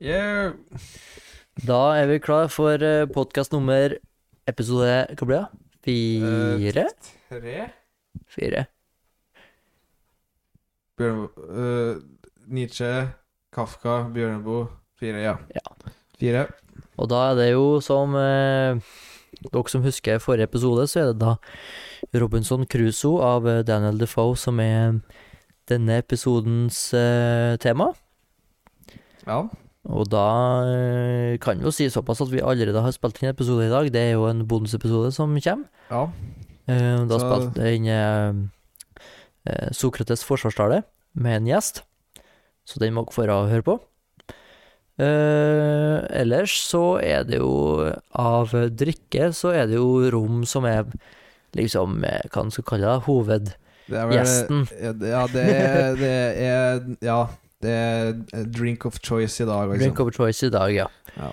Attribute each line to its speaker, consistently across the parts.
Speaker 1: Yeah.
Speaker 2: Da er vi klar for podkast nummer episode Hva blir det? Fire?
Speaker 1: Tre?
Speaker 2: Fire.
Speaker 1: Bjørneboe. eh, Nietzsche, Kafka, Bjørneboe. Fire, ja. Fire.
Speaker 2: Og da er det jo som eh, Dere som husker forrige episode, så er det da Robinson Crusoe av eh, Daniel Defoe som er denne episodens eh, tema.
Speaker 1: Ja.
Speaker 2: Og da eh, kan vi jo si såpass at vi allerede har spilt inn en episode i dag. Det er jo en bonusepisode som kommer.
Speaker 1: ja.
Speaker 2: Eh, da
Speaker 1: Så-
Speaker 2: spilte jeg inn eh, eh, Sokrates forsvarstale med en gjest, så den må dere få høre på. Eh, ellers så er det jo av drikke så er det jo rom som er liksom eh, Hva man skal kalle det? Hovedgjesten.
Speaker 1: Det er vel Ja, det- Ja, det er, det er Ja. Det er drink of choice i dag,
Speaker 2: Drink
Speaker 1: liksom.
Speaker 2: of choice i dag, ja.
Speaker 1: Ja.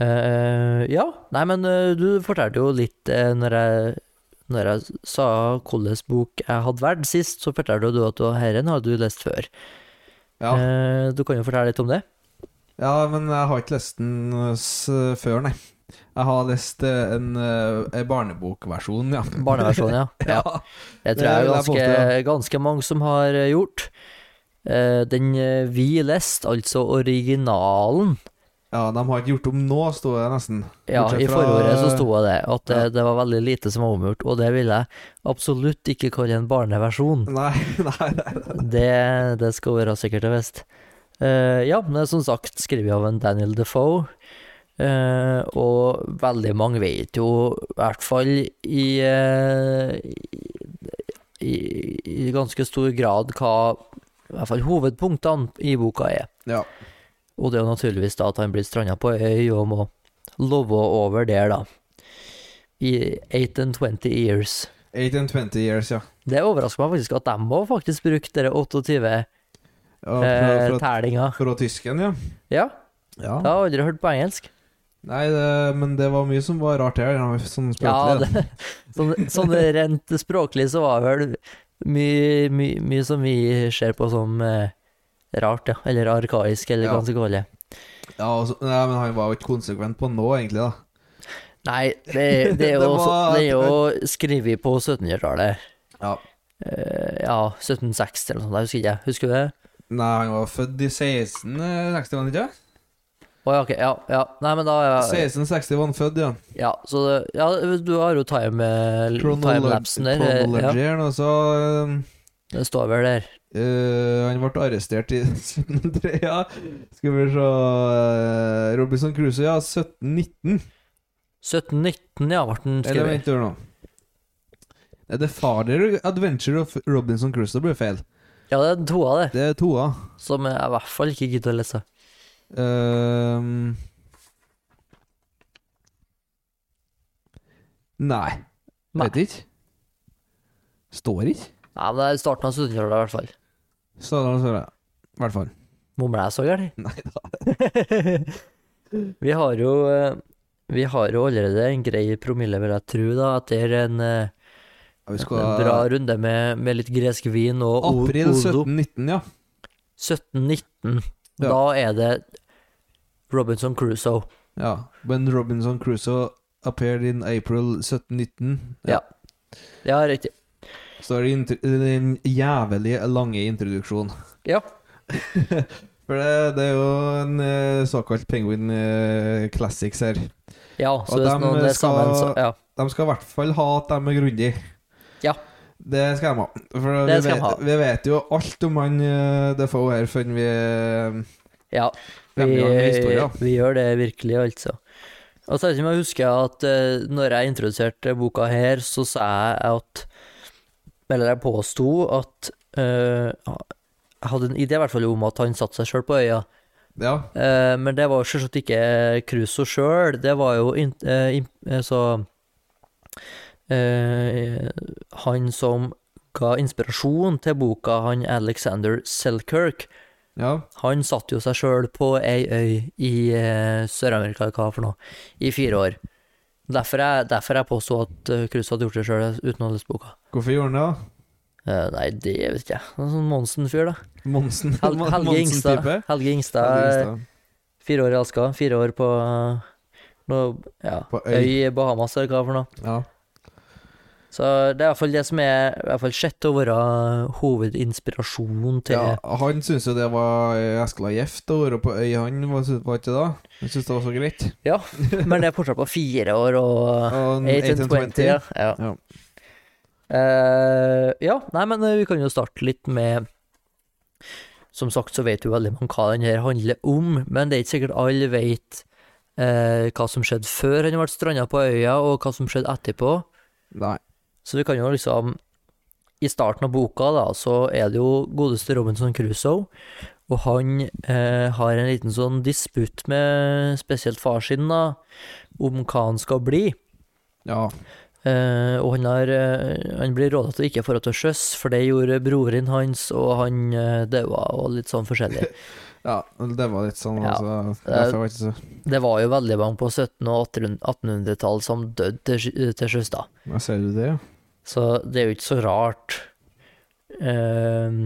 Speaker 2: Eh, ja. Nei, men eh, du fortalte jo litt uh, når, jeg, når jeg sa hvilken bok jeg hadde valgt sist, så fortalte du at du, herren har du lest før.
Speaker 1: Ja.
Speaker 2: Eh, du kan jo fortelle litt om det.
Speaker 1: ja, men jeg har ikke lest den eh, s før, nei. Jeg har lest eh, en, eh, en barnebokversjon, ja.
Speaker 2: Barneversjonen, ja. ja.
Speaker 1: ja.
Speaker 2: Jeg tror det
Speaker 1: det
Speaker 2: er
Speaker 1: er
Speaker 2: ganske,
Speaker 1: påstått,
Speaker 2: ganske mange som har eh, gjort. Eh, den eh, vi leste, altså originalen
Speaker 1: Ja, de har ikke gjort om nå, sto det nesten.
Speaker 2: Ja,
Speaker 1: Bortsett
Speaker 2: i
Speaker 1: fra-
Speaker 2: forordet så sto det at det,
Speaker 1: Ja.
Speaker 2: det var veldig lite som var omgjort, og det vil jeg absolutt ikke kalle en barneversjon.
Speaker 1: Nei, nei, nei.
Speaker 2: Det, det skal være sikkert og visst. Eh, ja, men det er som sagt skrevet av en Daniel Defoe. eh, og veldig mange vet jo, i hvert fall i, eh, i, i ganske stor grad, hva i hvert fall hovedpunktene i boka er.
Speaker 1: Ja.
Speaker 2: Og det er jo naturligvis da at han blir stranda på ei øy og må love over der, da. I 8 and 20 years.
Speaker 1: 8 and 20 years, ja.
Speaker 2: Det overrasker meg faktisk at de òg faktisk brukte dere 28
Speaker 1: Og
Speaker 2: Eh,
Speaker 1: fra, fra,
Speaker 2: Tælinga.
Speaker 1: fra tysken, ja.
Speaker 2: Ja,
Speaker 1: ja.
Speaker 2: jeg har aldri hørt på engelsk.
Speaker 1: Nei, det, men det var mye som var rart her. ja, Sånn
Speaker 2: Ja,
Speaker 1: språklig.
Speaker 2: det, sånn, sånn rent språklig så var vel mye, mye, mye som vi ser på som eh, rart, ja. Eller arkaisk, eller
Speaker 1: Ja.
Speaker 2: hva man skal kalle det.
Speaker 1: Ja, og så- nei, men han var jo ikke konsekvent på nå, egentlig, da.
Speaker 2: Nei, det, det, er, jo,
Speaker 1: Det var-
Speaker 2: det er jo skrevet på 1700-tallet.
Speaker 1: Ja.
Speaker 2: Eh, ja, 1760 eller noe sånt, jeg husker ikke. Husker du det?
Speaker 1: Nei, han var født i 1660, var han ikke?
Speaker 2: Å ja, ok. Ja, ja. Nei, men da ja,
Speaker 1: 1660 var han født, ja.
Speaker 2: ja, så det- ja, du har jo time, eh, timelapsen der. eh, Ja,
Speaker 1: Chronologien, og så eh,
Speaker 2: det står vel der.
Speaker 1: Eh, han ble arrestert i 1703, ja. Skal vi se eh, Robinson Crusoe, ja. 1719.
Speaker 2: 1719, ja, ble den
Speaker 1: Eller
Speaker 2: skrevet.
Speaker 1: vent hør nå. Nei, The Father Adventure of Robinson Crusoe blir feil.
Speaker 2: Ja, det er to av det,
Speaker 1: Det er toa.
Speaker 2: som jeg i hvert fall ikke gidder å lese.
Speaker 1: Ehm. Nei.
Speaker 2: Nei.
Speaker 1: Vet ikke. Står ikke.
Speaker 2: Nei, men det er starten av 1700-tallet i hvert fall.
Speaker 1: Så da står det i hvert fall.
Speaker 2: Mumler jeg så gærent?
Speaker 1: Nei da.
Speaker 2: vi har jo eh, Vi har jo allerede en grei promille, vil jeg tro, da, etter en, eh,
Speaker 1: Vi
Speaker 2: en
Speaker 1: skal
Speaker 2: bra runde med, med litt gresk vin og o-
Speaker 1: April
Speaker 2: Odo.
Speaker 1: 1719, ja.
Speaker 2: 1719.
Speaker 1: Ja.
Speaker 2: Da er det Robinson Crusoe.
Speaker 1: Ja. When Robinson Crusoe appeared in April 1719.
Speaker 2: Ja. Ja, riktig.
Speaker 1: Så er det intro- den jævlig lange introduksjonen.
Speaker 2: Ja.
Speaker 1: For det, det er jo en eh, såkalt Penguin eh, Classics her.
Speaker 2: ja så
Speaker 1: Og
Speaker 2: hvis
Speaker 1: dem
Speaker 2: noen
Speaker 1: skal-
Speaker 2: er sammen, så Ja.
Speaker 1: De skal i hvert fall ha at de er grundige.
Speaker 2: Ja.
Speaker 1: Det skal de ha. For
Speaker 2: Det
Speaker 1: vi,
Speaker 2: skal de ha.
Speaker 1: vet, vi vet jo alt om han eh, Defoe her før vi eh,
Speaker 2: ja. Vi,
Speaker 1: fremlegger en historie.
Speaker 2: vi gjør det virkelig, altså. Og så er det som jeg husker at eh, når jeg introduserte boka her, så sa jeg at Eller jeg påsto at eh, Jeg hadde en idé i hvert fall om at han satte seg sjøl på øya.
Speaker 1: Ja.
Speaker 2: Eh, men det var jo selvsagt ikke Crusoe sjøl, det var jo in, eh, im- eh, så eh, Han som ga inspirasjon til boka, han Alexander Selkirk,
Speaker 1: ja.
Speaker 2: han satt jo seg sjøl på ei øy i eh, Sør-Amerika, hva for noe, i fire år. Derfor jeg, derfor jeg påsto at eh, Cruise hadde gjort det sjøl uten å lese boka.
Speaker 1: Hvorfor gjorde han det, da?
Speaker 2: Eh, nei, det vet ikke jeg. En sånn Monsen-fyr, da.
Speaker 1: Monsen?
Speaker 2: Hel Helge
Speaker 1: Monsen-type?
Speaker 2: Ingstad. Helge Ingstad
Speaker 1: Helge
Speaker 2: eh,
Speaker 1: Ingstad.
Speaker 2: Fire år i Alaska, fire år på eh, noe, ja,
Speaker 1: På øy.
Speaker 2: øy i Bahamas eller hva for noe.
Speaker 1: Ja.
Speaker 2: Så det er i hvert fall det som er i hvert fall sett å være hovedinspirasjonen til
Speaker 1: ja han syntes jo det var eh, Eskla gjevt å være på øy, han, var var ikke det? da? Han syntes det var så greit.
Speaker 2: Ja, men det er fortsatt på fire år og
Speaker 1: Og
Speaker 2: 18 Sånn and 20, ja. Ja.
Speaker 1: Ja.
Speaker 2: Eh, ja, nei, men eh, vi kan jo starte litt med Som sagt så vet jo veldig mange hva den her handler om, men det er ikke sikkert alle vet eh, hva som skjedde før han ble stranda på øya, og hva som skjedde etterpå.
Speaker 1: Nei.
Speaker 2: Så vi kan jo liksom I starten av boka da, så er det jo godeste Robinson Crusoe, og han eh, har en liten sånn disputt med spesielt far sin da, om hva han skal bli.
Speaker 1: Ja.
Speaker 2: Eh, og han, har, eh, han blir råda til å ikke dra til sjøs, for det gjorde broren hans, og han eh, daua, og litt sånn forskjellig.
Speaker 1: ja. Det var litt sånn,
Speaker 2: Ja.
Speaker 1: altså. Derfor var det ikke så
Speaker 2: Det var jo veldig mange på 1700- og 1800-tall som døde til, sjø- til sjøs, da.
Speaker 1: Ja, ser du det, ja?
Speaker 2: Så det er jo ikke så rart. Ehm,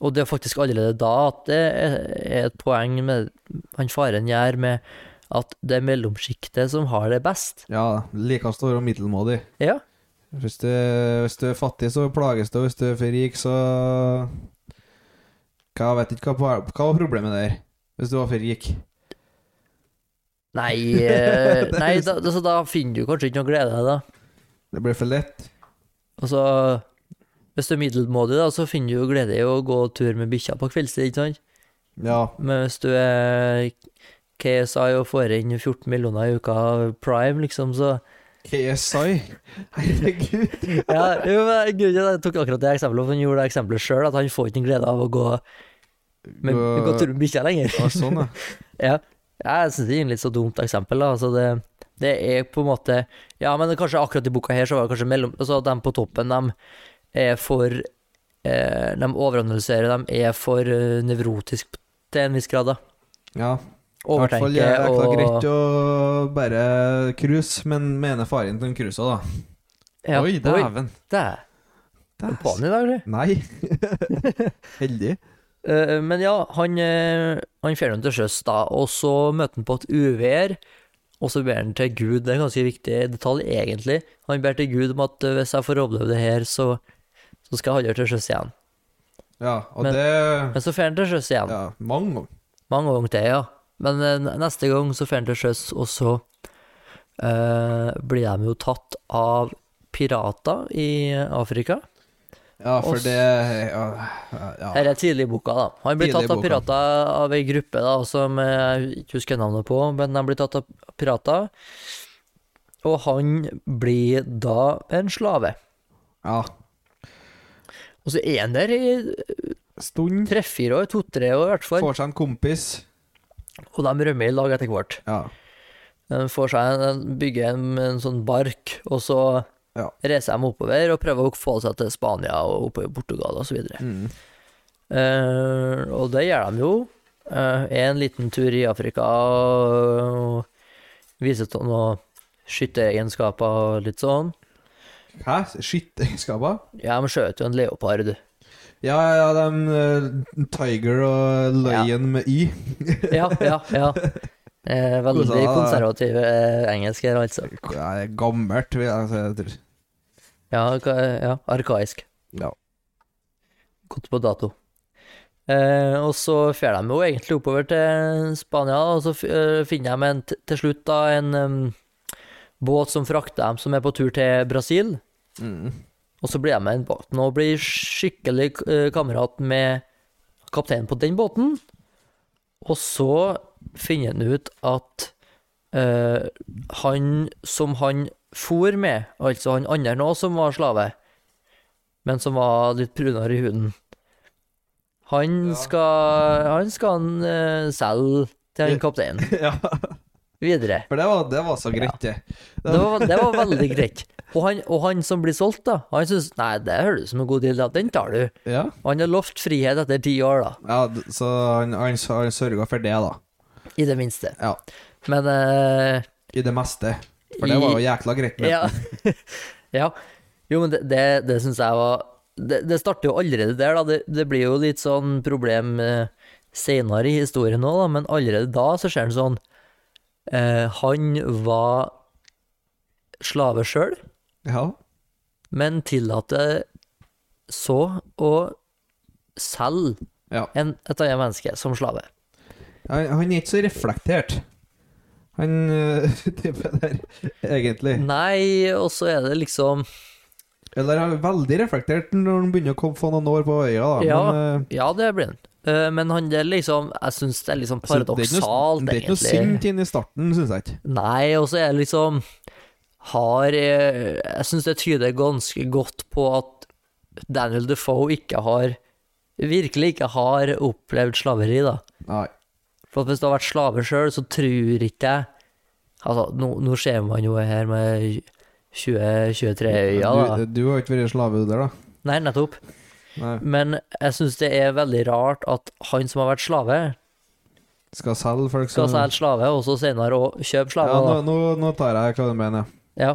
Speaker 2: og det er faktisk allerede da at det er- er et poeng med han faren gjør med at det er mellomsjiktet som har det best.
Speaker 1: Ja, likest å være middelmådig.
Speaker 2: Ja.
Speaker 1: Hvis du, hvis du er fattig, så plages du, og hvis du er for rik, så Hva, jeg vet ikke hva, hva var problemet der, hvis du var for rik?
Speaker 2: Nei, eh, nei da, da, så da finner du kanskje ikke noe glede i det. da.
Speaker 1: Det blir for lett.
Speaker 2: Og så Hvis du er middelmådig, da, så finner du jo glede i å gå tur med bikkja på kveldstid, ikke sant?
Speaker 1: Ja.
Speaker 2: Men hvis du er KSI og får inn 14 millioner i uka prime, liksom, så
Speaker 1: KSI. Herregud.
Speaker 2: Ja, jo, men grunnen til at jeg tok akkurat det eksempelet, for han gjorde det eksempelet sjøl, at han får ikke glede av å gå, med, gå tur med bikkja lenger.
Speaker 1: Ja, sånn, ja.
Speaker 2: Ja. Ja, Jeg syns det er et litt så dumt eksempel. da, altså det, det er på en måte Ja, men kanskje akkurat i boka her, så var det kanskje mellom altså at de på toppen, de er for eh, De overanalyserer, de er for eh, nevrotisk til en viss grad, da.
Speaker 1: ja. I hvert fall er
Speaker 2: Overtenker
Speaker 1: det ikke
Speaker 2: og
Speaker 1: greit å bare cruise, men mener faren til cruisa, da.
Speaker 2: ja,
Speaker 1: Oi, dæven.
Speaker 2: det er
Speaker 1: Det er-
Speaker 2: på han i dag, du.
Speaker 1: Nei. Heldig.
Speaker 2: Eh, Men ja, han, eh, han fer nå til sjøs, da, og så møter han på et uvær. Og så ber han til Gud, det er en ganske viktig detalj, egentlig. Han ber til Gud om at eh, hvis jeg får overleve det her, så, så skal jeg holde til sjøs igjen.
Speaker 1: Ja, og
Speaker 2: Men-
Speaker 1: det
Speaker 2: Men så fer han til sjøs igjen.
Speaker 1: Ja, mange ganger.
Speaker 2: Mange ganger til, ja. Men eh, neste gang så fer han til sjøs, og så eh, blir de jo tatt av pirater i Afrika.
Speaker 1: Ja, for
Speaker 2: Oss-
Speaker 1: det Ja. ja.
Speaker 2: Her er tidlig i boka, da. Han
Speaker 1: Tidlig
Speaker 2: blir
Speaker 1: i
Speaker 2: tatt av
Speaker 1: boka.
Speaker 2: pirater av ei gruppe da, som eh, jeg ikke husker navnet på, men de blir tatt av pirater. Og han blir da en slave.
Speaker 1: ja.
Speaker 2: Og så er han der i
Speaker 1: Stund.
Speaker 2: tre-fire år, to-tre år i hvert fall,
Speaker 1: Får seg en kompis.
Speaker 2: og de rømmer i lag etter hvert.
Speaker 1: Ja.
Speaker 2: De får seg en, bygger en, en sånn bark, og så
Speaker 1: Ja.
Speaker 2: reiser de oppover og prøver å få seg til Spania og oppover Portugal osv.
Speaker 1: Mm.
Speaker 2: Eh, og det gjør de jo. Eh, en liten tur i Afrika og viser til noen skytteregenskaper og litt sånn.
Speaker 1: Hæ? Skittegenskaper?
Speaker 2: Ja, de skjøt jo en leopard.
Speaker 1: Ja, ja, de eh, Tiger og Lion med Y.
Speaker 2: Ja, ja, ja. Eh,
Speaker 1: Hvordan
Speaker 2: veldig
Speaker 1: da?
Speaker 2: konservative eh, engelsker, altså.
Speaker 1: Ja, det er gammelt, vil jeg si. jeg tror.
Speaker 2: Ja, ka- ja, arkaisk.
Speaker 1: Ja.
Speaker 2: Godt på dato. Eh, og så fer de jo egentlig oppover til Spania, og så f- eh, finner de en, t- til slutt da en em, båt som frakter dem som er på tur til Brasil.
Speaker 1: Mm.
Speaker 2: Og så blir jeg med i den båten og blir skikkelig eh, kamerat med kapteinen på den båten. Og så finner han ut at eh, han som han for med, altså han andre nå som var slave, men som var litt brunere i huden Han
Speaker 1: Ja.
Speaker 2: skal Han skal han eh, selge til han kapteinen
Speaker 1: ja,
Speaker 2: videre.
Speaker 1: for det var, det var så greit, det.
Speaker 2: Det var, det var veldig greit. Og han, og han som blir solgt, da, han syns Nei, det høres ut som en god deal, da. Den tar du.
Speaker 1: Ja,
Speaker 2: Og han har lovt frihet etter ti år, da,
Speaker 1: ja d- Så han, han, s- han sørga for det, da.
Speaker 2: i det minste.
Speaker 1: Ja.
Speaker 2: Men eh,
Speaker 1: I det meste. For det var jo jækla greit. Men,
Speaker 2: ja. ja. Jo, men det, det, det syns jeg var det, det starter jo allerede der, da. Det, det blir jo litt sånn problem eh, senere i historien nå, da, men allerede da så ser han sånn eh, Han var slave sjøl,
Speaker 1: Ja.
Speaker 2: men tillater så å selge
Speaker 1: Ja.
Speaker 2: en, et annet menneske som slave.
Speaker 1: Han, han er ikke så reflektert, han øh, typen der, egentlig.
Speaker 2: Nei, og så er det liksom
Speaker 1: Eller han er veldig reflektert når han begynner å komme- få noen år på øya, da.
Speaker 2: Ja.
Speaker 1: Men, øh,
Speaker 2: Ja, det blir han. Eh, Men han det er liksom Jeg syns det er liksom
Speaker 1: så Altså, det er ikke noe-
Speaker 2: paradoksalt,
Speaker 1: Det er ikke noe
Speaker 2: egentlig.
Speaker 1: sint inn i starten, syns jeg ikke.
Speaker 2: Nei, og så er det liksom Har eh, Jeg syns det tyder ganske godt på at Daniel Defoe ikke har Virkelig ikke har opplevd slaveri, da.
Speaker 1: Nei.
Speaker 2: For at hvis du har vært slave sjøl, så tror ikke jeg Altså, nå, nå ser man jo her med 20-23 øyne, Eh, da.
Speaker 1: du, du har ikke vært slave du der, da?
Speaker 2: Nei, nettopp.
Speaker 1: Nei.
Speaker 2: Men jeg syns det er veldig rart at han som har vært slave,
Speaker 1: Skal selge folk
Speaker 2: skal
Speaker 1: som-
Speaker 2: selge slave, og så senere òg kjøpe slave.
Speaker 1: Ja, nå,
Speaker 2: da.
Speaker 1: nå, nå tar jeg hva du mener.
Speaker 2: Ja,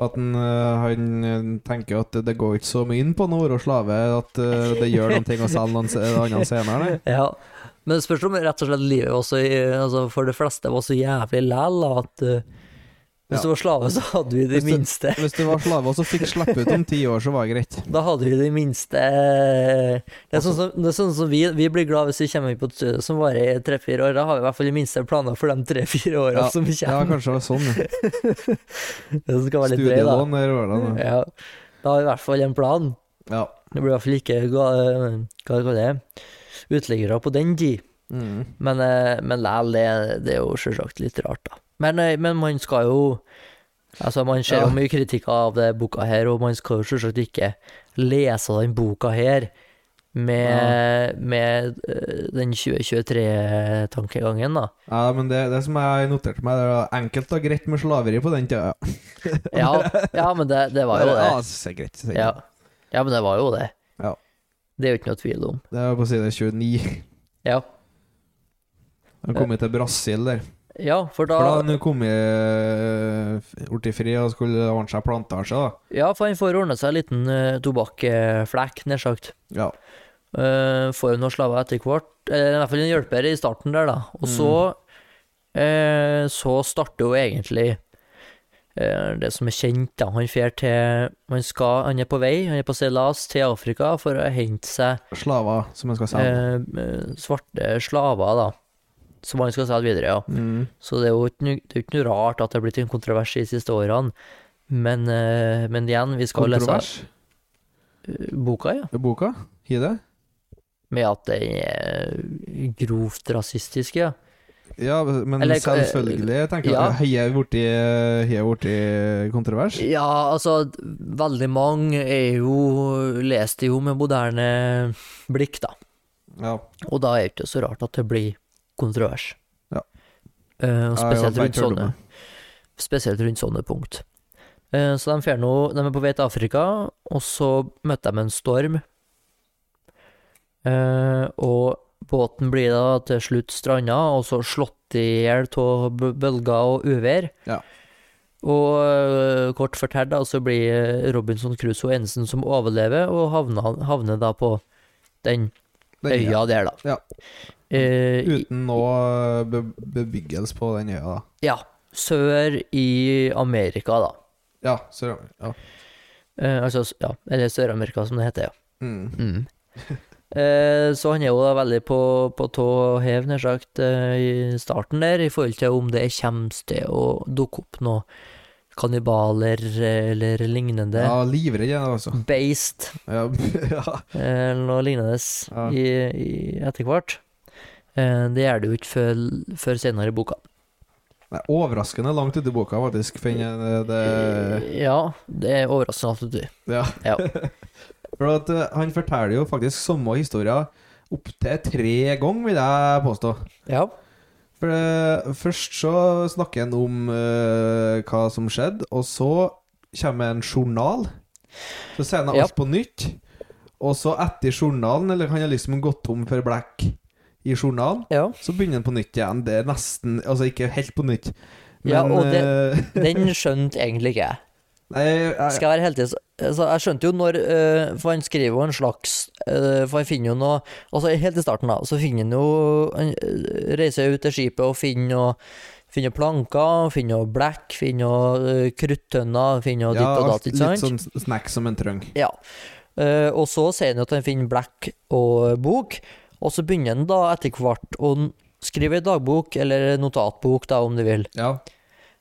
Speaker 1: At han, øh, han øh, tenker at det går ikke så mye inn på noe å være slave, at øh, det gjør noen ting å selge noen se- andre senere. nei.
Speaker 2: ja. Men det spørs om rett og slett livet også, i- altså for de fleste var så jævlig læl da, at uh,
Speaker 1: Ja.
Speaker 2: hvis du var slave, så hadde vi de
Speaker 1: Hvis du-
Speaker 2: minste.
Speaker 1: Hvis du var slave og så fikk slippe ut om ti år, så var det greit.
Speaker 2: Da hadde vi de minste Det er
Speaker 1: Altså-
Speaker 2: sånn som, det er sånn som vi, vi blir glad hvis vi kommer inn på et studie som varer i tre-fire år. Da har vi i hvert fall de minste planer for de tre-fire åra
Speaker 1: Ja,
Speaker 2: som
Speaker 1: Ja,
Speaker 2: kommer.
Speaker 1: kanskje det var sånn. ja.
Speaker 2: det skal være litt drøy, da.
Speaker 1: Studielån er årene. da.
Speaker 2: Ja. Da har vi i hvert fall en plan.
Speaker 1: Ja.
Speaker 2: Det blir i hvert fall ikke ga- eh, hva hva det er, uteliggere på den tid.
Speaker 1: Mm.
Speaker 2: Men, eh, men læl, det, det er jo selvsagt litt rart, da. Men, eh, men man skal jo Altså, man ser jo
Speaker 1: Ja.
Speaker 2: mye kritikk av det boka her, og man skal jo selvsagt ikke lese den boka her med, med eh, den 2023-tankegangen, da.
Speaker 1: ja, men det, det som jeg noterte meg, det var enkelt og greit med slaveri på den tida. Ja.
Speaker 2: Ja, ja men det, det var jo det.
Speaker 1: Ja, så greit. så greit.
Speaker 2: Ja. ja, men det var jo det.
Speaker 1: Ja.
Speaker 2: Det er jo ikke noe tvil om.
Speaker 1: Det var på side 29.
Speaker 2: Ja,
Speaker 1: Han kom jo til Brasil der.
Speaker 2: ja for
Speaker 1: For da hadde
Speaker 2: da
Speaker 1: han jo kommet blitt fri og skulle ordne seg plantasje, da.
Speaker 2: Ja, for han får ordne seg en liten uh, tobakkflekk, nær sagt.
Speaker 1: Ja.
Speaker 2: Eh, får jo noen slaver etter hvert. Eller i hvert fall en hjelper i starten der, da. Og så eh, Så starter jo egentlig eh, det som er kjent, da. Han fer til Han skal Han er på vei, han er på seilas til Afrika for å hente seg
Speaker 1: Slaver som han skal selge.
Speaker 2: eh, eh, svarte slaver, da. Som han skal selge videre, ja.
Speaker 1: Mm.
Speaker 2: Så det er jo ikke, noe- det er jo ikke noe rart at det har blitt en kontrovers de siste årene. Men, eh, men igjen, vi skal lese
Speaker 1: Kontrovers
Speaker 2: eh, boka, ja.
Speaker 1: i boka. Gi det.
Speaker 2: Med at det er grovt rasistisk, ja.
Speaker 1: Ja, men
Speaker 2: Eller- eh,
Speaker 1: selvfølgelig jeg tenker jeg
Speaker 2: Ja.
Speaker 1: at jeg har borti, har borti kontrovers.
Speaker 2: Ja, altså, veldig mange er jo lest det jo med moderne blikk, da.
Speaker 1: Ja.
Speaker 2: Og da er det ikke så rart at det blir kontrovers.
Speaker 1: Ja.
Speaker 2: Eh, og
Speaker 1: Ja, ja,
Speaker 2: spesielt,
Speaker 1: det
Speaker 2: rundt
Speaker 1: tør du
Speaker 2: sånne,
Speaker 1: med.
Speaker 2: spesielt rundt sånne punkt. Eh, så de, fer nå- de er på vei til Afrika, og så møtte de en storm. Eh, og båten blir da til slutt stranda, og så slått i hjel av b- bølger og uvær.
Speaker 1: Ja.
Speaker 2: Og eh, kort fortalt da, så blir eh, Robinson Crusoe enesen som overlever, og havner, havner da på den
Speaker 1: Den-
Speaker 2: øya der, da.
Speaker 1: Ja.
Speaker 2: Eh, i-
Speaker 1: Uten noe be bebyggelse på den øya, da.
Speaker 2: ja. Sør i Amerika, da.
Speaker 1: Ja, så ja.
Speaker 2: Eh, altså, s- ja, eller Sør-Amerika, som det heter, ja.
Speaker 1: Mm.
Speaker 2: Eh, så han er jo da veldig på, på tå hev, nær sagt, eh, i starten der, i forhold til om det kommer til å dukke opp noe kannibaler eh, eller lignende.
Speaker 1: Ja, livredd er jeg, altså.
Speaker 2: Beist
Speaker 1: Ja, ja.
Speaker 2: eh, eller noe lignende
Speaker 1: Ja.
Speaker 2: i, i etter hvert. Eh, det gjør det jo ikke før, før senere i boka.
Speaker 1: Nei, overraskende langt ute i boka, faktisk. Finner jeg det, det
Speaker 2: ja, det er overraskende at du
Speaker 1: Eh. Ja.
Speaker 2: Ja.
Speaker 1: For at eh, han forteller jo faktisk samme historia opptil tre ganger, vil jeg påstå.
Speaker 2: Ja.
Speaker 1: For eh, Først så snakker han om eh, hva som skjedde, og så kommer en journal. Så sier han alt
Speaker 2: Ja.
Speaker 1: på nytt. Og så etter journalen, eller han har liksom gått tom for blekk i journalen,
Speaker 2: ja.
Speaker 1: så begynner han på nytt igjen. Det er nesten Altså ikke helt på nytt. Men
Speaker 2: Ja, og det-
Speaker 1: eh,
Speaker 2: Den skjønte egentlig ikke jeg.
Speaker 1: Nei, jeg,
Speaker 2: Skal jeg være helt ærlig, så- altså, Jeg skjønte jo når eh, For han skriver jo en slags eh, For han finner jo noe Altså Helt i starten, da, så finner han jo Han eh, reiser ut til skipet og finner noe Finner planker, finner noe blekk, finner noe eh, kruttønner, finner noe
Speaker 1: ja,
Speaker 2: ditt og
Speaker 1: alt-
Speaker 2: datt, ikke sant?
Speaker 1: litt sånn s- snack som en trøng.
Speaker 2: Ja. Eh, og så sier han jo at han finner blekk og eh, bok, og så begynner han da etter hvert å n- skrive ei dagbok, eller notatbok, da, om du vil.
Speaker 1: Ja.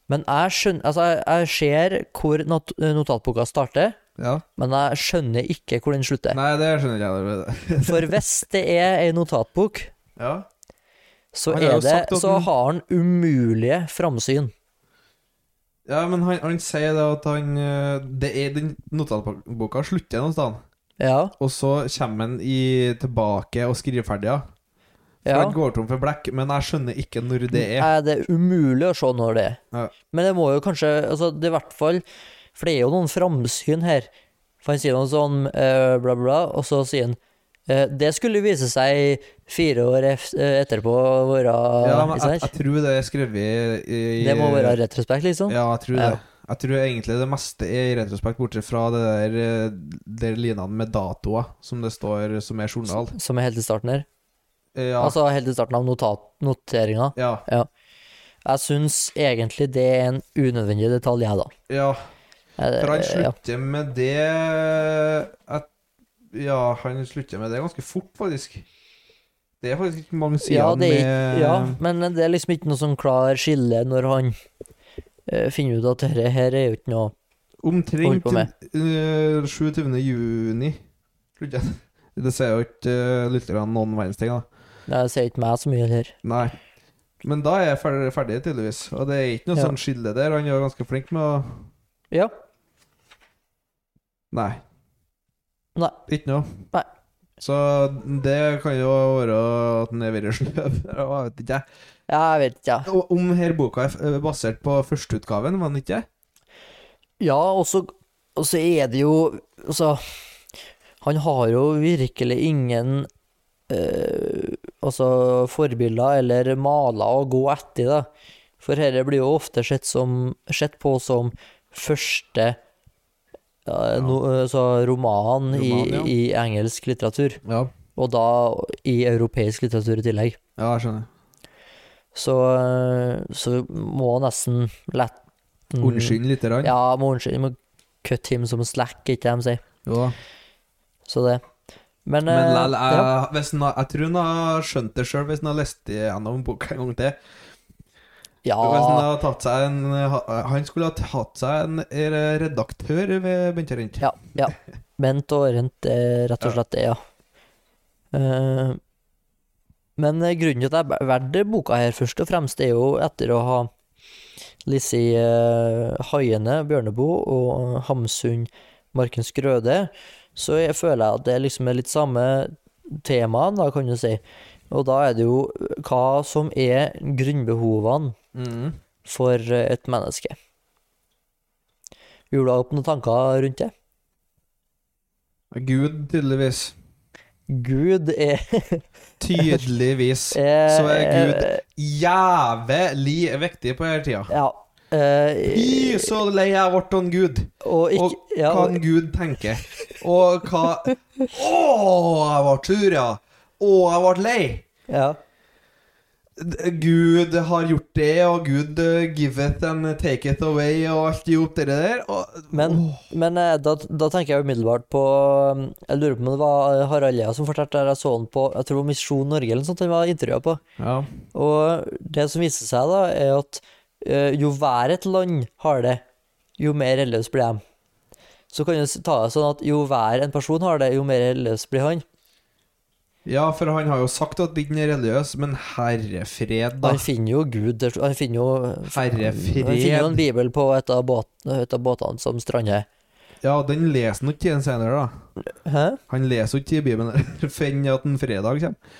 Speaker 2: Men jeg skjønner Altså, jeg, jeg ser hvor not notatboka starter,
Speaker 1: ja.
Speaker 2: men jeg skjønner ikke hvor den slutter.
Speaker 1: Nei, det skjønner ikke jeg.
Speaker 2: For hvis det er ei notatbok,
Speaker 1: Ja.
Speaker 2: så,
Speaker 1: Han har jo
Speaker 2: er
Speaker 1: sagt
Speaker 2: det,
Speaker 1: at
Speaker 2: så
Speaker 1: den-
Speaker 2: har han umulige framsyn.
Speaker 1: ja, men han, han sier da at han eh, Det er den notatboka slutter noe sted,
Speaker 2: Ja.
Speaker 1: og så kommer han i, tilbake og skriver ferdig, ja. For
Speaker 2: ja. Mm,
Speaker 1: Han går tom for blekk, men jeg skjønner ikke når det er.
Speaker 2: Nei, det er umulig å se når det er.
Speaker 1: Ja.
Speaker 2: Men det må jo kanskje altså, det er i hvert fall For det er jo noen framsyn her. For han sier noe sånn eh, bla, bla, bla, og så sier han eh, Det skulle vise seg fire år ef eh, etterpå å være
Speaker 1: Ja, men
Speaker 2: ikke
Speaker 1: jeg,
Speaker 2: sant?
Speaker 1: jeg tror det er skrevet i, i
Speaker 2: Det må være retrospekt, liksom.
Speaker 1: Ja, jeg tror
Speaker 2: Ja.
Speaker 1: det. Jeg tror egentlig det meste er i retrospekt, bortsett fra det der, eh, der linene med datoer som det står som er journal.
Speaker 2: Som er helt i starten
Speaker 1: Eh,
Speaker 2: her.
Speaker 1: Ja.
Speaker 2: Altså helt i starten av notat noteringa.
Speaker 1: ja,
Speaker 2: Jeg syns egentlig det er en unødvendig detalj, jeg, da.
Speaker 1: ja.
Speaker 2: Eh,
Speaker 1: For han
Speaker 2: ja.
Speaker 1: slutter med det at, Ja, han slutter med det ganske fort, faktisk. Det er faktisk ikke mange sider
Speaker 2: Ja, det er,
Speaker 1: med
Speaker 2: ikke- ja, men det er liksom ikke noe sånn klar skille når han eh, finner ut at dette her er jo ikke noe Holder
Speaker 1: Omtrent
Speaker 2: på med.
Speaker 1: eh, 27. juni slutter jeg. Det sier jo ikke uh, litt grann noen verdens ting, da.
Speaker 2: Nei, Det sier ikke meg så mye her.
Speaker 1: Nei. Men da er jeg ferdig, ferdig tydeligvis. Og det er ikke noe
Speaker 2: Ja.
Speaker 1: sånn skille der. Han er jo ganske flink med å
Speaker 2: Ja.
Speaker 1: Nei.
Speaker 2: Nei.
Speaker 1: Ikke noe.
Speaker 2: Nei.
Speaker 1: Så det kan jo være at han er veldig sløv. Jeg vet ikke. jeg.
Speaker 2: Ja, Jeg vet ikke, jeg.
Speaker 1: Og Om her boka er f- er basert på førsteutgaven, var den ikke?
Speaker 2: Ja, og så og så er det jo Altså, han har jo virkelig ingen eh, Altså forbilder eller maler å gå etter, da. For dette blir jo ofte sett, som, sett på som første ja, no, altså roman,
Speaker 1: Roman,
Speaker 2: i,
Speaker 1: ja.
Speaker 2: i engelsk litteratur.
Speaker 1: Ja.
Speaker 2: Og da i europeisk litteratur i tillegg.
Speaker 1: Ja, jeg skjønner.
Speaker 2: Så, eh, så må jeg nesten lette
Speaker 1: Unnskyld lite grann.
Speaker 2: Mm. Ja, må unnskylde. Må cut him som slack, ikke det de sier.
Speaker 1: Jo da.
Speaker 2: Så det. Men,
Speaker 1: Men
Speaker 2: eh,
Speaker 1: lell, jeg,
Speaker 2: ja.
Speaker 1: hvis han har- jeg tror han har skjønt det sjøl hvis han har lest gjennom boka en gang til. Hvis han
Speaker 2: ja,
Speaker 1: har tatt seg en Han skulle ha tatt seg en eh, redaktør ved Bentarent.
Speaker 2: ja, ja. Bent og Rent er rett og slett det, ja. Eh, men eh, grunnen til at jeg valgte boka her først og fremst, er jo etter å ha lest uh, Haiene, Bjørneboe og Hamsun, Markens Grøde, så jeg føler jeg at det liksom er litt samme tema, da kan du si. Og da er det jo eh, hva som er grunnbehovene
Speaker 1: Mhm.
Speaker 2: for eh, et menneske. Gjorde du opp noen tanker rundt det?
Speaker 1: Gud, tydeligvis.
Speaker 2: Gud er,
Speaker 1: Tydeligvis.
Speaker 2: er
Speaker 1: Så er Gud Jævlig viktig på denne tida.
Speaker 2: Ja. eh,
Speaker 1: Fy, så lei jeg ble av Gud.
Speaker 2: og ikke
Speaker 1: Og
Speaker 2: ja,
Speaker 1: Hva
Speaker 2: og,
Speaker 1: Gud tenker. Og hva Å, jeg ble sur, ja. Å, jeg ble lei.
Speaker 2: ja.
Speaker 1: D- Gud har gjort det, og Gud eh, giveth and taketh away, og alt i hop det der. Og,
Speaker 2: Men,
Speaker 1: Åh.
Speaker 2: men eh, da, da tenker jeg umiddelbart på um, Jeg lurer på om det var eh, Harald Lea som fortalte der jeg så han på Jeg tror det var Misjon Norge eller noe sånt han var intervjua på.
Speaker 1: Ja.
Speaker 2: Og det som viser seg, da, er at eh, jo hver et land har det, jo mer religiøs blir de. Så kan du s- ta det sånn at jo hver en person har det, jo mer religiøs blir han.
Speaker 1: ja, for han har jo sagt at den er religiøs, men herrefred, da.
Speaker 2: Han finner jo Gud til sl- Han finner jo Han finner jo en
Speaker 1: Herrefred.
Speaker 2: bibel på et av, båt, et av båtene som strander.
Speaker 1: Ja, den leser han ikke igjen senere, da.
Speaker 2: Hæ?
Speaker 1: Han leser jo ikke i Bibelen Finn at en fredag kommer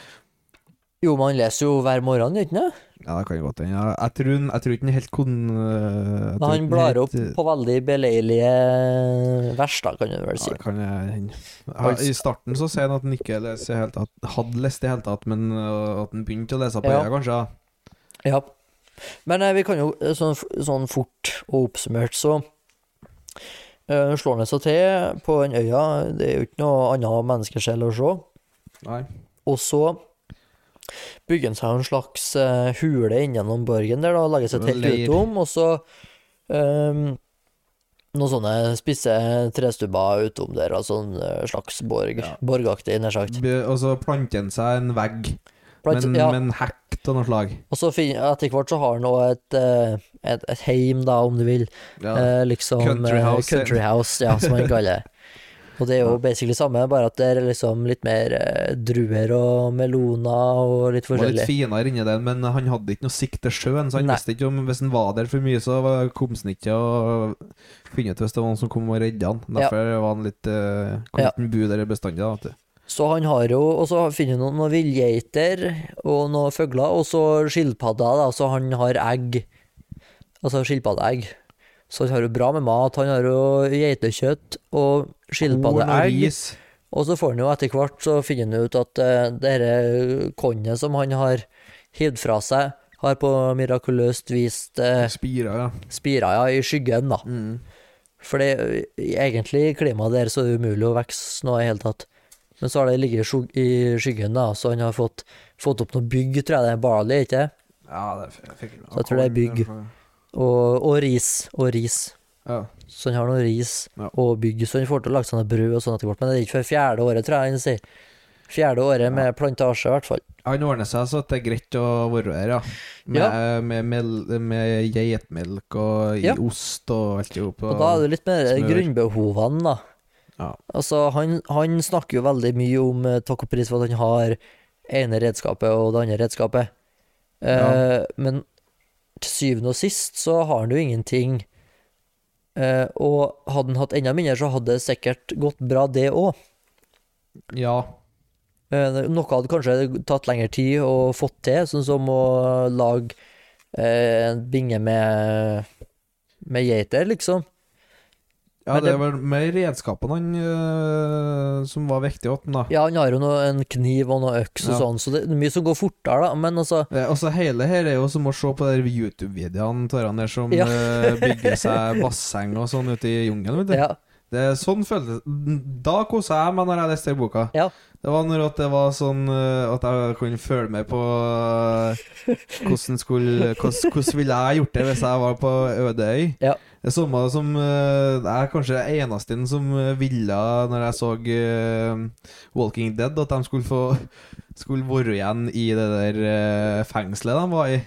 Speaker 2: Jo, men han leser jo hver morgen, gjør han ikke det?
Speaker 1: Ja, det kan godt hende. Ja, Jeg tror han- jeg tror ikke han helt kon... eh, jeg
Speaker 2: Men
Speaker 1: tror
Speaker 2: han
Speaker 1: ikke
Speaker 2: blar
Speaker 1: helt,
Speaker 2: opp
Speaker 1: eh,
Speaker 2: på veldig beleilige vers, da, kan du vel
Speaker 1: Ja,
Speaker 2: si.
Speaker 1: det kan jeg hende. Ja,
Speaker 2: Altså-
Speaker 1: I starten så sier han at han ikke leser i hele tatt, hadde lest i hele tatt, men øh, at han begynte å lese på
Speaker 2: Ja.
Speaker 1: øya, kanskje. ja.
Speaker 2: Ja. Men eh, vi kan jo eh, sånn, sånn fort og oppsummert, så Eh, slår han seg til på den øya, det er jo ikke noe annet menneskesjel å se.
Speaker 1: Nei.
Speaker 2: Og så bygger han seg en slags eh, hule inngjennom borgen der, da, og legger seg
Speaker 1: Det er
Speaker 2: telt
Speaker 1: leir.
Speaker 2: utom, og så ehm, noen sånne spisse trestubber utom der, altså en eh, slags borg.
Speaker 1: Ja.
Speaker 2: Borgaktig, nær sagt.
Speaker 1: Be- Og så planter han seg en vegg
Speaker 2: Blant-
Speaker 1: med
Speaker 2: ja,
Speaker 1: med en hekk av noe slag.
Speaker 2: Og så fin, etter hvert så har han også et, eh, et, et heim, da, om du vil.
Speaker 1: Ja.
Speaker 2: Eh, liksom
Speaker 1: Country
Speaker 2: eh,
Speaker 1: house.
Speaker 2: country house, ja, som han kaller det. Og det er jo basically samme, bare at det er liksom litt mer eh, druer og meloner og litt
Speaker 1: Det var
Speaker 2: forskjellig.
Speaker 1: litt finere inni den, men han hadde ikke noe sikt til sjøen, så han
Speaker 2: Nei.
Speaker 1: visste ikke om Hvis han var der for mye, så var- kom han ikke og finne ut hvis det var noen som kom og redde han.
Speaker 2: Ja.
Speaker 1: Derfor var han litt eh, Kom
Speaker 2: Ja.
Speaker 1: ikke han bu der bestandig, da. Vet du.
Speaker 2: Så han har jo Og så finner han noen, noen villgeiter og noen fugler, og så skilpadder, da, så han har egg. Altså skilpaddeegg. Så han har jo bra med mat. Han har jo geitekjøtt og
Speaker 1: Korn og
Speaker 2: skilpaddeegg.
Speaker 1: ris.
Speaker 2: Og så får han jo etter hvert så finner han ut at uh, det dette kornet som han har hivd fra seg, har på mirakuløst vist uh,
Speaker 1: Spirer, ja.
Speaker 2: spira ja, i skyggen, da.
Speaker 1: Mm.
Speaker 2: For det eh, egentlig i klimaet der så er det umulig å vokse noe i hele tatt. Men så har det ligget i skjog- i skyggen, da, så han har fått, fått opp noe bygg, tror jeg det er barley, ikke
Speaker 1: Ja, det f- jeg fikk jeg.
Speaker 2: Så jeg tror det er bygg. Og, og ris. Og ris.
Speaker 1: Ja.
Speaker 2: Så han har noe ris
Speaker 1: Ja.
Speaker 2: og bygg, så han får til å lage sånne brød og sånn etter hvert. Men det er ikke før fjerde året, tror jeg han sier. Fjerde året med plantasje, i hvert fall.
Speaker 1: Han ordner seg så at det er greit å være her, ja. Med, med, mel- med geitmelk og i
Speaker 2: Ja.
Speaker 1: ost og alt i hop.
Speaker 2: Og da er det litt mer
Speaker 1: smør.
Speaker 2: grunnbehovene, da.
Speaker 1: Ja.
Speaker 2: Altså, han, han snakker jo veldig mye om eh, takk og pris for at han har ene redskapet og det andre redskapet. Eh,
Speaker 1: Ja.
Speaker 2: Men til syvende og sist så har han jo ingenting. Eh, og hadde han hatt enda mindre, så hadde det sikkert gått bra, det òg.
Speaker 1: Ja.
Speaker 2: Eh, Noe hadde kanskje tatt lengre tid å få til, sånn som å lage eh, en binge med, med geiter, liksom.
Speaker 1: ja
Speaker 2: Men
Speaker 1: det
Speaker 2: det-
Speaker 1: var mer redskapene han øh, som var viktig åt han, da.
Speaker 2: Ja, han har jo noe, en kniv og noe øks og
Speaker 1: Ja.
Speaker 2: sånn, så det er mye som går fortere, da. Men altså,
Speaker 1: Eh, Også hele her er jo som å se på de YouTube-videoene av han der som
Speaker 2: Ja.
Speaker 1: øh, bygger seg basseng og sånn ute i jungelen. vet du.
Speaker 2: ja,
Speaker 1: Det er sånn føltes Da kosa jeg meg når jeg leste den boka.
Speaker 2: Ja.
Speaker 1: Det var når at det var sånn eh, at jeg kunne følge med på eh, hvordan, skulle, hvordan, hvordan ville jeg gjort det hvis jeg var på øde øy.
Speaker 2: Ja.
Speaker 1: Det samme som eh, Jeg er kanskje den eneste som eh, ville, når jeg så eh, Walking Dead, at de skulle få Skulle være igjen i det der eh, fengselet de var i.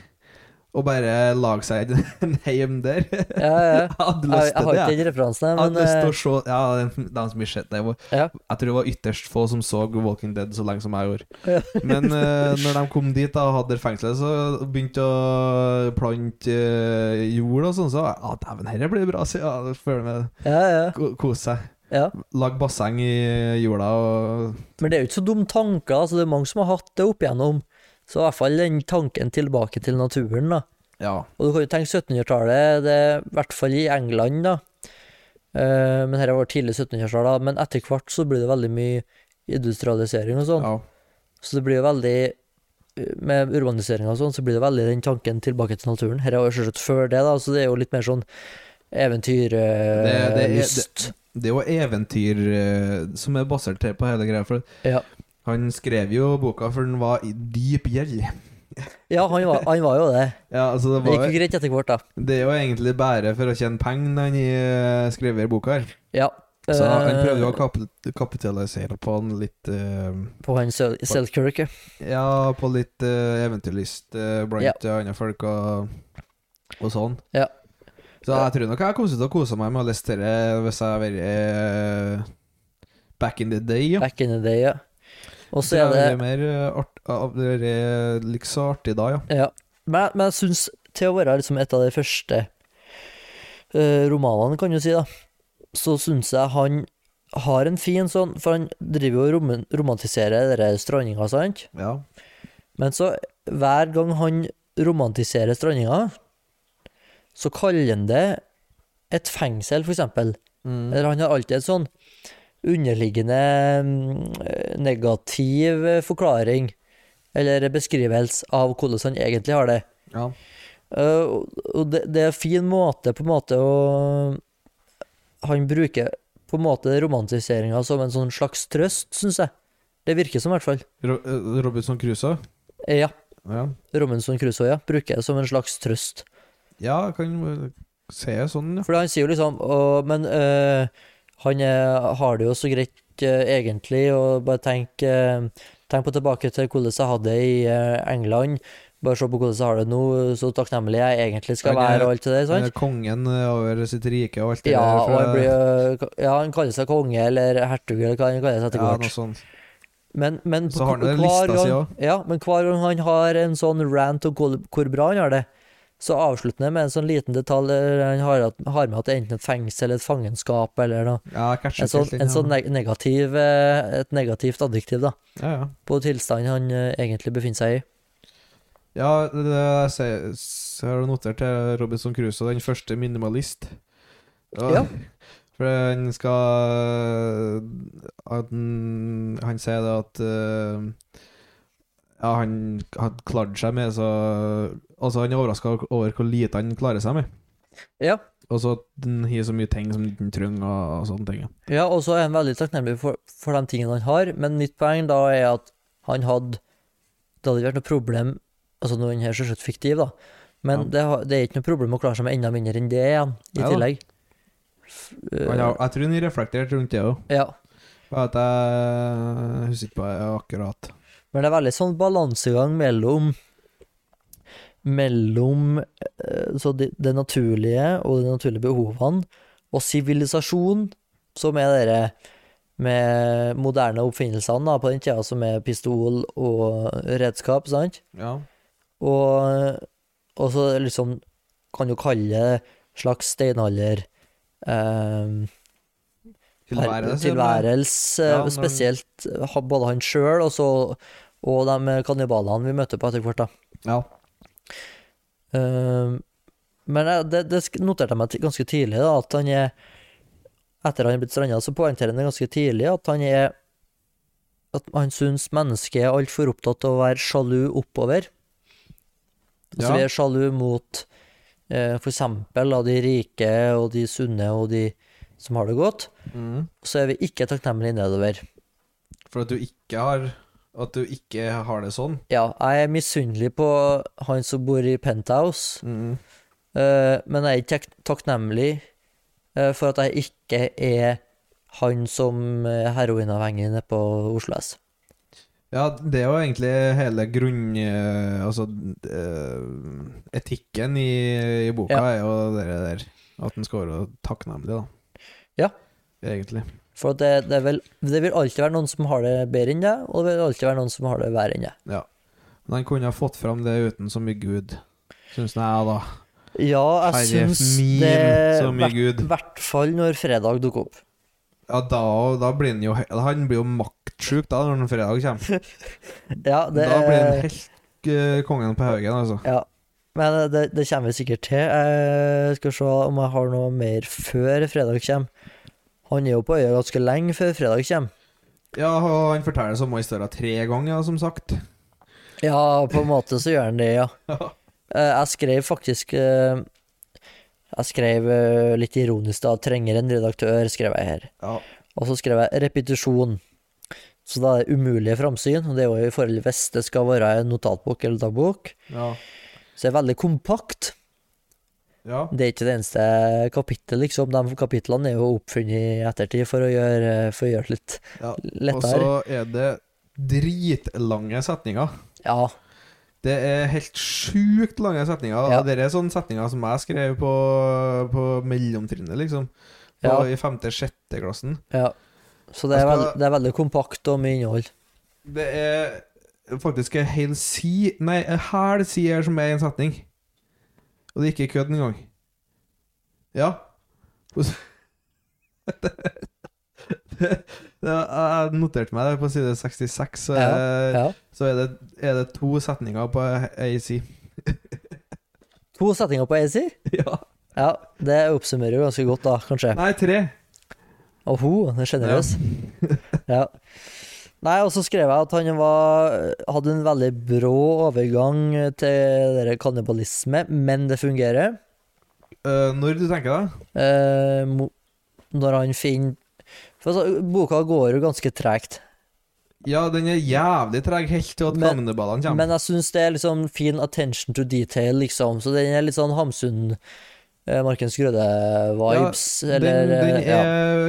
Speaker 1: Og bare lage seg en heim der. Jeg
Speaker 2: ja, ja.
Speaker 1: hadde
Speaker 2: Jeg,
Speaker 1: lyst
Speaker 2: jeg
Speaker 1: til
Speaker 2: har
Speaker 1: det.
Speaker 2: ikke den referansen, her,
Speaker 1: Jeg hadde
Speaker 2: men eh,
Speaker 1: lyst til å se Ja, den, den som ikke sett det var,
Speaker 2: Ja.
Speaker 1: Jeg tror det var ytterst få som så Walking Dead så lenge som jeg gjorde.
Speaker 2: Ja.
Speaker 1: Men eh, når de kom dit da, og hadde det fengselet, så begynte å plante eh, jord og sånn, så jeg, ah, Dæven, dette blir bra, sier jeg. Jeg Føler meg
Speaker 2: ja, ja,
Speaker 1: ko- Kose seg.
Speaker 2: ja.
Speaker 1: Lag basseng i jorda og
Speaker 2: Men det er jo ikke så dumme tanker, altså det er mange som har hatt det opp igjennom. Så i hvert fall den tanken tilbake til naturen, da.
Speaker 1: Ja.
Speaker 2: Og du kan jo tenke 1700-tallet, det er i hvert fall i England, da. Eh, men dette var tidlig 1700-tall, da. Men etter hvert så blir det veldig mye industrialisering og sånn.
Speaker 1: ja.
Speaker 2: Så det blir jo veldig eh, Med urbanisering og sånn, så blir det veldig den tanken tilbake til naturen. Her er jo selvsagt før det, da, så det er jo litt mer sånn
Speaker 1: Det- det er-
Speaker 2: eventyrlyst.
Speaker 1: Det er jo eventyr eh, som er basert til på hele greia. For
Speaker 2: Ja.
Speaker 1: han skrev jo boka før den var i dyp gjeld.
Speaker 2: ja, han var, han var jo det.
Speaker 1: Ja, altså det
Speaker 2: Det
Speaker 1: var
Speaker 2: gikk jo greit etter hvert, da.
Speaker 1: Det er jo egentlig bare for å tjene penger når han eh, skriver boka her.
Speaker 2: Ja.
Speaker 1: Så han
Speaker 2: eh,
Speaker 1: prøvde jo å kapi- kapitalisere på en litt eh,
Speaker 2: På han Sel- Selkirk, ja.
Speaker 1: Ja, på litt eh, eventyrlyst eh, blant
Speaker 2: Ja.
Speaker 1: eh, andre folk og, og sånn.
Speaker 2: Ja.
Speaker 1: Så jeg tror nok jeg kommer til å kose meg med å lese det hvis jeg har vært eh, back in the day. Ja.
Speaker 2: back in the day, ja. Og så
Speaker 1: Det
Speaker 2: er
Speaker 1: er
Speaker 2: det
Speaker 1: veldig mer eh, art, av det der, eh, like så artig da, ja.
Speaker 2: Ja. Men, men jeg syns til å være liksom et av de første eh, romanene, kan du si, da, så syns jeg han har en fin sånn For han driver jo og rom romantiserer denne strandinga, sant?
Speaker 1: ja.
Speaker 2: Men så hver gang han romantiserer strandinga, så kaller han det et fengsel, for eksempel.
Speaker 1: Mm.
Speaker 2: Eller han har alltid et sånn underliggende mm, negativ forklaring, eller beskrivelse av hvordan han egentlig har det.
Speaker 1: ja.
Speaker 2: Eh, og- og det, det er en fin måte på en måte å han bruker på en måte romantiseringa som en sånn slags trøst, syns jeg. Det virker som, i hvert fall.
Speaker 1: Ro- eh, Robinson Crusoe?
Speaker 2: Eh, Ja,
Speaker 1: Ja.
Speaker 2: Robinson Crusoe, ja. Bruker det som en slags trøst.
Speaker 1: ja, kan eh, se sånn, ja.
Speaker 2: For han sier jo liksom «Å, Men eh, han eh, har det jo så greit eh, egentlig, og bare tenk, eh, tenk på tilbake til hvordan jeg hadde det i eh, England. Bare se på hvordan jeg har det nå, så takknemlig jeg egentlig skal
Speaker 1: Han er-
Speaker 2: være, og alt det der.
Speaker 1: Han
Speaker 2: sant?
Speaker 1: er kongen eh, over sitt rike og alt det
Speaker 2: Ja,
Speaker 1: der.
Speaker 2: og
Speaker 1: fra-
Speaker 2: han, blir, jo- ja, han kaller seg konge eller hertug eller hva han kaller seg etter
Speaker 1: ja,
Speaker 2: hvert.
Speaker 1: noe sånt.
Speaker 2: Men, men,
Speaker 1: Så har han jo
Speaker 2: hver
Speaker 1: den lista si
Speaker 2: gang-
Speaker 1: også.
Speaker 2: Ja, men hver gang han har en sånn rant om hvor, hvor bra han har det, så avslutter han med en sånn liten detalj der han har, at- har med at det er enten et fengsel eller et fangenskap eller noe.
Speaker 1: Ja, jeg catcher
Speaker 2: En sånn,
Speaker 1: ikke helt
Speaker 2: en sånn
Speaker 1: den, ja.
Speaker 2: neg- negativ, eh, et negativt adjektiv da,
Speaker 1: ja, ja.
Speaker 2: på tilstanden han eh, egentlig befinner seg i.
Speaker 1: Ja, det, det jeg ser, s- har du notert til Robinson Crusoe, den første minimalist.
Speaker 2: Ja.
Speaker 1: For han skal at Han, han sier det at eh, Ja, han hadde klart seg med så Altså, han er overraska over hvor lite han klarer seg med.
Speaker 2: Ja,
Speaker 1: Og så at han har så mye ting som han ikke trenger, og, og sånne ting. ja.
Speaker 2: ja og så er han veldig takknemlig for, for de tingene han har, men mitt poeng da er at han hadde, det hadde ikke vært noe problem, altså nå er han her selvsagt fiktiv da, men
Speaker 1: Ja.
Speaker 2: det, har- det er ikke noe problem å klare seg med enda mindre enn det igjen, i
Speaker 1: Ja da.
Speaker 2: tillegg. F-
Speaker 1: Han har- Jeg tror han reflekterte rundt det òg.
Speaker 2: Ja,
Speaker 1: Jeg jeg husker ikke på det akkurat.
Speaker 2: men det er veldig sånn balansegang mellom mellom eh, så det, det naturlige og de naturlige behovene, og sivilisasjon, som er dere med moderne oppfinnelsene da, på den tida, som er pistol og redskap, sant?
Speaker 1: Ja.
Speaker 2: Og, og så liksom kan du kalle det slags steinalder eh,
Speaker 1: Tilværelse,
Speaker 2: tilværelse,
Speaker 1: Ja, men-
Speaker 2: spesielt eh, ha- både han sjøl og, så- og de kannibalene vi møtte på etter hvert. da.
Speaker 1: Ja.
Speaker 2: Eh, men jeg- det, det sk- noterte jeg meg ti- ganske tidlig, da, at han er Etter han er blitt stranda, så poengterer han det ganske tidlig at han er At han syns mennesket er altfor opptatt av å være sjalu oppover. Altså
Speaker 1: Ja.
Speaker 2: vi er sjalu mot eh, for eksempel av de rike og de sunne og de som har det godt.
Speaker 1: Mm.
Speaker 2: så er vi ikke takknemlige nedover.
Speaker 1: For at du ikke har At du ikke har det sånn.
Speaker 2: Ja, jeg er misunnelig på han som bor i penthouse, eh, men jeg er ikke tak- takknemlig eh, for at jeg ikke er han som er heroinavhengig nede på Oslo S.
Speaker 1: Ja, det er jo egentlig hele grunn... eh, altså eh, Etikken i, i boka
Speaker 2: Ja.
Speaker 1: er jo det der at den skal være takknemlig, da.
Speaker 2: Ja.
Speaker 1: Egentlig.
Speaker 2: For at det, det, er vel, det vil alltid være noen som har det bedre enn deg, og det vil alltid være noen som har det verre enn deg.
Speaker 1: Ja. Men han kunne ha fått fram det uten så mye Gud, syns jeg, da.
Speaker 2: Ja, jeg
Speaker 1: Herre
Speaker 2: syns
Speaker 1: min,
Speaker 2: det
Speaker 1: så mye
Speaker 2: I
Speaker 1: Gud.
Speaker 2: hvert fall når fredag dukker opp.
Speaker 1: Ja, da, da blir han jo he- Han blir jo maktsjuk da, når den fredag kommer.
Speaker 2: Ja, det
Speaker 1: da blir han
Speaker 2: er-
Speaker 1: helt eh, kongen på haugen, altså.
Speaker 2: Ja. Men eh, det, det kommer vi sikkert til. Jeg skal se om jeg har noe mer før fredag kommer. Han er jo på øya ganske lenge før fredag kommer.
Speaker 1: Ja, og han forteller samme historie tre ganger, ja, som sagt.
Speaker 2: Ja, på en måte så gjør han det, ja.
Speaker 1: Ja.
Speaker 2: Eh, Jeg skrev faktisk eh, Jeg skrev eh, litt ironisk da 'trenger en redaktør', skrev jeg her.
Speaker 1: Ja.
Speaker 2: Og så skrev jeg 'repetisjon'. Så da er det umulige framsyn, og det er jo i forhold til hvis det skal være en notatbok eller dagbok.
Speaker 1: ja.
Speaker 2: Så det er veldig kompakt.
Speaker 1: Ja.
Speaker 2: Det er ikke det eneste kapittelet, liksom. De kapitlene er jo oppfunnet i ettertid for å gjøre, for å gjøre det litt
Speaker 1: ja. Og
Speaker 2: lettere.
Speaker 1: så er det dritlange setninger.
Speaker 2: Ja,
Speaker 1: Det er helt sjukt lange setninger.
Speaker 2: Ja.
Speaker 1: Og det er sånne setninger som jeg skrev på, på mellomtrinnet, liksom. På,
Speaker 2: Ja.
Speaker 1: I femte-sjette klassen.
Speaker 2: ja. Så det er,
Speaker 1: Jeg
Speaker 2: veld,
Speaker 1: skal-
Speaker 2: det er veldig kompakt og mye innhold.
Speaker 1: Det er faktisk en hel si Nei, en hæl si her som er en setning. Og det er ikke kødd engang. Ja. Hos- det, det, jeg noterte meg det på side 66, så, er-
Speaker 2: Ja.
Speaker 1: så er, det, er det to setninger på ei si.
Speaker 2: To setninger på ASI.
Speaker 1: Ja.
Speaker 2: Ja, det oppsummerer jo ganske godt, da, kanskje.
Speaker 1: Nei, tre.
Speaker 2: Og hun den er sjenerøs. Ja. Nei, og så skrev jeg at han var, hadde en veldig brå overgang til det der kannibalisme, men det fungerer.
Speaker 1: Eh, når du tenker deg
Speaker 2: Eh, mo når han finner for altså, Boka går jo ganske tregt,
Speaker 1: Ja, den er jævlig treg helt til at
Speaker 2: Men-
Speaker 1: kanoneballene kommer.
Speaker 2: men jeg syns det er liksom fin attention to detail, liksom. Så den er litt sånn Hamsun, eh, Markens Grøde-vibes, eller
Speaker 1: den, den
Speaker 2: eh, ja.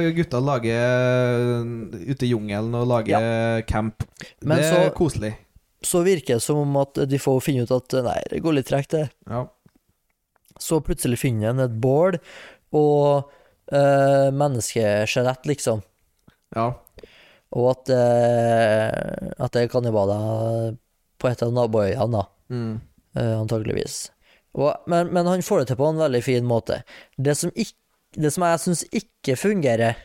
Speaker 1: er Gutta lager eh, ute i jungelen og lager camp.
Speaker 2: Men
Speaker 1: det
Speaker 2: så-
Speaker 1: er koselig.
Speaker 2: Så virker det som om at de får finne ut at nei, det går litt tregt, det.
Speaker 1: Ja.
Speaker 2: Så plutselig finner han et bål og eh, menneskeskjelett, liksom.
Speaker 1: ja.
Speaker 2: Og at, eh, at det er kannibaler på et av naboøyene, da.
Speaker 1: Mm.
Speaker 2: eh, antageligvis. Og, men, men han får det til på en veldig fin måte. Det som, ikk- det som jeg syns ikke fungerer,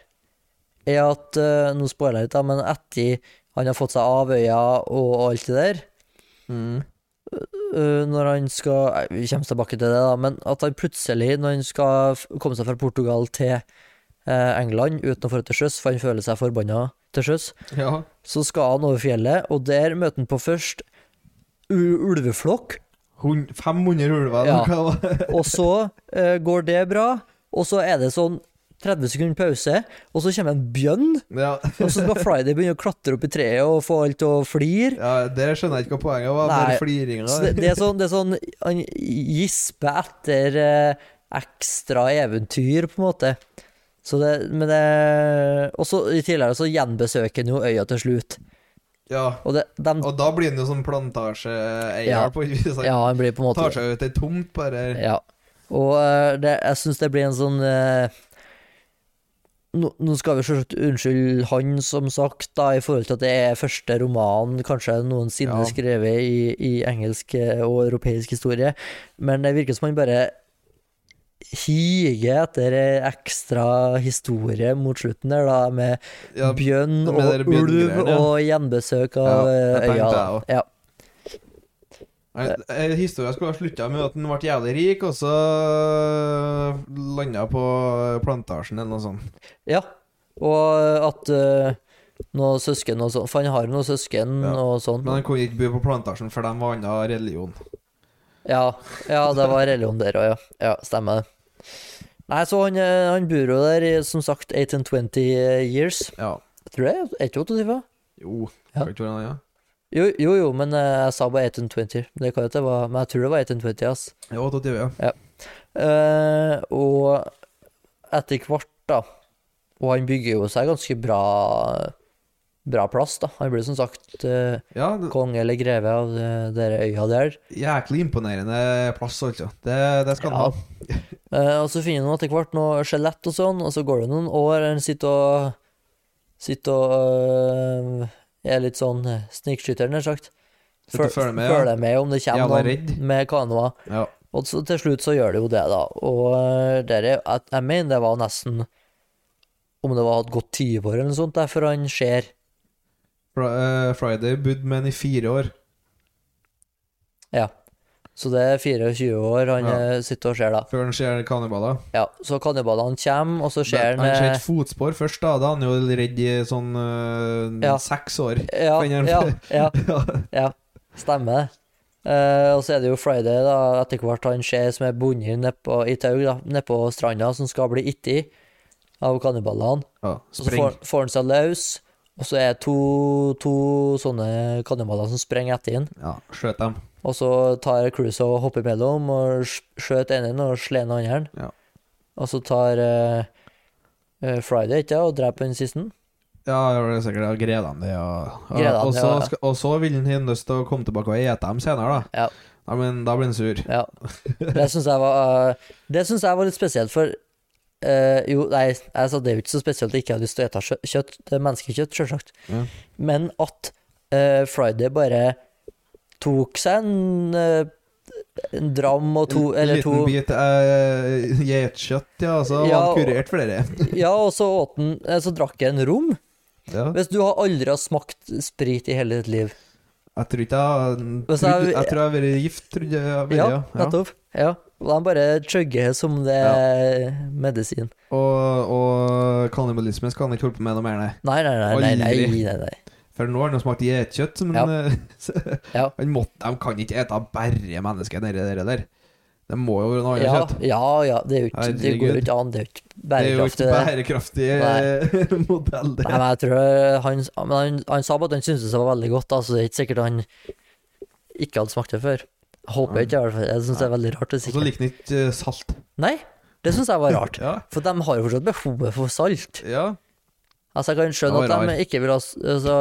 Speaker 2: er at eh, Nå spoiler jeg litt, da, men etter han har fått seg avøya og alt det der,
Speaker 1: Mm.
Speaker 2: øh, når han skal nei, Vi kommer tilbake til det, da, men at han plutselig, når han skal f- komme seg fra Portugal til eh, England uten å få det til sjøs, for han føler seg forbanna til sjøs,
Speaker 1: ja.
Speaker 2: så skal han over fjellet, og der møter han på først u- ulveflokk,
Speaker 1: Hun- 500 ulver, eller
Speaker 2: Ja.
Speaker 1: hva det var.
Speaker 2: og så eh, går det bra, og så er det sånn 30 sekunder pause, og så kommer en bjønn,
Speaker 1: Ja.
Speaker 2: og så skal Friday begynne å klatre opp i treet og få alt til å flire.
Speaker 1: ja, det skjønner jeg ikke hva poenget var.
Speaker 2: Nei.
Speaker 1: Bare fliringa.
Speaker 2: Så det, det, er sånn, det er sånn Han gisper etter eh, ekstra eventyr, på en måte. Så det, men det Og så i tidligere så gjenbesøker han jo øya til slutt.
Speaker 1: Ja.
Speaker 2: Og det, dem,
Speaker 1: Og da blir han jo sånn plantasjeeier
Speaker 2: Ja.
Speaker 1: på et vis. Han
Speaker 2: ja, han blir på en måte
Speaker 1: tar seg ut ei tomt, bare.
Speaker 2: Ja. Og eh, det, jeg syns det blir en sånn eh, nå, nå skal vi selvsagt unnskylde han, som sagt, da, i forhold til at det er første roman kanskje noensinne
Speaker 1: Ja.
Speaker 2: skrevet i, i engelsk eh, og europeisk historie, men det virker som han bare higer etter ei ekstra historie mot slutten der, da, med
Speaker 1: Ja,
Speaker 2: bjønn
Speaker 1: med
Speaker 2: og
Speaker 1: det bjørngreiene,
Speaker 2: ulv
Speaker 1: ja.
Speaker 2: og gjenbesøk av
Speaker 1: Ja,
Speaker 2: eh,
Speaker 1: det tenkte
Speaker 2: øya. da.
Speaker 1: jeg også.
Speaker 2: Ja.
Speaker 1: Nei, eh, Historia skulle ha slutta med at han ble jævlig rik, og så landa på plantasjen eller noe sånt.
Speaker 2: Ja, og at uh, noen søsken og sånn For han har jo noen søsken
Speaker 1: Ja,
Speaker 2: og sånn.
Speaker 1: Men han kunne ikke bo på plantasjen, for de var annen religion.
Speaker 2: Ja, ja, det var religion der òg, ja. ja. Stemmer det. Nei, så han, eh, han bor jo der i som sagt 1820 years.
Speaker 1: Ja.
Speaker 2: Jeg tror det er- er ikke 28?
Speaker 1: Jo,
Speaker 2: Ja.
Speaker 1: kan ikke være noe annet.
Speaker 2: Jo, jo, jo, men eh, jeg sa bare 1820. Det kan jo ikke være Men jeg tror det var 1820, ass.
Speaker 1: Ja, 28, ja.
Speaker 2: Eh, og etter hvert, da Og han bygger jo seg ganske bra Bra plass, da. Han blir som sagt eh,
Speaker 1: ja det,
Speaker 2: konge eller greve av eh, dere øya der.
Speaker 1: jæklig imponerende plass, altså. Det, det skal han
Speaker 2: Ja.
Speaker 1: ha.
Speaker 2: Eh, og så finner han etter hvert noe skjelett og sånn, og så går det noen år, han sitter og Sitter og øh, er litt sånn snikskytter, nær sagt.
Speaker 1: Sitter og følger
Speaker 2: Føl-
Speaker 1: med, ja.
Speaker 2: følger med om det
Speaker 1: Jævla
Speaker 2: kommer noen
Speaker 1: redd.
Speaker 2: med kanoer.
Speaker 1: Ja.
Speaker 2: Og så til slutt så gjør det jo det, da. Og øh, der er, jeg, jeg mener det var nesten Om det var et godt tiår eller noe sånt, der, før han ser
Speaker 1: Fra, eh, Friday bodde med han i fire år.
Speaker 2: Ja. Så det er 24 år han
Speaker 1: Ja.
Speaker 2: øh, sitter og ser, da.
Speaker 1: Før han ser kannibaler.
Speaker 2: Ja, så kannibalene kommer, og så ser
Speaker 1: Han ser
Speaker 2: han eh,
Speaker 1: et fotspor først, da. Da er han jo redd i sånn eh,
Speaker 2: Ja.
Speaker 1: seks år.
Speaker 2: Ja,
Speaker 1: finner han-
Speaker 2: ja, ja,
Speaker 1: Ja.
Speaker 2: ja, stemmer det. Eh, og så er det jo Friday, da, etter hvert han ser som er bundet nedpå i tau, da, nedpå stranda, som skal bli itt i av kannibalene.
Speaker 1: ja.
Speaker 2: Og så
Speaker 1: Spring.
Speaker 2: får, får han seg løs, og så er det to, to sånne kannibaler som sprenger etter han.
Speaker 1: Ja, skjøt dem.
Speaker 2: Og så tar Cruise og hopper imellom og sk- skjøter den ene og slår den andre.
Speaker 1: Ja.
Speaker 2: Og så tar eh, eh, Friday ikke, og dreper den siste.
Speaker 1: Ja, det var det sikkert. Ja, Gredane, ja. Ja,
Speaker 2: Gredane,
Speaker 1: og, så
Speaker 2: ja, ja.
Speaker 1: skal- og så vil han ha lyst til å komme tilbake og ete dem senere, da.
Speaker 2: Ja.
Speaker 1: Nei, men da blir han sur.
Speaker 2: Ja. Det syns jeg var eh, Det synes jeg var litt spesielt, for eh, Jo, nei, jeg sa det er jo ikke så spesielt at jeg ikke har lyst til å ete kjø- kjøtt. Det er menneskekjøtt, sjølsagt.
Speaker 1: Ja.
Speaker 2: Men at eh, Friday bare tok seg en, eh, en dram og to
Speaker 1: En
Speaker 2: Eller
Speaker 1: liten
Speaker 2: to
Speaker 1: bit eh, geitkjøtt, ja, så var
Speaker 2: Ja, og-
Speaker 1: han kurert flere.
Speaker 2: Ja, og så åt han eh, Så drakk jeg en rom.
Speaker 1: Ja.
Speaker 2: Hvis du har aldri har smakt sprit i hele ditt liv
Speaker 1: Jeg tror ikke jeg
Speaker 2: Hvis
Speaker 1: trodde-
Speaker 2: jeg-
Speaker 1: Jeg tror jeg har vært gift, trodde jeg. har vært,
Speaker 2: Ja,
Speaker 1: ja.
Speaker 2: nettopp. Ja. Og de bare chugger som det er medisin.
Speaker 1: Og, og kannibalisme skal han ikke holde på med noe mer, nei.
Speaker 2: Nei, nei, nei. nei, nei,
Speaker 1: Aldri.
Speaker 2: nei, nei.
Speaker 1: For nå har han jo smakt geitkjøtt, men
Speaker 2: Ja.
Speaker 1: eh,
Speaker 2: Ja.
Speaker 1: han måtte, de kan ikke ete bare mennesker nedi der. der. Det må jo være noe annet
Speaker 2: Ja,
Speaker 1: kjøtt.
Speaker 2: ja, ja, det, er jo ikke, det går jo
Speaker 1: Herregud.
Speaker 2: ikke an. Det er jo ikke
Speaker 1: Det er jo
Speaker 2: bærekraftig.
Speaker 1: ikke
Speaker 2: det.
Speaker 1: bærekraftig eh, modell, det.
Speaker 2: Nei, men jeg tror eh, han, men han, han sa bare at han syntes det var veldig godt, da, så det er ikke sikkert han ikke hadde smakt det før. Jeg Håper
Speaker 1: Nei.
Speaker 2: ikke, i hvert fall. Jeg syns det er veldig rart. Det,
Speaker 1: Og så
Speaker 2: sikkert.
Speaker 1: liker den ikke eh, salt.
Speaker 2: Nei, det syns jeg var rart.
Speaker 1: Ja.
Speaker 2: For de har jo fortsatt behovet for salt.
Speaker 1: ja.
Speaker 2: Altså, jeg kan skjønne
Speaker 1: Det var
Speaker 2: at
Speaker 1: rar.
Speaker 2: de ikke vil ha s- altså,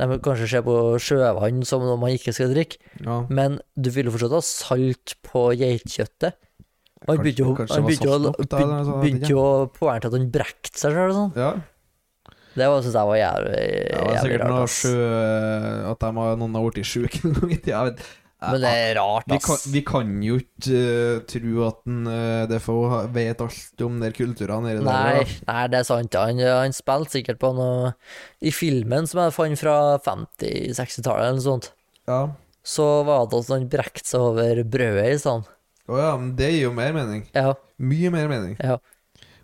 Speaker 2: De vil kanskje se på sjøvann som noe man ikke skal drikke,
Speaker 1: ja.
Speaker 2: men du vil jo fortsatt ha salt på geitkjøttet. Og Han
Speaker 1: Kanskje-
Speaker 2: begynte jo
Speaker 1: kanskje det
Speaker 2: han
Speaker 1: var
Speaker 2: begynte jo
Speaker 1: salt nok da, eller noe
Speaker 2: begyn-
Speaker 1: sånt, jeg vet
Speaker 2: begynte jo å poengtere at han brekte seg sjøl og sånn.
Speaker 1: ja.
Speaker 2: Det var- synes jeg var jævlig,
Speaker 1: Ja, det er
Speaker 2: Eh, jævlig
Speaker 1: sikkert
Speaker 2: rart.
Speaker 1: noe
Speaker 2: ass.
Speaker 1: sjø At de har, noen har blitt sjuke en gang i tida. jeg vet-
Speaker 2: Men det er rart,
Speaker 1: Vi
Speaker 2: ass.
Speaker 1: kan, vi kan jo ikke eh, tro at en, eh, DFO vet alt om de kulturene nede
Speaker 2: Nei,
Speaker 1: der. da.
Speaker 2: nei, det er sant. Han, han spilte sikkert på noe I filmen som jeg fant fra 50-60-tallet eller noe sånt,
Speaker 1: Ja.
Speaker 2: så var det at han brekte seg over brødet i stedet.
Speaker 1: Å ja, men det gir jo mer mening.
Speaker 2: Ja,
Speaker 1: Mye mer mening.
Speaker 2: ja.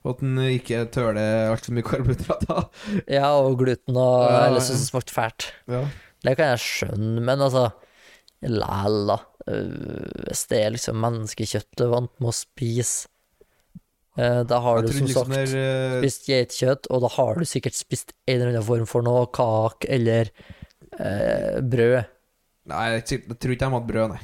Speaker 1: Og at en ikke tøler altfor mye karbohydrater.
Speaker 2: ja, og gluten og
Speaker 1: Ja, ja,
Speaker 2: Eller
Speaker 1: ja.
Speaker 2: synes det smakte fælt.
Speaker 1: Ja.
Speaker 2: Det kan jeg skjønne, men altså Læl, da. Øh, Hvis det er liksom menneskekjøtt du er vant med å spise, eh, da har
Speaker 1: Jeg
Speaker 2: du
Speaker 1: tror
Speaker 2: som
Speaker 1: liksom
Speaker 2: sagt
Speaker 1: det er eh,
Speaker 2: spist geitkjøtt, og da har du sikkert spist en eller annen form for noe, kake eller eh, brød.
Speaker 1: Nei, jeg tror jeg tror ikke de hadde brød, nei.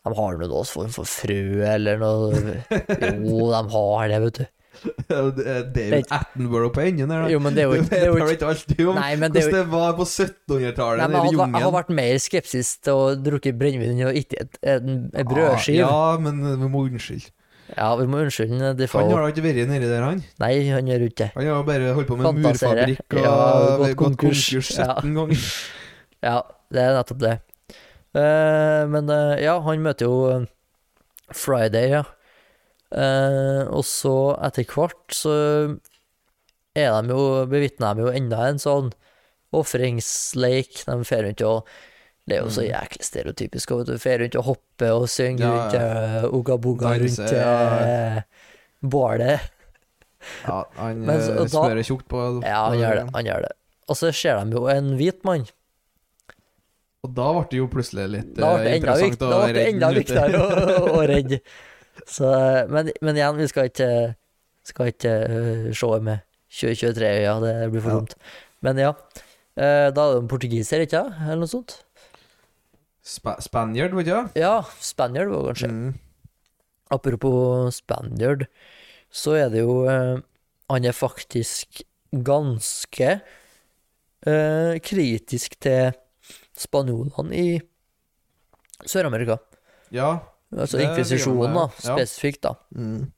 Speaker 2: De har nå noen form for frø eller noe Jo, de har det, vet du.
Speaker 1: Det er David Attenborough på enden der, da.
Speaker 2: Jo, men det er jo
Speaker 1: Du
Speaker 2: ikke, det er
Speaker 1: vet
Speaker 2: jo
Speaker 1: vel
Speaker 2: ikke
Speaker 1: ikke alltid om
Speaker 2: Nei, men det er
Speaker 1: hvordan
Speaker 2: jo
Speaker 1: det var på
Speaker 2: Nei,
Speaker 1: 1700-tallet
Speaker 2: men altså,
Speaker 1: nede
Speaker 2: jeg,
Speaker 1: i
Speaker 2: hadde,
Speaker 1: jungelen.
Speaker 2: jeg har vært mer skeptisk til å drukke brennevin enn å ikke et, en, en brødskive.
Speaker 1: Ah,
Speaker 2: ja.
Speaker 1: ja, men vi må unnskylde.
Speaker 2: vi må unnskylde Defoe.
Speaker 1: Han har da ikke vært nedi der, han.
Speaker 2: Nei, han gjør ikke det.
Speaker 1: Han har bare holdt på med
Speaker 2: Fantasere.
Speaker 1: murfabrikk og
Speaker 2: Ja, gått
Speaker 1: gått konkurs,
Speaker 2: konkurs
Speaker 1: 17 ganger.
Speaker 2: Ja, det er nettopp det. Eh, men eh, ja, han møter jo eh, Friday, ja. Eh, og så, etter hvert, så er de jo, bevitner de jo enda en sånn ofringsleik. De fer rundt og Det er jo så jæklig stereotypisk. og Vet du, fer rundt og hopper og
Speaker 1: Mm.
Speaker 2: synger
Speaker 1: Ja,
Speaker 2: rundt eh, Oga Boga rundt
Speaker 1: Danser, ja.
Speaker 2: eh, bålet.
Speaker 1: Ja, han
Speaker 2: Men så-
Speaker 1: eh,
Speaker 2: og da-
Speaker 1: smører tjukt på
Speaker 2: Ja, han gjør det.
Speaker 1: Mm.
Speaker 2: han gjør det Og så ser de jo en hvit mann.
Speaker 1: Og da ble det jo plutselig litt
Speaker 2: Da
Speaker 1: eh,
Speaker 2: ble det enda, vikt,
Speaker 1: interessant
Speaker 2: da ble det enda viktigere å, å, å redde. Så, eh, men, men igjen, vi skal ikke, skal ikke øh, se med 2023 øyne, det blir for
Speaker 1: Ja.
Speaker 2: dumt. Men ja. eh, Da er det en portugiser, ikke sant? Eller noe sånt?
Speaker 1: Spa Spaniard, vet du? ja?
Speaker 2: Ja, spaniard var det kanskje.
Speaker 1: Mm.
Speaker 2: Apropos spaniard, så er det jo eh, Han er faktisk ganske eh, kritisk til spanjolene i Sør-Amerika.
Speaker 1: Ja.
Speaker 2: Altså
Speaker 1: Det driver
Speaker 2: inkvisisjonen, da,
Speaker 1: han med, ja.
Speaker 2: spesifikt, da.
Speaker 1: Mm.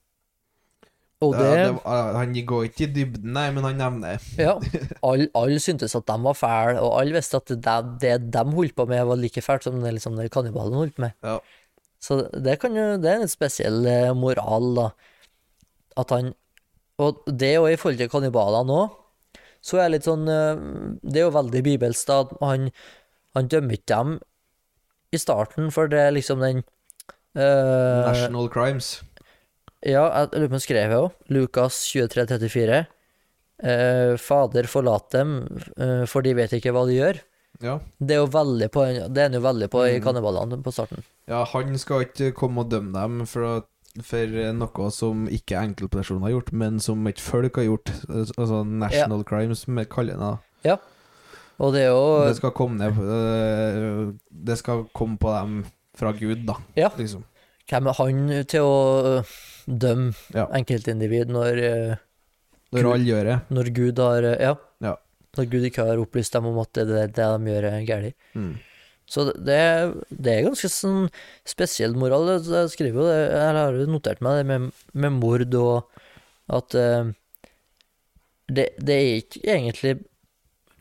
Speaker 2: Og det,
Speaker 1: Ja, det var- han går ikke i dybden, nei, men han nevner det.
Speaker 2: ja, alle all syntes at de var fæle, og alle visste at det, det de holdt på med, var like fælt som det liksom, det kannibalen holdt på med.
Speaker 1: Ja.
Speaker 2: Så det, kan jo, det er en litt spesiell eh, moral, da. At han Og det og i forhold til kannibalene òg, så er det litt sånn eh, Det er jo veldig bibelsk, da. at Han, han dømmer ikke dem i starten, for det er liksom den eh,
Speaker 1: National crimes.
Speaker 2: Ja, jeg lurer på om han skrev jeg òg. Lukas 2334. Eh, Fader, forlat dem, eh, for de vet ikke hva de gjør.
Speaker 1: Ja.
Speaker 2: Det er jo veldig på, det er han jo veldig på i
Speaker 1: Mm.
Speaker 2: kannibalene på starten.
Speaker 1: ja, han skal ikke komme og dømme dem for, at- for noe som ikke enkeltpersoner har gjort, men som et folk har gjort. Altså national crimes, som vi kaller det. da.
Speaker 2: Og det er jo
Speaker 1: Det skal komme ned på- øh, Det skal komme på dem fra Gud, da.
Speaker 2: Ja.
Speaker 1: Liksom.
Speaker 2: Hvem er han til å øh, dømme
Speaker 1: Ja.
Speaker 2: enkeltindivid når, øh,
Speaker 1: Når
Speaker 2: Gud.
Speaker 1: alle gjør det.
Speaker 2: når Gud har øh, ja,
Speaker 1: Ja.
Speaker 2: Når Gud ikke har opplyst dem om at det, det, det de gjør, er galt.
Speaker 1: Mm.
Speaker 2: Så det, det er ganske sånn spesiell moral. Jeg- Jeg skriver jo det, jeg har jo notert meg det med, med mord og at øh, det, det er ikke egentlig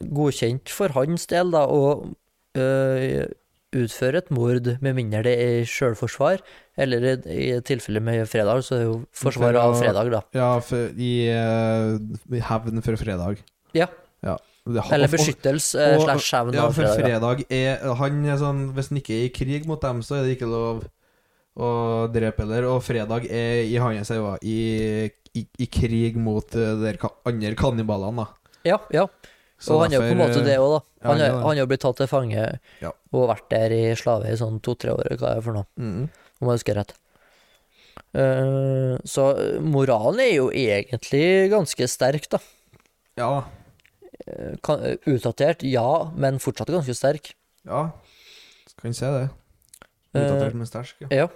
Speaker 2: godkjent for hans del da, å øh, utføre et mord med mindre det er i selvforsvar, eller i, i tilfelle med fredag, så er det jo forsvar av
Speaker 1: For å-
Speaker 2: fredag, da.
Speaker 1: Ja, for, i, øh, i hevn for fredag.
Speaker 2: Ja.
Speaker 1: Det-
Speaker 2: Eller
Speaker 1: og- og-
Speaker 2: beskyttelse eh,
Speaker 1: og-
Speaker 2: slash hevn
Speaker 1: Ja,
Speaker 2: av
Speaker 1: for
Speaker 2: fredag. da.
Speaker 1: fredag er Han er sånn Hvis han ikke er i krig mot dem, så er det ikke lov å drepe heller. Og fredag er i hans øyne eh, i, i, i krig mot øh, de der ka- andre kannibalene, da.
Speaker 2: Ja, ja.
Speaker 1: Så
Speaker 2: og han er jo på en
Speaker 1: derfor, eh,
Speaker 2: måte det òg, da.
Speaker 1: ja,
Speaker 2: Han
Speaker 1: han er
Speaker 2: er-
Speaker 1: det.
Speaker 2: han har jo blitt tatt til fange
Speaker 1: Ja.
Speaker 2: og vært der i slave i sånn to-tre år, eller hva er det for noe,
Speaker 1: Mm.
Speaker 2: om jeg husker rett. Eh, så moralen er jo egentlig ganske sterk, da.
Speaker 1: Ja.
Speaker 2: Eh, Kan, utdatert, ja, men fortsatt ganske sterk.
Speaker 1: Ja. Kan se det. Utdatert med stæsj, ja.
Speaker 2: Ja.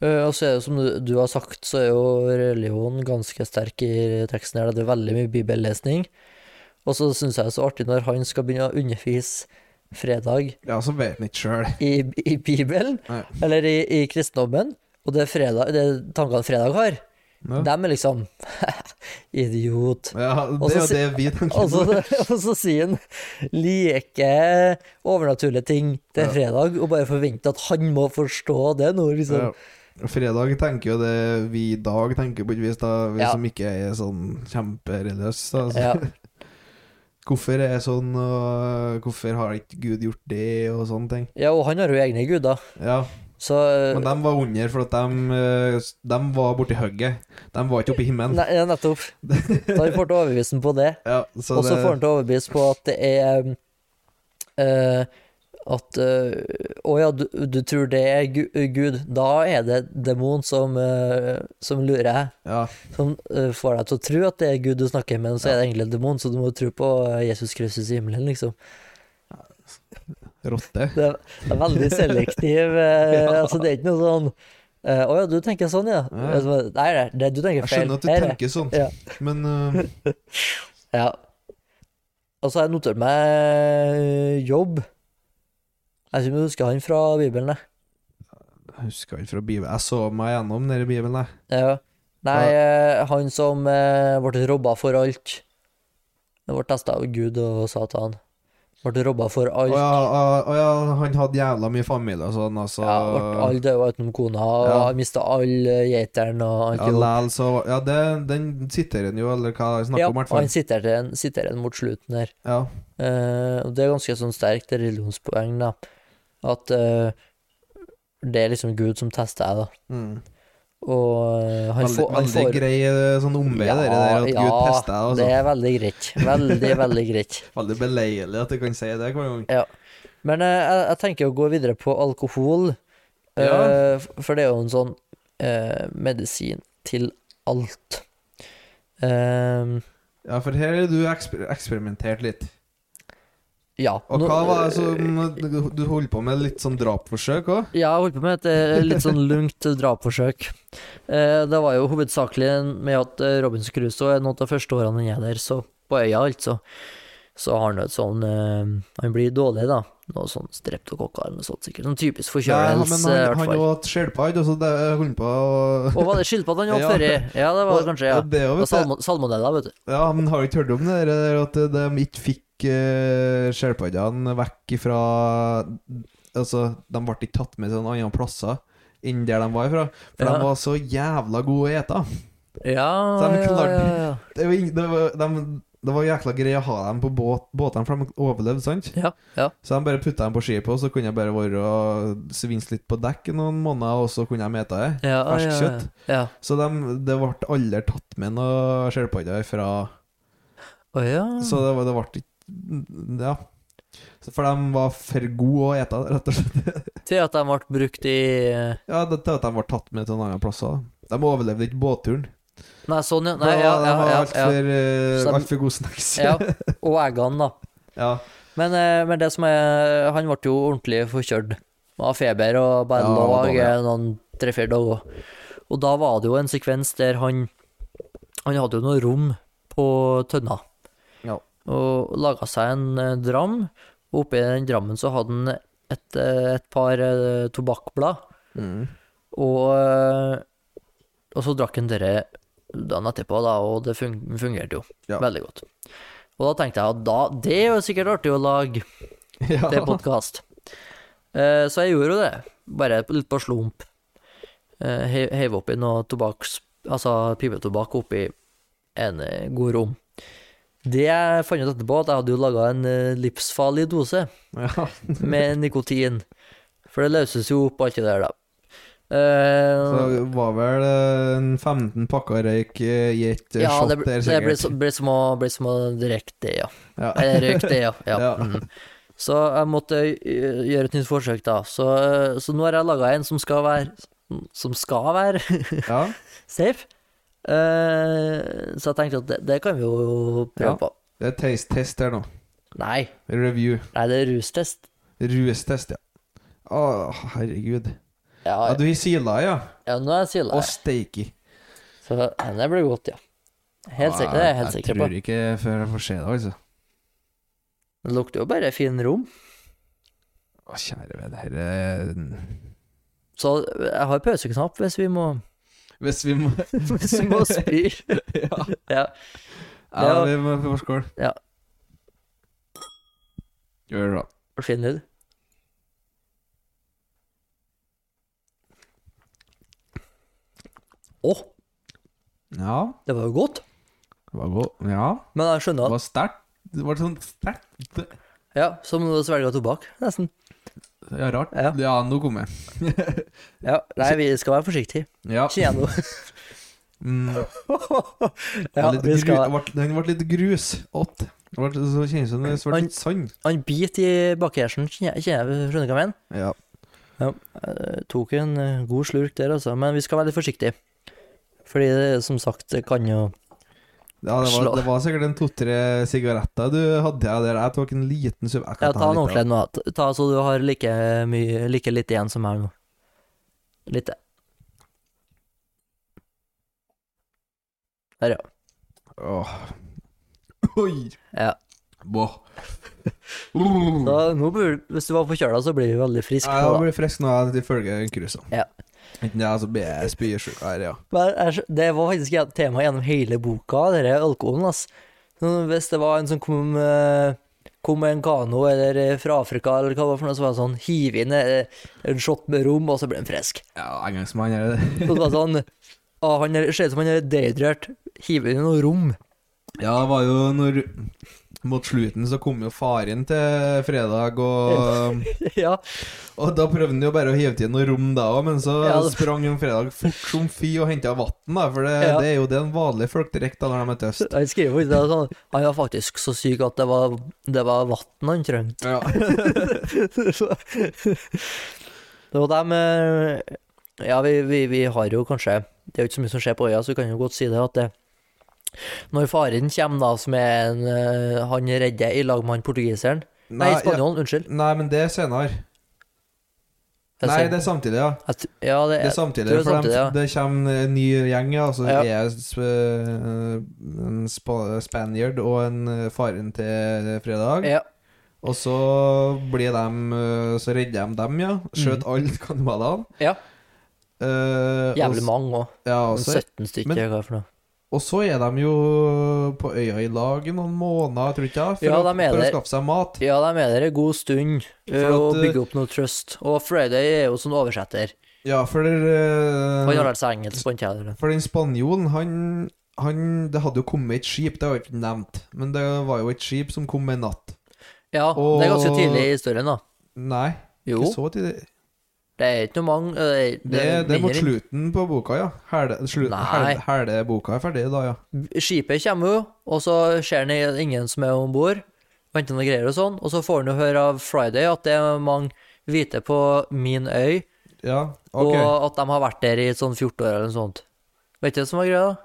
Speaker 2: Eh, og så er det som du, du har sagt, så er jo religion ganske sterk i teksten her. da. Det er veldig mye bibellesning. Og så syns jeg det er så artig når han skal begynne å undervise fredag
Speaker 1: Ja, så vet han ikke sjøl.
Speaker 2: i, i Bibelen,
Speaker 1: Nei.
Speaker 2: eller i, i kristendommen, og det, er fredag, det er tankene fredag har,
Speaker 1: Ja.
Speaker 2: dem er liksom Idiot.
Speaker 1: Ja,
Speaker 2: Og
Speaker 1: det er
Speaker 2: så
Speaker 1: jo
Speaker 2: si-
Speaker 1: det vi tenker
Speaker 2: Og så,
Speaker 1: på.
Speaker 2: og så sier han like overnaturlige ting til
Speaker 1: Ja.
Speaker 2: fredag, og bare forventer at han må forstå det nå, liksom.
Speaker 1: Ja. Fredag tenker jo det vi i dag tenker på et vis, da, vi
Speaker 2: Ja.
Speaker 1: som ikke er sånn kjempereligiøse. da. Altså.
Speaker 2: Ja.
Speaker 1: Hvorfor er det sånn, og hvorfor har ikke Gud gjort det, og sånne ting.
Speaker 2: Ja, og han har jo egne guder.
Speaker 1: Ja,
Speaker 2: Så eh,
Speaker 1: Men de var under, for at de, eh, de var borti hugget. De var ikke oppe i himmelen.
Speaker 2: Nei, ja, nettopp. Så han får til å overbevise ham på det.
Speaker 1: Ja, så
Speaker 2: Og så
Speaker 1: det-
Speaker 2: får han til å overbevise på at det er um, eh, At eh, Å ja, du, du tror det er gu Gud. Da er det demon som, eh, som lurer deg.
Speaker 1: ja,
Speaker 2: Som eh, får deg til å tro at det er Gud du snakker med, men så er det egentlig en demon, så du må tro på eh, Jesus Kristus i himmelen, liksom.
Speaker 1: rotte.
Speaker 2: Det er, det er veldig selektiv eh, Altså, det er ikke noe sånn eh, Å ja, du tenker sånn, ja.
Speaker 1: Ja.
Speaker 2: Altså, Nei, nei, det, du tenker
Speaker 1: Jeg
Speaker 2: feil.
Speaker 1: skjønner at du
Speaker 2: Her er-
Speaker 1: tenker sånn,
Speaker 2: Ja.
Speaker 1: men eh,
Speaker 2: Ja. Og så har jeg notert meg jobb. Jeg synes jeg husker han fra Bibelen, jeg.
Speaker 1: jeg husker ikke fra Bibelen. Jeg så meg gjennom nede i Bibelen, jeg.
Speaker 2: Ja. Nei, eh, han som eh, ble robba for alt. Det ble testa av Gud og Satan. Ble robba for
Speaker 1: Å
Speaker 2: alt.
Speaker 1: ja, å- å ja, han hadde jævla mye familie og sånn, altså.
Speaker 2: Ja, ble alle døde utenom kona,
Speaker 1: Ja.
Speaker 2: og mista alle geitene eh, og alt.
Speaker 1: Ja,
Speaker 2: jobb.
Speaker 1: lel, så Ja, det, den sitter en jo, eller hva jeg snakker
Speaker 2: ja,
Speaker 1: om, i hvert
Speaker 2: han
Speaker 1: fall.
Speaker 2: sitter igjen sitter igjen mot slutten der.
Speaker 1: Ja.
Speaker 2: Eh, og det er ganske sånn sterkt religionspoeng, da. At eh, det er liksom Gud som tester deg, da.
Speaker 1: Mm.
Speaker 2: Og eh, han,
Speaker 1: Veldig,
Speaker 2: får, han
Speaker 1: veldig
Speaker 2: får
Speaker 1: grei eh, sånn omvei, det der, at Gud tester deg,
Speaker 2: det
Speaker 1: altså.
Speaker 2: er veldig greit. Veldig, veldig greit.
Speaker 1: Veldig beleilig at du kan si det hver gang.
Speaker 2: Men eh, jeg, jeg tenker å gå videre på alkohol, eh,
Speaker 1: Ja.
Speaker 2: f- for det er jo en sånn eh, medisin til alt. Eh,
Speaker 1: Ja, for her har du eksper eksperimentert litt.
Speaker 2: ja.
Speaker 1: Og
Speaker 2: nå-
Speaker 1: hva var altså, det som Du holdt på med litt sånn drapforsøk òg?
Speaker 2: Ja, jeg holdt på med et eh, litt sånn lungt drapforsøk. Eh, Det var jo hovedsakelig med at eh, Robinson Crusoe er noen av de første årene han er der, så på øya, altså. Så har han jo et sånn eh, Han blir dårlig, da. Noe sånn streptokokker eller noe sånt, sikkert. Sånn typisk forkjølelse,
Speaker 1: men
Speaker 2: i
Speaker 1: han,
Speaker 2: hvert
Speaker 1: han
Speaker 2: fall.
Speaker 1: åt skjelpadde, og så det- holdt han på å
Speaker 2: Og var det skilpadde han
Speaker 1: Ja.
Speaker 2: åt førri? Ja, det var det kanskje, ja.
Speaker 1: Og Det,
Speaker 2: Og sånn-
Speaker 1: også, vet du.
Speaker 2: salmo- salmonella, vet du.
Speaker 1: ja, men har du ikke hørt om det der at de ikke fikk eh, skjelpaddene vekk ifra Altså, de ble ikke tatt med til noen andre plasser enn der de var ifra. For
Speaker 2: Ja.
Speaker 1: de var så jævla gode å ete.
Speaker 2: Ja,
Speaker 1: Så han
Speaker 2: ja,
Speaker 1: klarte-
Speaker 2: ja, ja.
Speaker 1: Det var, ing- det var, de, det var jækla greit å ha dem på båt, båtene, for de overlevde, sant?
Speaker 2: Ja, ja.
Speaker 1: Så de bare putta dem på skipet, og så kunne jeg bare være og svinse litt på dekk i noen måneder, og så kunne de ete det.
Speaker 2: Ja, ja,
Speaker 1: Ferskt
Speaker 2: ja,
Speaker 1: kjøtt.
Speaker 2: ja.
Speaker 1: Så de, det ble aldri tatt med noe skjelpadder fra
Speaker 2: Å ja.
Speaker 1: Så det, var- det ble ikke Ja. Så for de var for gode å ete, rett og slett.
Speaker 2: Til at de ble brukt i eh,
Speaker 1: Ja, det, til at de ble tatt med til noen andre plasser. De overlevde ikke båtturen.
Speaker 2: Nei, sånn, ja. Nei,
Speaker 1: de
Speaker 2: ja, ja,
Speaker 1: var
Speaker 2: ja, ja.
Speaker 1: altfor
Speaker 2: Så de-
Speaker 1: ja. alt gode snacks.
Speaker 2: Ja, og eggene, da.
Speaker 1: ja.
Speaker 2: Men, eh, men det som er Han ble jo ordentlig forkjørt av feber og bare
Speaker 1: Ja,
Speaker 2: lå
Speaker 1: dårlig,
Speaker 2: eh,
Speaker 1: ja.
Speaker 2: noen tre-fire dager. Og da var det jo en sekvens der han Han hadde jo noe rom på tønna.
Speaker 1: Ja.
Speaker 2: Og laga seg en eh, dram. Og oppi den drammen så hadde han et, eh, et par eh, tobakkblad.
Speaker 1: Mm.
Speaker 2: Og, eh, og så drakk han dere dagen etterpå, da, og det fun fungerte jo
Speaker 1: Ja.
Speaker 2: veldig godt. Og da tenkte jeg at da, det er jo sikkert artig å lage
Speaker 1: ja.
Speaker 2: til podkast. Så jeg gjorde jo det, bare litt på slump. Eh, he- Heiv oppi noe tobakks... Altså pipetobakk oppi en eh, god rom. Det jeg fant ut etterpå, at jeg hadde jo laga en eh, livsfarlig dose
Speaker 1: ja.
Speaker 2: med nikotin. For det løses jo opp, alt det der, da.
Speaker 1: Så
Speaker 2: Eh,
Speaker 1: det var vel eh, en 15 pakker røyk eh, i ett eh,
Speaker 2: ja,
Speaker 1: shot
Speaker 2: det, blir-
Speaker 1: der,
Speaker 2: det blir,
Speaker 1: sikkert.
Speaker 2: så- blir som å, blir som å drikke det, ja.
Speaker 1: Ja.
Speaker 2: Eller røyke det, ja. ja.
Speaker 1: Ja.
Speaker 2: Mm. Så jeg måtte eh, gjøre et nytt forsøk, da. Så, eh, så nå har jeg laga en som skal være Som skal være
Speaker 1: ja.
Speaker 2: safe. Eh, så jeg tenkte at det, det kan vi jo prøve
Speaker 1: Ja.
Speaker 2: på.
Speaker 1: Det er taste-test her nå.
Speaker 2: Nei,
Speaker 1: Review.
Speaker 2: nei, det er rustest.
Speaker 1: Rustest, ja. Å, herregud.
Speaker 2: Ja,
Speaker 1: Ja,
Speaker 2: ja,
Speaker 1: du har sila, ja.
Speaker 2: nå er jeg sila.
Speaker 1: Og steiki.
Speaker 2: Så denne blir godt, ja. Helt sikkert, det er jeg helt sikker på.
Speaker 1: Ah, Jeg tror ikke før jeg får se det, altså.
Speaker 2: Det lukter jo bare fin rom.
Speaker 1: Å, kjære venn, herre
Speaker 2: Så jeg har pauseknapp hvis vi må
Speaker 1: Hvis vi må
Speaker 2: Hvis vi må spy.
Speaker 1: Ja,
Speaker 2: Ja.
Speaker 1: ja
Speaker 2: var-
Speaker 1: vi må få skål.
Speaker 2: Ja.
Speaker 1: Gjør det bra.
Speaker 2: Fin lyd. Å,
Speaker 1: Ja,
Speaker 2: det var jo godt.
Speaker 1: det var god. Ja,
Speaker 2: Men jeg
Speaker 1: det
Speaker 2: skjønner at
Speaker 1: var sterkt. Det var sånn sterkt
Speaker 2: Ja, som å svelge tobakk, nesten.
Speaker 1: Ja, rart.
Speaker 2: Ja.
Speaker 1: Ja, nå kom jeg.
Speaker 2: Ja, nei, vi skal være forsiktige.
Speaker 1: Ja.
Speaker 2: Kjeno.
Speaker 1: Mm, det
Speaker 2: Ja,
Speaker 1: var litt
Speaker 2: vi
Speaker 1: gru-
Speaker 2: skal
Speaker 1: det ble- Den ble litt grusått. Det ble- Så kjennes det som det ble litt sand.
Speaker 2: Han bit i bakhjersen, kjenner jeg, kjenner jeg- skjønner du hva jeg mener?
Speaker 1: Ja.
Speaker 2: Eh, Tok en eh, god slurk der, altså. Men vi skal være litt forsiktige. Fordi det, som sagt, det kan jo
Speaker 1: Ja, det
Speaker 2: Slå.
Speaker 1: var, det var sikkert en to-tre sigaretter du hadde ja, der. Jeg tok en liten sub. Jeg kan
Speaker 2: Ja, ta en
Speaker 1: litt av
Speaker 2: ordentlig en nå. Ta- Ta så du har like, mye, like litt igjen som meg nå. Litt. Der, ja.
Speaker 1: det. Åh. Oi!
Speaker 2: ja.
Speaker 1: Boah.
Speaker 2: Så nå blir, hvis du var forkjøla, så blir du veldig frisk
Speaker 1: Ja, jeg
Speaker 2: nå, da.
Speaker 1: blir frisk nå, jeg ifølge Krusa.
Speaker 2: Ja.
Speaker 1: Enten det, er, altså så blir jeg spysjuk her, ja.
Speaker 2: Men jeg skj- det var faktisk et tema gjennom hele boka, denne alkoholen, ass. Så Hvis det var en som kom eh, Kom med en kano eller eh, fra Afrika eller hva det var for noe, så var det sånn hiv inn eh, en shot med rom, og så ble han frisk.
Speaker 1: Ja, engangsmann er det.
Speaker 2: Og det var sånn Å, han er- ser ut som han er dehydrert. Hiv inn i noe rom.
Speaker 1: Ja, det var jo når Mot slutten så kom jo faren til fredag, og,
Speaker 2: ja.
Speaker 1: og da prøvde han jo bare å hive til noe rom da òg, men så
Speaker 2: Ja, det-
Speaker 1: sprang han fredag fort som fy og henta vann, da, for det,
Speaker 2: Ja.
Speaker 1: det er jo det en vanlig folk drikker da når de er tøst.
Speaker 2: Han skriver faktisk det sånn Han var faktisk så syk at det var, det var vann han trengte.
Speaker 1: Ja.
Speaker 2: det var dem eh, Ja, vi, vi, vi har jo kanskje Det er jo ikke så mye som skjer på øya, så vi kan jo godt si det at det Når faren kommer, da, som er en eh, Han redder i lag med han portugiseren Nei,
Speaker 1: ja.
Speaker 2: spanjolen, unnskyld.
Speaker 1: Nei, men det er senere.
Speaker 2: Jeg
Speaker 1: Nei,
Speaker 2: ser-
Speaker 1: det er samtidig, ja.
Speaker 2: jeg t- Ja, det
Speaker 1: Det er
Speaker 2: er
Speaker 1: samtidig,
Speaker 2: tror det er
Speaker 1: for dem-
Speaker 2: samtidig, ja.
Speaker 1: det kommer en ny gjeng, ja, og så
Speaker 2: Ja.
Speaker 1: er s- øh, en spa- Spaniard og en øh, faren til fredag.
Speaker 2: ja,
Speaker 1: Og så blir de øh, Så redder de dem, ja.
Speaker 2: Mm.
Speaker 1: Skjøt alle kannibalene.
Speaker 2: ja.
Speaker 1: Eh, og,
Speaker 2: Jævlig mange òg.
Speaker 1: s- ja, og, så,
Speaker 2: 17 stykker,
Speaker 1: men-
Speaker 2: eller hva er det for noe.
Speaker 1: og så er de jo på øya i lag i noen måneder, tror jeg, ikke, for,
Speaker 2: Ja,
Speaker 1: å,
Speaker 2: de er
Speaker 1: for å
Speaker 2: der.
Speaker 1: skaffe seg mat.
Speaker 2: Ja, de er der en god stund ø,
Speaker 1: For at, eh,
Speaker 2: og
Speaker 1: ø,
Speaker 2: bygger opp noe trøst. Og Friday er jo sånn oversetter.
Speaker 1: Ja, for
Speaker 2: Han
Speaker 1: øh,
Speaker 2: har lært seg engelsk på en kjeder.
Speaker 1: For den spanjolen, han, han Det hadde jo kommet et skip, det har jeg ikke nevnt. Men det var jo et skip som kom med natt.
Speaker 2: Ja, det er ganske
Speaker 1: Og-
Speaker 2: tidlig i historien, da.
Speaker 1: Nei,
Speaker 2: Jo,
Speaker 1: ikke så tidlig.
Speaker 2: det er ikke noe mange ø, Det, er-
Speaker 1: Det, det er
Speaker 2: mindre
Speaker 1: mot
Speaker 2: enn-
Speaker 1: slutten på boka, ja. Hele slutten-
Speaker 2: Nei.
Speaker 1: hele- hele boka er ferdig da, ja.
Speaker 2: Skipet kommer jo, og så ser han ingen som er om bord. Venter noe greier og sånn. Og så får han jo høre av Friday at det er mange hvite på min øy,
Speaker 1: Ja, ok.
Speaker 2: og at de har vært der i sånn 14 år eller noe sånt. Vet du hva som var greia? da?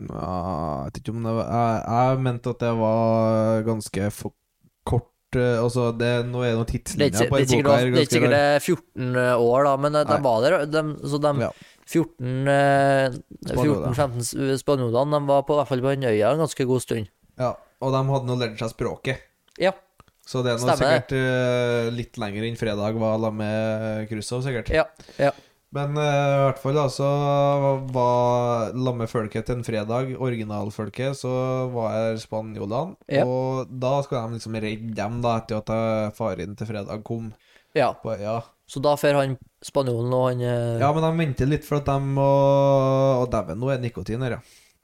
Speaker 1: Nja, jeg vet ikke om det var Jeg, jeg mente at det var ganske for kort eh, Altså, det, nå er det noen
Speaker 2: Det er ikke,
Speaker 1: tidslinjer
Speaker 2: det
Speaker 1: på
Speaker 2: er
Speaker 1: den
Speaker 2: ikke sikkert,
Speaker 1: boka her.
Speaker 2: det er ikke
Speaker 1: ganske
Speaker 2: sikkert det
Speaker 1: rar.
Speaker 2: er 14 år, da, men eh, de
Speaker 1: Nei.
Speaker 2: var der. De, så de
Speaker 1: Ja.
Speaker 2: eh,
Speaker 1: Spanjoler.
Speaker 2: 14-15 eh, spanjolene de var på, i hvert fall på den øya en ganske god stund.
Speaker 1: Ja, og de hadde nå lært seg språket.
Speaker 2: Ja,
Speaker 1: Så det er nå
Speaker 2: Stemmer
Speaker 1: sikkert eh, litt lenger enn fredag var sammen med Krusov, sikkert.
Speaker 2: ja, ja.
Speaker 1: Men eh, i hvert fall da, så var lammefolket til en fredag, originalfolket, så var jeg spanjolene.
Speaker 2: Ja.
Speaker 1: Og da skulle de liksom redde dem da, etter at eh, faren til fredag kom.
Speaker 2: ja.
Speaker 1: På, ja.
Speaker 2: Så da får han spanjolen og han eh,
Speaker 1: ja, men de venter litt for at de må Og dæven, nå er nikotin her, ja.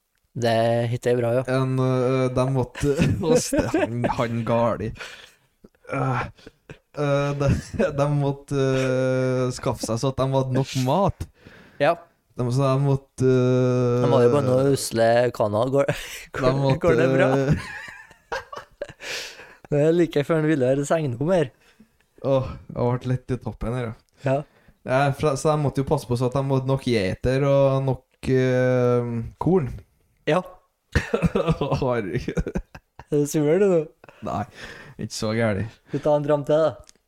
Speaker 2: Det hittet er bra, ja.
Speaker 1: En, eh, øh, de måtte hos- Han, han gali. Øh, Eh, de, de måtte eh, skaffe seg så at de hadde nok mat.
Speaker 2: Ja.
Speaker 1: De, så de måtte eh,
Speaker 2: De var jo bare noen usle kaner. Går,
Speaker 1: de
Speaker 2: går,
Speaker 1: måtte,
Speaker 2: går det bra?
Speaker 1: eh,
Speaker 2: Det er like før han ville høre sengnummer.
Speaker 1: Åh, jeg ble litt i toppen her, ja.
Speaker 2: Ja.
Speaker 1: Ja, fra- så de måtte jo passe på så at de hadde nok geiter og nok eh, korn.
Speaker 2: ja.
Speaker 1: Herregud.
Speaker 2: Er du svimmel, Eh, du nå?
Speaker 1: Nei, ikke så gærent.
Speaker 2: Skal vi ta en fram til, da?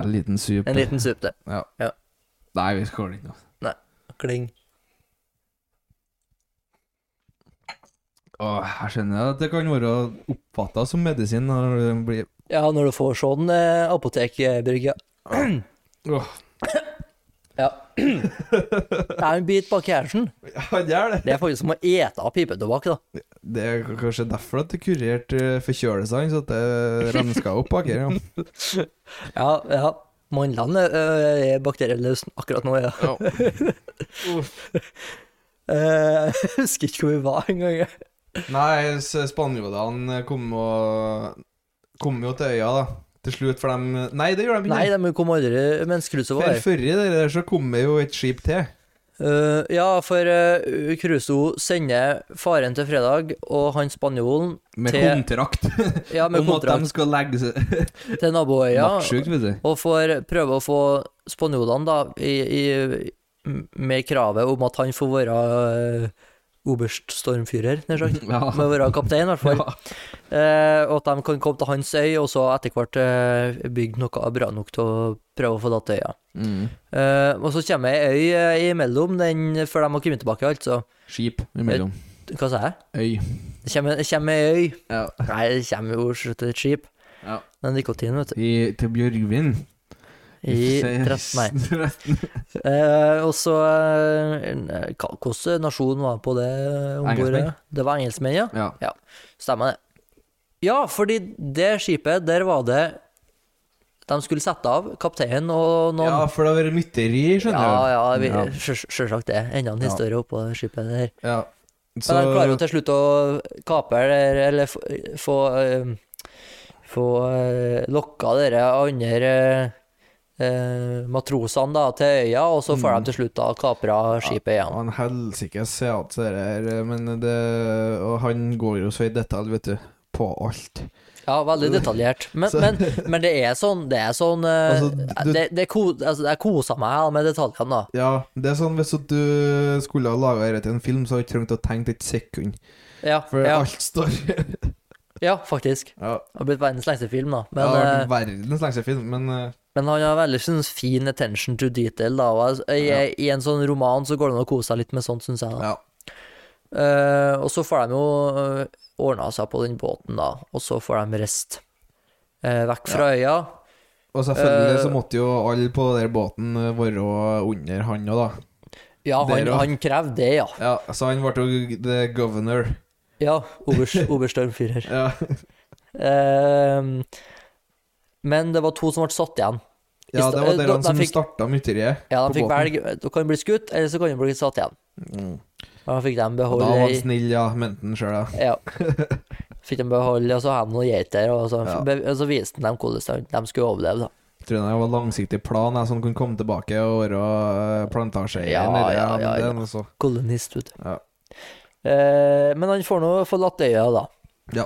Speaker 1: En liten sup.
Speaker 2: En liten sup til.
Speaker 1: Nei, vi skåler ikke nå.
Speaker 2: Kling.
Speaker 1: Åh, jeg skjønner at det kan være oppfatta som medisin når det blir
Speaker 2: Ja, når du får sånn eh, apotekbrygge.
Speaker 1: Åh,
Speaker 2: Ja. Det er en bit bak kjæresten.
Speaker 1: han gjør det!
Speaker 2: Det er faktisk som å ete av pipetobakk, da.
Speaker 1: Det er k- kanskje derfor at du kurerte eh, forkjølelsene, så at det renska opp bak her. Ja.
Speaker 2: Ja, ja. Mandlene eh, er bakterieløse akkurat nå, ja. Eh, Jeg husker ikke hvor vi var engang. jeg.
Speaker 1: Nei, s- spanjolene kom, og, kom jo til øya, da. Til slutt, for de Nei, det gjør de ikke.
Speaker 2: Nei, de kom aldri mens cruiset var
Speaker 1: For
Speaker 2: der.
Speaker 1: før i det der så kom det jo et skip til.
Speaker 2: Eh, ja, for uh, Crusoe sender faren til fredag og han spanjolen
Speaker 1: Med
Speaker 2: Til-
Speaker 1: kontrakt
Speaker 2: ja, med
Speaker 1: om at de
Speaker 2: kontrakt
Speaker 1: skal legge seg
Speaker 2: til naboøya.
Speaker 1: Maktsjukt, vet du.
Speaker 2: Og får prøve å få spanjolene, da, i, i, med kravet om at han får være uh, oberststormfyrer, nær sagt.
Speaker 1: Ja.
Speaker 2: Med å være kaptein, i hvert fall. Eh, og at de kan komme til hans øy, og så etter hvert eh, bygge noe bra nok til å prøve å få datt til øya.
Speaker 1: Mm.
Speaker 2: Eh, og så kommer ei øy eh, imellom den, før de har kommet tilbake, altså.
Speaker 1: Skip imellom.
Speaker 2: Hva sa jeg?
Speaker 1: Øy.
Speaker 2: Det kommer- Det kommer ei øy.
Speaker 1: Eh, Ja.
Speaker 2: Nei, det kommer jo slutt til et skip.
Speaker 1: Ja.
Speaker 2: Det er nikotin, vet du.
Speaker 1: I, til Bjørgvin.
Speaker 2: I 13, nei. Eh, og så eh, hva- Hvordan nasjon var på det ombordet?
Speaker 1: Engelskmenn.
Speaker 2: Det var engelskmenn, ja.
Speaker 1: ja.
Speaker 2: Stemmer det. Ja, fordi det skipet, der var det De skulle sette av kapteinen og
Speaker 1: ja,
Speaker 2: noen
Speaker 1: for det har vært mytteri,
Speaker 2: Sånn. Ja,
Speaker 1: skjønner du.
Speaker 2: ja, vi,
Speaker 1: Ja.
Speaker 2: sjø- sjølsagt det. Enda en
Speaker 1: Ja.
Speaker 2: historie oppå det skipet der.
Speaker 1: Ja.
Speaker 2: Men de klarer
Speaker 1: Så
Speaker 2: jo til slutt å kape eller, eller få, få, eh, få eh, lokka dere andre eh, matrosene da, til øya, og så får
Speaker 1: Mm.
Speaker 2: de til slutt da kapra skipet igjen.
Speaker 1: Han helsikes seat, det der, men det Og han går jo så i detalj, vet du. På alt.
Speaker 2: Ja, veldig detaljert. Men,
Speaker 1: Så-
Speaker 2: men, men det er sånn Det er sånn eh,
Speaker 1: Altså, du-
Speaker 2: det, det ko, altså, Jeg kosa meg da med detaljene, da.
Speaker 1: Ja, det er sånn hvis at du skulle ha laga dette til en film, så hadde du ikke trengt å tenke et sekund.
Speaker 2: Ja,
Speaker 1: For
Speaker 2: ja,
Speaker 1: alt står
Speaker 2: ja faktisk.
Speaker 1: Ja,
Speaker 2: Det har blitt verdens lengste film, da.
Speaker 1: det
Speaker 2: Men,
Speaker 1: har
Speaker 2: eh,
Speaker 1: vært verdens lengste film, men eh,
Speaker 2: Men han har veldig sånn, fin attention to detail, da. Og jeg- jeg, I en sånn roman så går det an å kose seg litt med sånt, syns jeg. Da.
Speaker 1: Ja.
Speaker 2: Eh, og så får de jo uh, ordna seg på den båten, da. Og så får de rist eh, vekk fra øya.
Speaker 1: Og selvfølgelig
Speaker 2: Eh,
Speaker 1: så måtte jo alle på den båten eh, være under han òg, da.
Speaker 2: Ja, han,
Speaker 1: Der òg.
Speaker 2: han krevde det, ja.
Speaker 1: Ja, så han ble jo the governor.
Speaker 2: Ja, oberst, oberststormfyrer.
Speaker 1: Ja.
Speaker 2: Eh, men det var to som ble satt igjen. I
Speaker 1: Ja,
Speaker 2: sta-
Speaker 1: det var
Speaker 2: eh,
Speaker 1: dere
Speaker 2: de
Speaker 1: som
Speaker 2: fikk-
Speaker 1: starta mytteriet.
Speaker 2: Ja,
Speaker 1: På
Speaker 2: de fikk
Speaker 1: båten.
Speaker 2: velge. Du kan bli skutt, eller så kan du bli satt igjen.
Speaker 1: Mm.
Speaker 2: Og da fikk de
Speaker 1: Da
Speaker 2: beholde
Speaker 1: var han
Speaker 2: ei-
Speaker 1: snill, ja. Mente han sjøl, ja.
Speaker 2: Ja. Fikk de beholde, og så hadde de noen geiter, og så,
Speaker 1: Ja.
Speaker 2: be- og så viste de dem hvordan de de skulle overleve, da.
Speaker 1: Tror det var langsiktig plan, jeg, så han kunne komme tilbake og være eh, plantasjeeier.
Speaker 2: Ja,
Speaker 1: eller,
Speaker 2: ja, ja,
Speaker 1: men det
Speaker 2: ja.
Speaker 1: er noe så-
Speaker 2: Kolonist, vet du.
Speaker 1: Ja.
Speaker 2: Eh, men han får nå forlatt øya, da.
Speaker 1: Ja.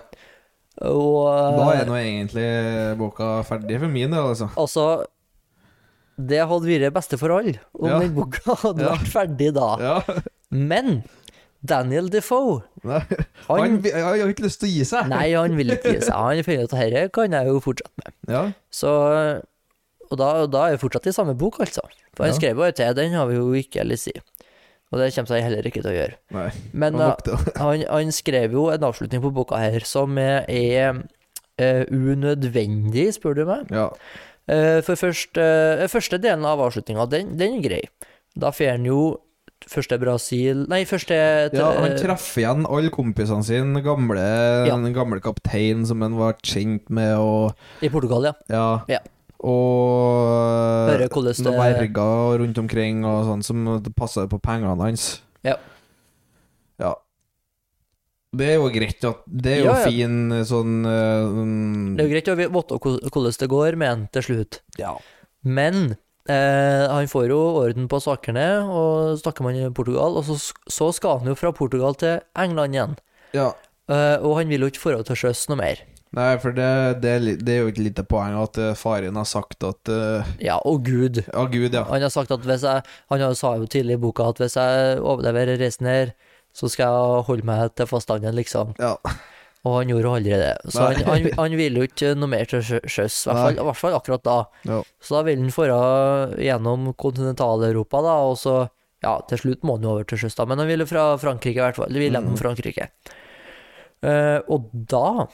Speaker 2: Og eh,
Speaker 1: Da er nå egentlig boka ferdig for min del, altså.
Speaker 2: Altså, det hadde vært beste for alle om
Speaker 1: Ja.
Speaker 2: den boka hadde
Speaker 1: Ja.
Speaker 2: vært ferdig da.
Speaker 1: Ja.
Speaker 2: Men Daniel Defoe,
Speaker 1: Nei, Han,
Speaker 2: han
Speaker 1: jeg har ikke lyst til å gi seg.
Speaker 2: Nei, han vil ikke gi seg. Han finner ut at dette kan jeg jo fortsette med.
Speaker 1: Ja.
Speaker 2: Så Og da, da er vi fortsatt i samme bok, altså. For han
Speaker 1: Ja.
Speaker 2: skrev bare til, den har vi jo ikke ellers i. Og det kommer han heller ikke til å gjøre.
Speaker 1: Nei.
Speaker 2: Men
Speaker 1: han
Speaker 2: eh,
Speaker 1: lukter-
Speaker 2: han, han skrev jo en avslutning på boka her som eh, er eh, unødvendig, spør du meg.
Speaker 1: Ja.
Speaker 2: Eh, for først, eh, første delen av avslutninga, den, den er grei. Da får han jo først til Brasil Nei, først til
Speaker 1: Ja, han
Speaker 2: eh,
Speaker 1: treffer igjen alle kompisene sine, gamle,
Speaker 2: Ja.
Speaker 1: den gamle kapteinen som han var kjent med, og
Speaker 2: eh, I Portugal, ja.
Speaker 1: ja.
Speaker 2: Ja.
Speaker 1: Og eh,
Speaker 2: Hører hvordan det-
Speaker 1: noen verger rundt omkring og sånn som passer på pengene hans.
Speaker 2: Ja.
Speaker 1: Ja. Det er jo greit at Det er jo
Speaker 2: Ja, ja.
Speaker 1: fin sånn eh,
Speaker 2: Det er jo greit å vite hvor- hvordan det går med han til slutt.
Speaker 1: Ja.
Speaker 2: Men eh, han får jo orden på sakene, og snakker man i Portugal, og så, så skal han jo fra Portugal til England igjen.
Speaker 1: ja.
Speaker 2: Eh, og han vil jo ikke dra til sjøs noe mer.
Speaker 1: Nei, for det, det, er li- det er jo et lite poeng at eh, faren har sagt at eh,
Speaker 2: Ja, og Gud.
Speaker 1: Ja, gud, ja.
Speaker 2: Han har sagt at hvis jeg Han har- sa jo tidlig i boka at hvis jeg overlever reisen her, så skal jeg holde meg til fastlandet, liksom.
Speaker 1: ja.
Speaker 2: Og han gjorde jo aldri det. Så
Speaker 1: Nei.
Speaker 2: han, han, han ville jo ikke noe mer til sjø- sjøs, i hvert fall- i hvert fall akkurat da.
Speaker 1: Ja.
Speaker 2: Så da vil han dra gjennom kontinentaleuropa, da, og så Ja, til slutt må han jo over til sjøs, da, men han ville fra Frankrike, i hvert fall. Ville
Speaker 1: Mm.
Speaker 2: gjennom Frankrike. Eh, og da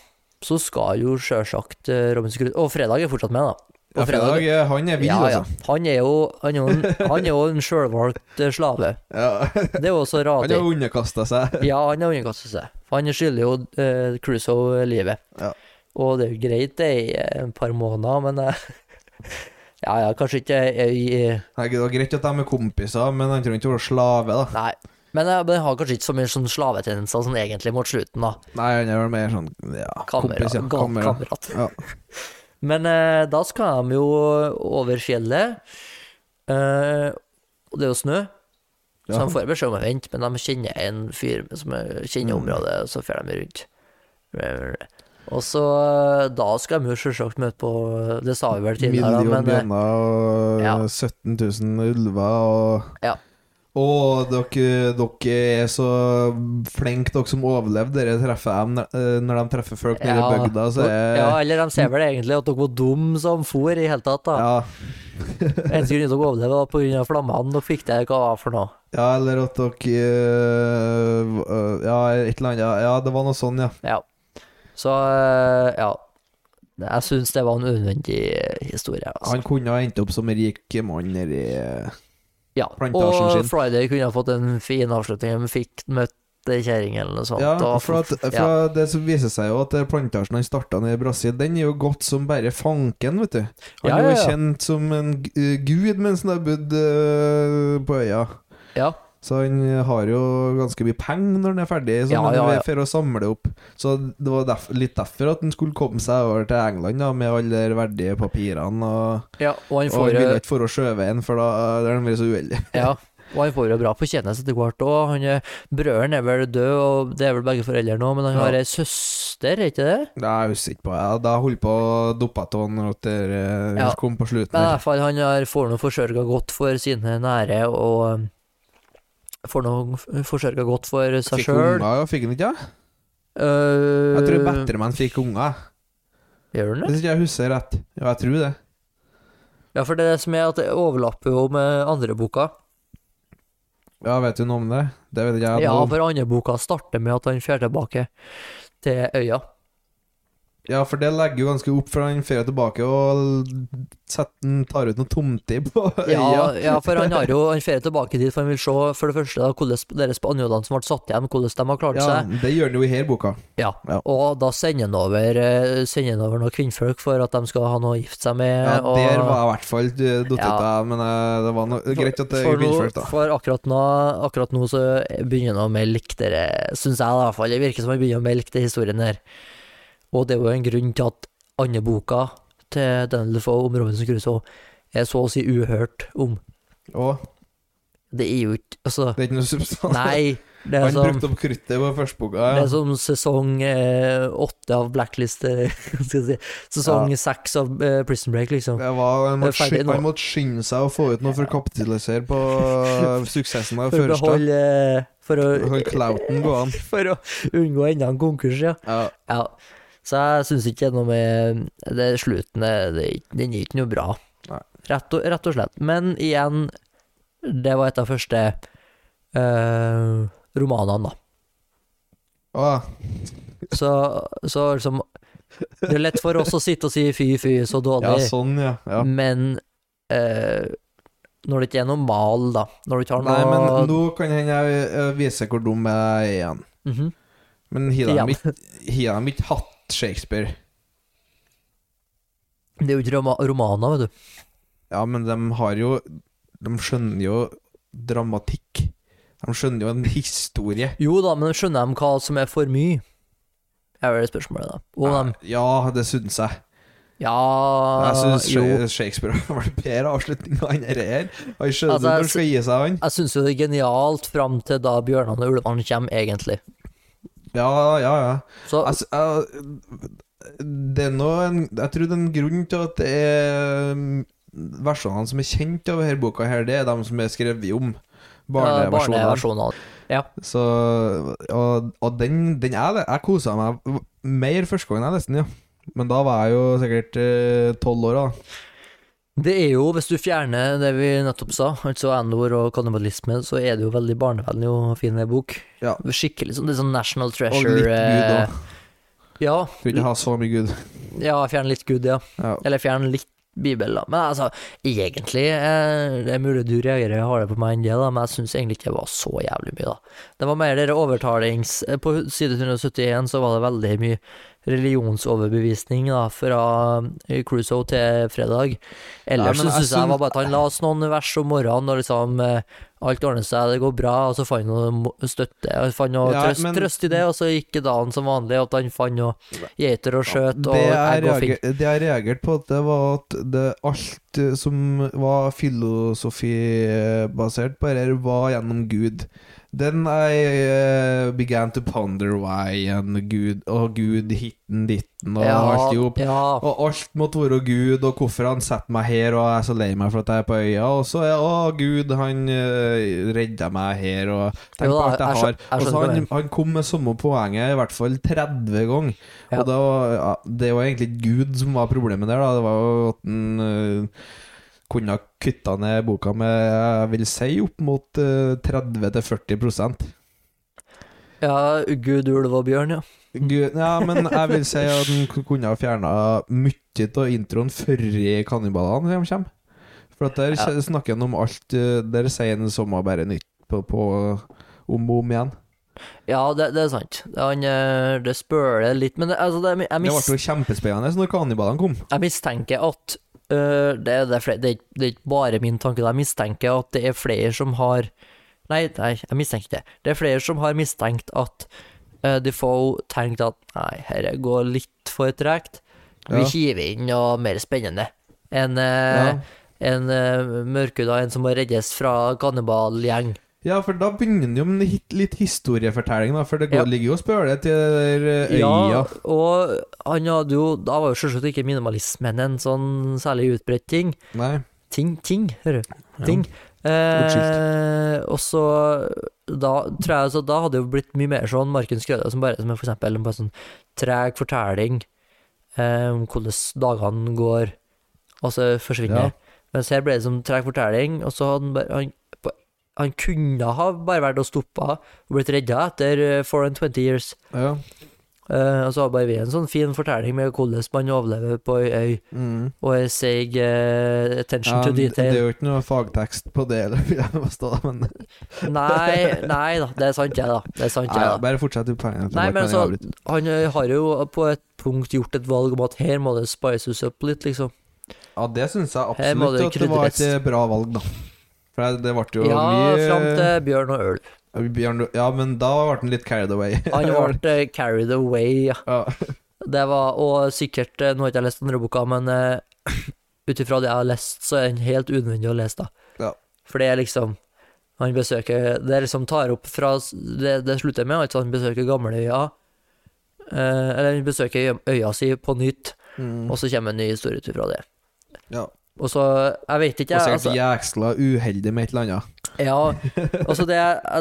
Speaker 2: så skal jo sjølsagt eh, Robinson Crusoe Og Fredag er fortsatt med, da. Og
Speaker 1: ja fredag, eh, han er vill,
Speaker 2: ja, ja.
Speaker 1: altså.
Speaker 2: Han er jo Han er jo en, han er jo en sjølvalgt eh, slave.
Speaker 1: Ja.
Speaker 2: Det er jo også
Speaker 1: Han har
Speaker 2: radig.
Speaker 1: underkasta seg.
Speaker 2: Ja, han har underkastet seg. For han skylder jo eh, Crusoe livet.
Speaker 1: Ja.
Speaker 2: Og det er jo greit det i eh, et par måneder, men eh, Ja, ja, kanskje ikke i, i-
Speaker 1: Nei, Det var greit at de er kompiser, men han trenger ikke å være slave, da.
Speaker 2: Nei. Men eh, men han har kanskje ikke så mye sånn slavetendenser sånn egentlig mot slutten, da.
Speaker 1: Nei, han er vel mer sånn ja,
Speaker 2: Kamera,
Speaker 1: kompis, ja.
Speaker 2: gal
Speaker 1: Kamera.
Speaker 2: kamerat.
Speaker 1: Ja.
Speaker 2: Men eh, da skal de jo over fjellet, eh, og det er jo snø. Så
Speaker 1: Ja.
Speaker 2: de får beskjed om å vente, men de kjenner en fyr som eh, kjenner
Speaker 1: Mm.
Speaker 2: området, og så drar de rundt. Og så eh, Da skal de jo selvsagt møte på Det sa vi vel tidligere, da,
Speaker 1: Million
Speaker 2: men eh,
Speaker 1: bjørner og
Speaker 2: ja.
Speaker 1: 17 000 ulver og
Speaker 2: Ja.
Speaker 1: Å, dere, dere er så flinke, dere som overlevde. Dere treffer dem eh, når de treffer folk nede i bygda, så er
Speaker 2: ja, eller de ser vel egentlig at dere var dumme som for i hele tatt. da
Speaker 1: ja.
Speaker 2: Eneste grunn til at dere overlevde, var pga. flammene dere fikk der. Hva var det for noe?
Speaker 1: ja, eller at dere eh, eh, Ja, et eller annet. Ja, det var noe sånn, ja.
Speaker 2: Ja. Så eh, ja. Jeg syns det var en unødvendig historie. Altså.
Speaker 1: Han kunne ha endt opp som rik mann nedi
Speaker 2: Ja.
Speaker 1: plantasjen
Speaker 2: Og
Speaker 1: sin.
Speaker 2: Friday kunne ha fått en fin avslutning. De fikk møtt kjerringa eller noe sånt.
Speaker 1: Ja,
Speaker 2: og-
Speaker 1: for, at, for
Speaker 2: ja.
Speaker 1: det som viser seg jo at eh, plantasjen han starta nede i Brasil, den er jo godt som bare fanken, vet du. Han
Speaker 2: Ja,
Speaker 1: er jo
Speaker 2: ja, ja.
Speaker 1: kjent som en g- eh, gud mens han har bodd eh, på øya.
Speaker 2: ja.
Speaker 1: Så han har jo ganske mye penger når han er ferdig, så
Speaker 2: Ja,
Speaker 1: han
Speaker 2: ja, ja.
Speaker 1: er for å samle opp. Så det var derf litt derfor at han skulle komme seg over til England, da, med alle de verdige papirene. Og,
Speaker 2: ja.
Speaker 1: og
Speaker 2: Og han
Speaker 1: han
Speaker 2: får eh,
Speaker 1: ville
Speaker 2: jo
Speaker 1: ikke for å sjøveien, for da da er han vært så uheldig.
Speaker 2: ja. Og han får jo bra fortjeneste etter hvert òg. Han er- Brødren er vel død, og det er vel begge foreldre nå, men han
Speaker 1: Ja.
Speaker 2: har ei søster, er ikke det?
Speaker 1: Nei, Jeg husker ikke på det. Da holdt på å doppe av når dere eh,
Speaker 2: Ja.
Speaker 1: kom på slutten.
Speaker 2: Men i
Speaker 1: her.
Speaker 2: hvert fall, han har, får nå forsørga godt for sine nære, og um, får nå forsørga godt for seg
Speaker 1: Fikk
Speaker 2: sjøl.
Speaker 1: unger, ja, fikk han ikke? ja?
Speaker 2: Uh,
Speaker 1: Jeg tror Batterman fikk unger,
Speaker 2: Gjør den det?
Speaker 1: hvis ikke jeg husker rett. Ja, jeg tror det.
Speaker 2: Ja, for det er det som er at det overlapper jo med andre boka.
Speaker 1: Ja, vet du noe om det? Det vet ikke jeg
Speaker 2: Ja,
Speaker 1: noe om.
Speaker 2: for andre boka starter med at han drar tilbake til øya.
Speaker 1: Ja, for det legger jo ganske opp, for han drar tilbake og setter, han tar ut noe tomtid på
Speaker 2: Ja,
Speaker 1: øya.
Speaker 2: ja for han har jo Han drar tilbake dit, for han vil se for det første da, hvordan dere spanjolene som ble satt igjen, hvordan de har klart
Speaker 1: Ja,
Speaker 2: seg.
Speaker 1: det gjør han jo i her boka.
Speaker 2: Ja.
Speaker 1: Ja.
Speaker 2: Og da sender han over, eh, sender han over noen kvinnfolk for at de skal ha noe å gifte seg med.
Speaker 1: Ja,
Speaker 2: Eh, og,
Speaker 1: Der var jeg i hvert fall datt ut
Speaker 2: Ja.
Speaker 1: av, men eh, det var noe greit at det
Speaker 2: for, nå-
Speaker 1: innført, da.
Speaker 2: for akkurat nå, akkurat nå så begynner han å melke dere, syns jeg da, i hvert fall. Det virker som han begynner å melke den historien her. Og det er jo en grunn til at andre boka til Daniel Defoe om Robinson Crusoe er så å si uhørt om.
Speaker 1: Å,
Speaker 2: Det er jo ikke Altså,
Speaker 1: det er ikke noe substans.
Speaker 2: nei. Det er
Speaker 1: han
Speaker 2: som,
Speaker 1: brukte opp kruttet på førsteboka. Ja.
Speaker 2: det er sånn- som sesong eh, åtte av Blacklist, eh, skal jeg si. Sesong seks av eh, Prison Break, liksom.
Speaker 1: Det var, han,
Speaker 2: Det er
Speaker 1: måtte
Speaker 2: ferdig
Speaker 1: skynde,
Speaker 2: nå.
Speaker 1: han måtte skynde seg å få ut noe for å kapitalisere på suksessen av
Speaker 2: For å
Speaker 1: første.
Speaker 2: beholde eh, For å,
Speaker 1: Hold clouten gående.
Speaker 2: for å unngå enda en konkurs, ja.
Speaker 1: Ja.
Speaker 2: Ja, så jeg syns ikke det er noe med det slutten er- det, Den er ikke noe bra,
Speaker 1: Nei.
Speaker 2: rett og, rett og slett. Men igjen, det var et av første eh, romanene, da.
Speaker 1: Å,
Speaker 2: Så, så liksom Det er lett for oss å sitte og si fy, fy,
Speaker 1: ja,
Speaker 2: så dårlig,
Speaker 1: sånn, ja. ja.
Speaker 2: Mm. men eh, når det ikke er noe mal, da. Når du ikke har noe
Speaker 1: Nei, men nå kan hende jeg eh, viser hvor dum jeg er igjen.
Speaker 2: Mhm.
Speaker 1: Men har
Speaker 2: Igjen.
Speaker 1: de ikke- har de ikke hatt Shakespeare?
Speaker 2: Det er jo ikke roma- romaner, vet du.
Speaker 1: Ja, men de har jo De skjønner jo dramatikk. De skjønner jo en historie.
Speaker 2: Jo da, men skjønner de hva som er for mye? Er vel det spørsmålet, da. Og om de
Speaker 1: Ja, det syns jeg. Jeg
Speaker 2: Ja,
Speaker 1: syns
Speaker 2: jo.
Speaker 1: Shakespeare har vært bedre avslutning enn dette her. Han skjønner
Speaker 2: Altså,
Speaker 1: når han
Speaker 2: jeg
Speaker 1: skal gi seg, han.
Speaker 2: Jeg syns jo det er genialt fram til da bjørnene og ulvene kommer, egentlig.
Speaker 1: Ja, ja, ja.
Speaker 2: Så
Speaker 1: Altså, jeg, det er nå en Jeg tror det er en grunn til at det er versjonene som er kjent av denne boka, her, det er de som er skrevet om.
Speaker 2: ja,
Speaker 1: Barneversjonene.
Speaker 2: barneversjonene.
Speaker 1: Så Og, og den, den er det. Jeg kosa meg mer første gangen jeg leste den, ja. Men da var jeg jo sikkert eh, tolv år, da.
Speaker 2: Det er jo, hvis du fjerner det vi nettopp sa, altså n-ord og kannibalisme, så er det jo veldig barnevennlig og fin bok.
Speaker 1: Ja.
Speaker 2: Skikkelig sånn, det er sånn National
Speaker 1: Og
Speaker 2: Treasure.
Speaker 1: litt Gud òg.
Speaker 2: eh, Ja,
Speaker 1: Tror ikke jeg har så mye Gud.
Speaker 2: ja, fjern litt Gud, ja.
Speaker 1: Ja.
Speaker 2: Eller fjern litt Bibel, da. Men altså, egentlig eh, Det er mulig du reagerer hardere på meg enn det, da, men jeg syns egentlig ikke det var så jævlig mye, da. Det var mer dere overtalings... eh, På side 171 så var det veldig mye religionsoverbevisning, da, fra eh, Crusoe til fredag. Ellers
Speaker 1: Nei, men
Speaker 2: så
Speaker 1: jeg
Speaker 2: syns jeg
Speaker 1: syns-
Speaker 2: var bare at han las noen vers om morgenen, og liksom eh, Alt ordner seg, det går bra, og så fant han noe mo- støtte, og fant noe
Speaker 1: Ja,
Speaker 2: trøst,
Speaker 1: men-
Speaker 2: trøst i det, og så gikk dagen som vanlig, at han fant noe geiter og skjøt, og
Speaker 1: Det jeg
Speaker 2: egg og fikk.
Speaker 1: reager- det jeg reagerte på, at det var at det alt eh, som var filosofibasert på dette, var gjennom Gud. Then I eh, began to ponder why and Gud og Gud hitten ditten og alt jo
Speaker 2: ja.
Speaker 1: Og alt måtte være Gud, og hvorfor han setter meg her, og jeg er så lei meg for at jeg er på øya, og så er å Gud, han uh, redda meg her, og tenk
Speaker 2: Jo
Speaker 1: på
Speaker 2: da,
Speaker 1: alt jeg
Speaker 2: jeg
Speaker 1: har.
Speaker 2: skjø- jeg
Speaker 1: Og så
Speaker 2: skjønner
Speaker 1: han,
Speaker 2: det.
Speaker 1: han kom med samme poenget i hvert fall 30 ganger,
Speaker 2: Ja.
Speaker 1: og det var, ja, det var egentlig ikke Gud som var problemet der, da. det var jo at han eh, kunne ha kutta ned boka med, jeg vil si, opp mot eh, 30-40 prosent.
Speaker 2: Ja, Gud, ulv og bjørn, ja.
Speaker 1: Gud, ja, men jeg vil si at den k- kunne ha fjerna mye av introen før kannibalene de kommer. For at der
Speaker 2: Ja.
Speaker 1: snakker han om alt eh, Der sier han det samme, bare nytt på, på om og om igjen.
Speaker 2: Ja, det, det er sant. Han, eh, det spøler litt, men det, altså, det, jeg,
Speaker 1: Det
Speaker 2: mis,
Speaker 1: ble jo kjempespennende når kannibalene kom.
Speaker 2: jeg mistenker at eh, det, det, er flere, det, er ikke- det er ikke bare min tanke, jeg mistenker at det er flere som har Nei, nei, jeg mistenker ikke det. Det er flere som har mistenkt at eh, Defoe tenkte at nei, dette går litt for tregt. Vi
Speaker 1: Ja.
Speaker 2: hiver inn noe mer spennende. En,
Speaker 1: Ja.
Speaker 2: eh, en eh, mørkhuda, en som må reddes fra kannibalgjeng.
Speaker 1: ja, for da begynner han jo med en hit- litt historiefortelling, da, for det går,
Speaker 2: Ja.
Speaker 1: ligger jo og spøler til der eh, øya.
Speaker 2: Ja, og han hadde jo Da var jo selvsagt ikke minimalismen en sånn særlig utbredt ting.
Speaker 1: Nei.
Speaker 2: Ting, ting, hører du. Ting. Eh,
Speaker 1: Unnskyld.
Speaker 2: og så da tror jeg så da hadde det jo blitt mye mer sånn Marken Skrøde som bare som er for eksempel en bare sånn treg fortelling eh, om hvordan dagene går, og så forsvinner.
Speaker 1: Ja.
Speaker 2: Mens her ble det som treg fortelling, og så hadde han bare han, på- han kunne ha bare vært og stoppa og blitt redda etter eh, 420 years.
Speaker 1: Ja.
Speaker 2: Eh, og så har bare vi en sånn fin fortelling med hvordan man overlever på ei øy,
Speaker 1: Mm.
Speaker 2: og jeg sier eh, attention
Speaker 1: Ja,
Speaker 2: to
Speaker 1: det er
Speaker 2: detail.
Speaker 1: jo ikke noe fagtekst på det, eller, vil jeg påstå, men
Speaker 2: Nei, nei da, det er sant, det, da. Det er sant,
Speaker 1: Nei,
Speaker 2: det, da.
Speaker 1: bare fortsett du poenget.
Speaker 2: Nei, men altså,
Speaker 1: Martin, jeg
Speaker 2: så-
Speaker 1: avbryter.
Speaker 2: Han ø, har jo på et punkt gjort et valg om at her må det spices up litt, liksom.
Speaker 1: Ja, det syns jeg
Speaker 2: Her må
Speaker 1: absolutt
Speaker 2: det
Speaker 1: at det var et
Speaker 2: krydres.
Speaker 1: eh, bra valg, da. For det- det ble jo
Speaker 2: Ja,
Speaker 1: mye
Speaker 2: fram til Bjørn og Øl.
Speaker 1: Bjørn, Ja, men da ble han litt carried away.
Speaker 2: Han ble ø, carried away, ja.
Speaker 1: ja.
Speaker 2: Det var, og sikkert ø, Nå har ikke jeg lest andre boka, men ø, ut ifra det jeg har lest, så er den helt unødvendig å lese, da.
Speaker 1: Ja.
Speaker 2: For det er liksom Han besøker Det er liksom tar opp fra s- Det, det slutter med at han besøker gamleøya. eh, eller han besøker øy- øya si på nytt,
Speaker 1: Mm.
Speaker 2: og så kommer en ny historie ut ifra det.
Speaker 1: ja.
Speaker 2: Og så Jeg vet ikke,
Speaker 1: Og
Speaker 2: jeg.
Speaker 1: sikkert
Speaker 2: Altså,
Speaker 1: jæksla uheldig med et eller annet.
Speaker 2: ja, altså det,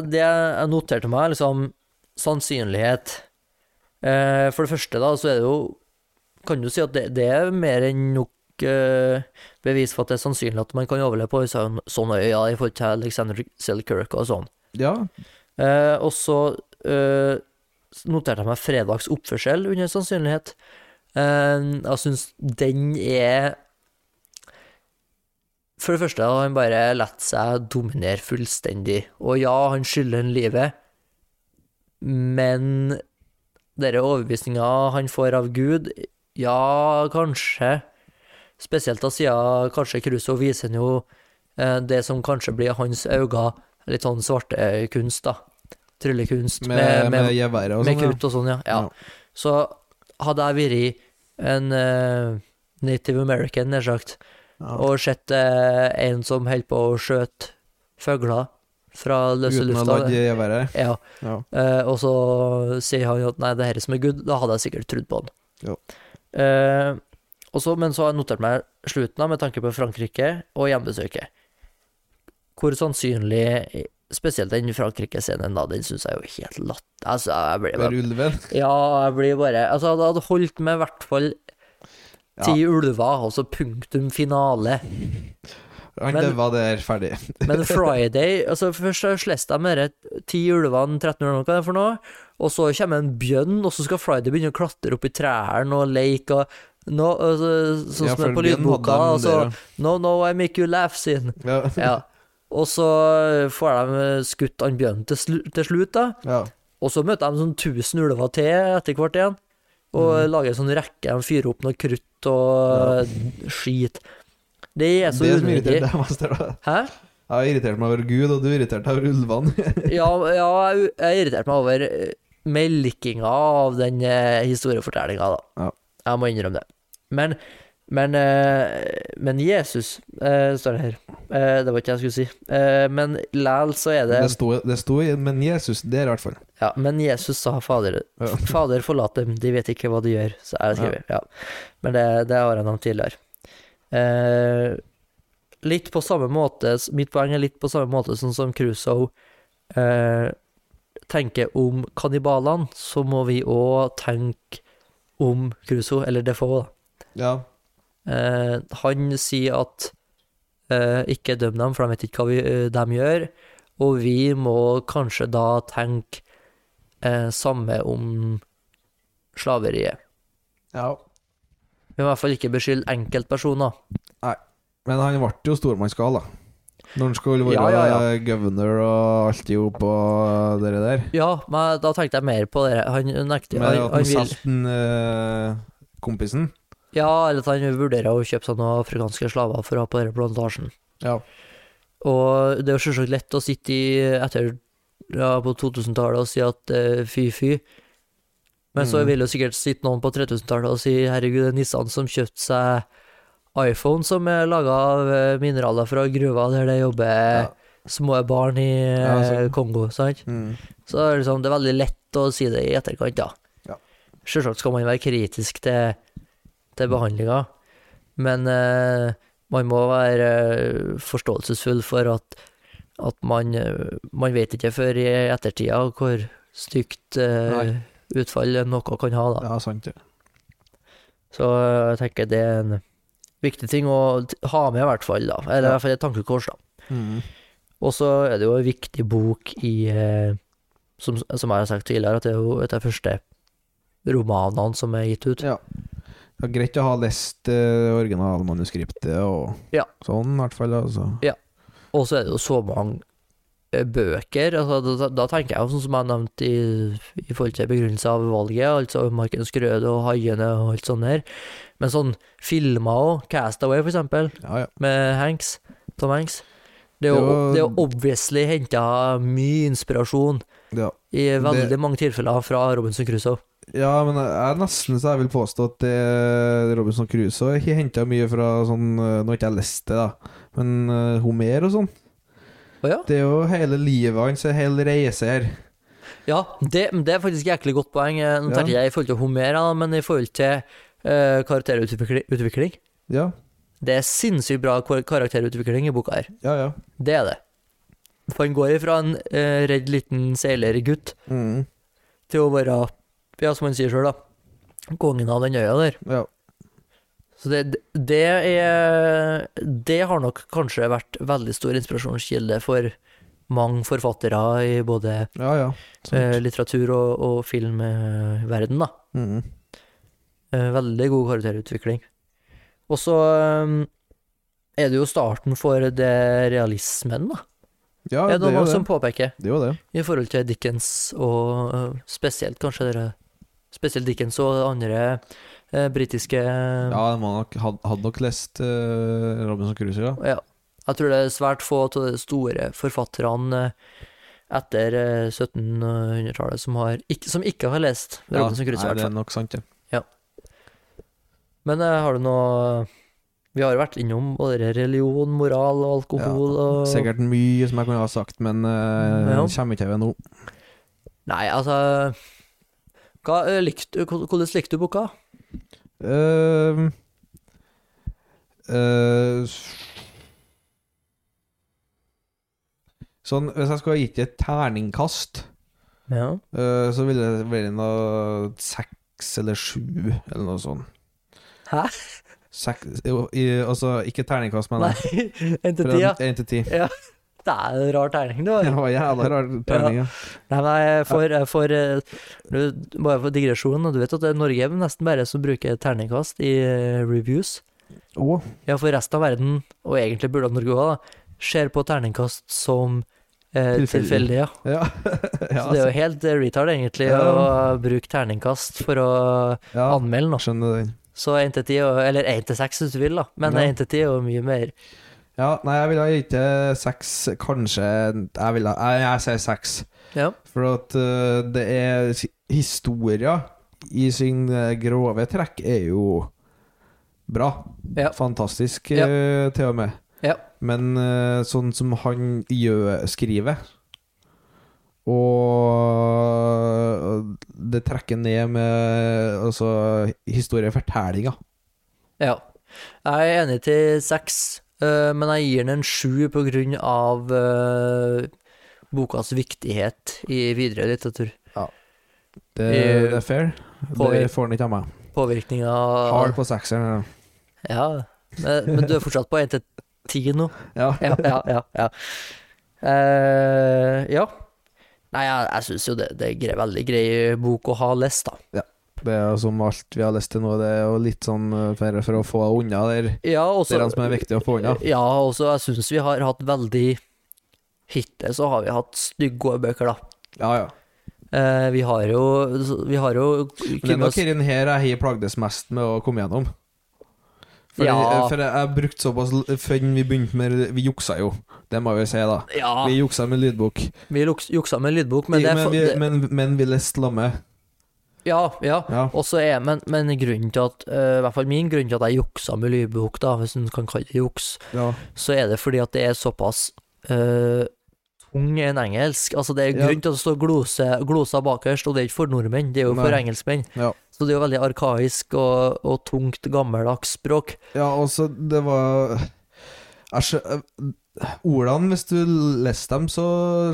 Speaker 2: det jeg noterte meg, er liksom sannsynlighet. Eh, for det første, da, så er det jo Kan du si at det, det er mer enn nok eh, bevis for at det er sannsynlig at man kan overleve på en sånn, sånn øya i forhold til Alexander Selkirk og sånn.
Speaker 1: Ja.
Speaker 2: Eh, og så eh, noterte jeg meg fredags oppførsel under sannsynlighet. Eh, jeg syns den er For det første har han bare latt seg dominere fullstendig. Og ja, han skylder han livet, men denne overbevisninga han får av Gud Ja, kanskje. Spesielt da siden kanskje Crusoe viser han jo eh, det som kanskje blir hans øyne Litt sånn svartekunst, da. Tryllekunst
Speaker 1: Med, med,
Speaker 2: med,
Speaker 1: geværet og
Speaker 2: med
Speaker 1: sånn.
Speaker 2: krutt og sånn, ja. ja.
Speaker 1: Ja.
Speaker 2: Så hadde jeg vært en eh, native american, nær sagt,
Speaker 1: Ja.
Speaker 2: og sett eh, en som holdt på å skjøte fugler fra løse
Speaker 1: Uten å
Speaker 2: lufta
Speaker 1: lade geværet.
Speaker 2: ja,
Speaker 1: Ja.
Speaker 2: eh, og så sier han jo at nei, det her er som er good, da hadde jeg sikkert trodd på han.
Speaker 1: Ja.
Speaker 2: Eh, og så- men så har jeg notert meg slutten da, med tanke på Frankrike og hjemmebesøket. Hvor sannsynlig Spesielt den Frankrike-scenen, da, den syns jeg er jo helt latt... Altså, jeg blir bare
Speaker 1: Bare ulven.
Speaker 2: ja, jeg blir bare Altså, det hadde holdt med i hvert fall ti ulver, altså punktum finale.
Speaker 1: Han
Speaker 2: Men-
Speaker 1: daua der ferdig.
Speaker 2: Men Friday altså Først så slåss de med de ti ulvene, 13 ulver, hva er det for noe? Og så kommer en bjønn, og så skal Friday begynne å klatre opp i trærne og leke og no, altså, Sånn
Speaker 1: Ja,
Speaker 2: som det er
Speaker 1: for
Speaker 2: på
Speaker 1: bjørnen
Speaker 2: lydboka. altså-
Speaker 1: hadde
Speaker 2: Og så
Speaker 1: den
Speaker 2: No, no, I make you laugh, sin.
Speaker 1: der, ja.
Speaker 2: Ja. Og så får de skutt han bjønnen til, slu, til slutt, da.
Speaker 1: Ja.
Speaker 2: Og så møter de sånn 1000 ulver til etter hvert igjen. Og lager en sånn rekke. De fyrer opp noe krutt og skit. Det er så
Speaker 1: det som
Speaker 2: unødvendig.
Speaker 1: irriterte deg mest, er da.
Speaker 2: Hæ?
Speaker 1: Jeg har irritert meg over Gud, og du irriterte deg over ulvene.
Speaker 2: Ja, ja jeg, jeg irriterte meg over eh, melkinga av den eh, historiefortellinga, da.
Speaker 1: Ja.
Speaker 2: Jeg må innrømme det. Men, men, eh, men Jesus, eh, står det her. Eh, det var ikke det jeg skulle si. Eh, men læl så er det
Speaker 1: Det sto, det sto i Men Jesus, det er i hvert fall.
Speaker 2: Ja, men Jesus sa Fader,
Speaker 1: Ja.
Speaker 2: Fader forlat dem, de vet ikke hva de gjør. Så er det skrevet. Ja. Men det, det har jeg nevnt tidligere. Eh, litt på samme måte Mitt poeng er litt på samme måte sånn som Crusoe eh, tenker om kannibalene, så må vi òg tenke om Crusoe, eller Defoe, da.
Speaker 1: Ja.
Speaker 2: Eh, han sier at eh, ikke døm dem, for de vet ikke hva vi, eh, de gjør. Og vi må kanskje da tenke eh, samme om slaveriet.
Speaker 1: ja.
Speaker 2: Vi må i hvert fall ikke beskylde enkeltpersoner.
Speaker 1: Men han ble jo stormannsgal, da. Når han skulle være
Speaker 2: Ja, ja, ja.
Speaker 1: eh, governor og alt i hop og det der.
Speaker 2: Ja, men da tenkte jeg mer på det. Han nekter
Speaker 1: Med at
Speaker 2: han, han
Speaker 1: han
Speaker 2: vil,
Speaker 1: solgte eh, kompisen.
Speaker 2: Ja, eller at han vurderer å kjøpe seg noen afrikanske slaver for å ha på denne plantasjen.
Speaker 1: Ja.
Speaker 2: Og det er jo selvsagt lett å sitte i etter ja, på 2000-tallet og si at eh, fy, fy. Men så
Speaker 1: Mm.
Speaker 2: vil jo sikkert sitte noen på 3000-tallet og si herregud, det er Nissan som kjøpte seg iPhone som er laga av eh, mineraler fra gruva der det jobber
Speaker 1: Ja.
Speaker 2: små barn i eh,
Speaker 1: Ja, altså.
Speaker 2: Kongo, sant?
Speaker 1: Mm.
Speaker 2: Så det er liksom, det er veldig lett å si det i etterkant, da.
Speaker 1: Ja.
Speaker 2: Selvsagt skal man være kritisk til, til behandlinga, men eh, man må være eh, forståelsesfull for at, at man, eh, man vet ikke før i ettertida hvor stygt eh,
Speaker 1: Nei.
Speaker 2: utfall noe kan ha, da.
Speaker 1: ja, sant det.
Speaker 2: Så eh, jeg tenker det er en viktig ting å t- ha med, i hvert fall. da. Eller i
Speaker 1: Ja.
Speaker 2: hvert fall et tankekors, da.
Speaker 1: Mm.
Speaker 2: Og så er det jo en viktig bok i eh, som, som jeg har sagt tidligere, at det er jo et av de første romanene som er gitt ut.
Speaker 1: Ja. Det er greit å ha lest eh, originalmanuskriptet og
Speaker 2: Ja.
Speaker 1: sånn, i hvert fall. Altså.
Speaker 2: Og så er det jo så mange eh, bøker. altså Da, da- da tenker jeg jo sånn som jeg nevnte i, i forhold til begrunnelse av valget, altså Marken Skrøde og Haiene og alt sånt her. Men sånn filmer òg, Castaway for eksempel,
Speaker 1: Ja, ja.
Speaker 2: med Hanks, Tom Hanks. Det er jo,
Speaker 1: Det
Speaker 2: det er
Speaker 1: var-
Speaker 2: jo obviously henta mye inspirasjon
Speaker 1: ja.
Speaker 2: i veldig
Speaker 1: Det-
Speaker 2: mange tilfeller fra Robinson Crusoe.
Speaker 1: Ja, men jeg er nesten så jeg vil påstå at det Robinson Crusoe har henta mye fra sånn eh, Nå har ikke jeg lest det, da, men eh, Homer og sånn.
Speaker 2: Å ja?
Speaker 1: Det er jo hele livet hans, en hel reise her.
Speaker 2: Ja, det, men det er faktisk et jæklig godt poeng. Eh, Nå
Speaker 1: Ja.
Speaker 2: tenker jeg i forhold til Homer, da, men i forhold til eh, karakterutvikling utvikling.
Speaker 1: Ja,
Speaker 2: Det er sinnssykt bra kar- karakterutvikling i boka her.
Speaker 1: ja, ja.
Speaker 2: Det er det. For han går ifra en eh, redd liten seilergutt
Speaker 1: Mm,
Speaker 2: til å være, ja, som han sier sjøl, da, kongen av den øya der.
Speaker 1: ja.
Speaker 2: Så det, det er Det har nok kanskje vært veldig stor inspirasjonskilde for mange forfattere i både
Speaker 1: ja, ja.
Speaker 2: eh,
Speaker 1: Sant.
Speaker 2: litteratur og, og filmverden, da.
Speaker 1: Mm.
Speaker 2: Eh, Veldig god karakterutvikling. Og så eh, er det jo starten for det realismen, da.
Speaker 1: Ja,
Speaker 2: er
Speaker 1: det
Speaker 2: det
Speaker 1: er jo
Speaker 2: noen
Speaker 1: det.
Speaker 2: som påpeker,
Speaker 1: Det er jo det.
Speaker 2: i forhold til Dickens og eh, spesielt kanskje dere Spesielt Dickens og andre eh, britiske
Speaker 1: Ja, man nok, had, hadde nok lest eh, Robinson Crusoe, ja.
Speaker 2: Ja. Jeg tror det er svært få av de store forfatterne eh, etter eh, 1700-tallet som, har ikke- som ikke har lest Robinson
Speaker 1: nei,
Speaker 2: Crusoe. i hvert
Speaker 1: det
Speaker 2: fall.
Speaker 1: er nok sant, det.
Speaker 2: Men eh, har du noe Vi har jo vært innom både religion, moral og alkohol og
Speaker 1: Sikkert mye som jeg kunne ha sagt, men eh,
Speaker 2: Ja.
Speaker 1: kommer ikke over nå.
Speaker 2: Nei, altså hva, eh, likte, Hvordan likte du boka?
Speaker 1: Eh, eh, sånn, hvis jeg skulle ha gitt det et terningkast,
Speaker 2: Ja.
Speaker 1: eh, så ville det vært noe seks eller sju, eller noe sånt.
Speaker 2: Hæ?
Speaker 1: Seks, jo, i, altså, ikke terningkast, men
Speaker 2: Nei, en til ti, ja.
Speaker 1: en til ti.
Speaker 2: Det er en rar terning, du
Speaker 1: Det
Speaker 2: har.
Speaker 1: var jævla rar terning, ja.
Speaker 2: Nei, men jeg får, jeg får eh, du- Bare for digresjonen, du vet at det er Norge er nesten bare som bruker terningkast i eh, reviews.
Speaker 1: Å,
Speaker 2: Ja, for resten av verden, og egentlig burde Norge òg, da, ser på terningkast som eh,
Speaker 1: Tilfeldig.
Speaker 2: tilfeldig. Ja.
Speaker 1: ja. altså, ja,
Speaker 2: Så det er jo helt eh, retard, egentlig,
Speaker 1: Ja.
Speaker 2: å bruke terningkast for å
Speaker 1: ja,
Speaker 2: anmelde noe.
Speaker 1: skjønner den.
Speaker 2: Så 1 til 10, og- eller 1 til 6 hvis du vil, da, men
Speaker 1: Ja.
Speaker 2: 1 til 10 er jo mye mer.
Speaker 1: Ja, nei, jeg ville ha gitt det seks, kanskje Jeg, ville, jeg, jeg sier seks.
Speaker 2: Ja.
Speaker 1: For at eh, det er si- Historia i sin eh, grove trekk er jo bra.
Speaker 2: Ja.
Speaker 1: Fantastisk,
Speaker 2: Ja.
Speaker 1: eh, til og med.
Speaker 2: Ja.
Speaker 1: Men eh, sånn som han gjør, skriver Og det trekker ned med altså, historiefortellinga.
Speaker 2: ja. Jeg er enig til 6, eh, men jeg gir den en 7 på grunn av eh, bokas viktighet i videre litteratur.
Speaker 1: Det,
Speaker 2: Eh,
Speaker 1: det er fair.
Speaker 2: påvir-
Speaker 1: Det får han ikke av meg.
Speaker 2: Påvirkninga
Speaker 1: Hard på sekseren.
Speaker 2: Ja, men, men du er fortsatt på 1 til 10 nå?
Speaker 1: Ja. Ja.
Speaker 2: ja, ja, ja. ja. Eh, ja. Nei, jeg, jeg syns jo det, det er grei, veldig grei bok å ha lest, da.
Speaker 1: Det er jo som alt vi har lest til nå, det er jo litt sånn eh, for, for å få unna der.
Speaker 2: Ja, også,
Speaker 1: Det er han som er viktig å få unna.
Speaker 2: Ja, også jeg syns vi har hatt veldig Hittil så har vi hatt stygge gode bøker, da.
Speaker 1: Ja, ja.
Speaker 2: Eh, vi har jo Vi har jo
Speaker 1: Men det er nok denne her jeg har plagdes mest med å komme gjennom. For,
Speaker 2: Ja.
Speaker 1: for jeg, jeg brukte såpass l- før vi begynte med Vi juksa jo, det må vi si, da.
Speaker 2: Ja,
Speaker 1: Vi juksa med lydbok.
Speaker 2: vi luks- juksa med lydbok, men
Speaker 1: Men,
Speaker 2: det er
Speaker 1: men,
Speaker 2: for-
Speaker 1: vi,
Speaker 2: det-
Speaker 1: men, men vi leste lamme.
Speaker 2: Ja, ja.
Speaker 1: Ja.
Speaker 2: Og så er men, men grunnen til at eh, I hvert fall min grunn til at jeg juksa med lydbok, da, hvis en kan kalle det juks,
Speaker 1: ja.
Speaker 2: så er det fordi at det er såpass eh, tung enn engelsk. Altså, det er
Speaker 1: Ja.
Speaker 2: grunn til at det står glose, glosa bakerst, og det er ikke for nordmenn, det er jo for
Speaker 1: Nei.
Speaker 2: engelskmenn.
Speaker 1: Ja.
Speaker 2: Så det er jo veldig arkaisk og, og tungt, gammeldags språk.
Speaker 1: Ja, altså, det var jeg skjø... eh, Ordene, hvis du leste dem, så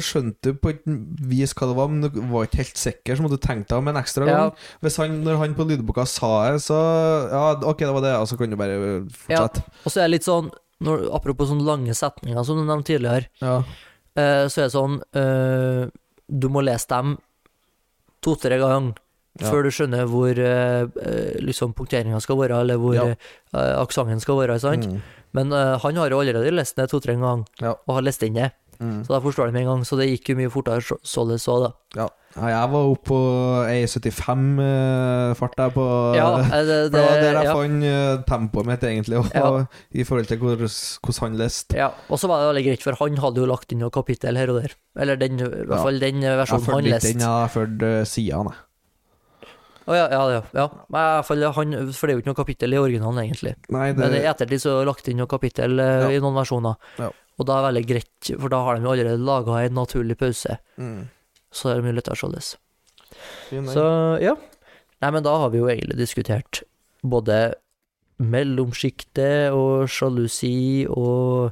Speaker 1: skjønte du på et vis hva det var, men du var ikke helt sikker, så måtte du tenke deg om en ekstra
Speaker 2: Ja.
Speaker 1: gang. Hvis han, når han på lydboka sa det, så Ja, ok, det var det, og så kan du bare fortsette.
Speaker 2: Og så er det litt sånn, når, apropos sånne lange setninger som du nevnte tidligere,
Speaker 1: Ja.
Speaker 2: eh, så er det sånn eh, Du må lese dem to-tre ganger
Speaker 1: Ja.
Speaker 2: før du skjønner hvor eh, eh, liksom punkteringa skal være, eller hvor
Speaker 1: Ja.
Speaker 2: eh, aksenten skal være. sant?
Speaker 1: Mm.
Speaker 2: Men eh, han har jo allerede lest det to-tre ganger,
Speaker 1: Ja.
Speaker 2: og har lest inn det.
Speaker 1: Mm.
Speaker 2: Så da forstår de med en gang, så det gikk jo mye fortere så- således òg, da.
Speaker 1: Ja, jeg var oppe på E75-fart der på
Speaker 2: Ja, eh, det,
Speaker 1: For det var der jeg
Speaker 2: ja.
Speaker 1: fant eh, tempoet mitt, egentlig, og,
Speaker 2: Ja.
Speaker 1: i forhold til hvordan hvordan han leste.
Speaker 2: Ja, og så var det veldig greit, for han hadde jo lagt inn noen kapittel her og der. Eller den, i hvert
Speaker 1: Ja.
Speaker 2: fall den eh,
Speaker 1: Jeg
Speaker 2: versjonen han
Speaker 1: fulgte litt
Speaker 2: leste.
Speaker 1: den, ja, jeg fulgte eh, sidene, jeg.
Speaker 2: Å, ja, ja, ja, ja. Men i hvert fall han, for det er jo ikke noe kapittel i originalen, egentlig.
Speaker 1: Nei,
Speaker 2: Men i ettertid så er det lagt inn noen kapittel eh,
Speaker 1: Ja.
Speaker 2: i noen versjoner.
Speaker 1: Ja.
Speaker 2: Og da er det veldig greit, for da har de jo allerede laga en naturlig pause.
Speaker 1: mm.
Speaker 2: Så er det mye lettere således.
Speaker 1: Fin, den.
Speaker 2: Så ja. Nei, men da har vi jo egentlig diskutert både mellomsjiktet og sjalusi og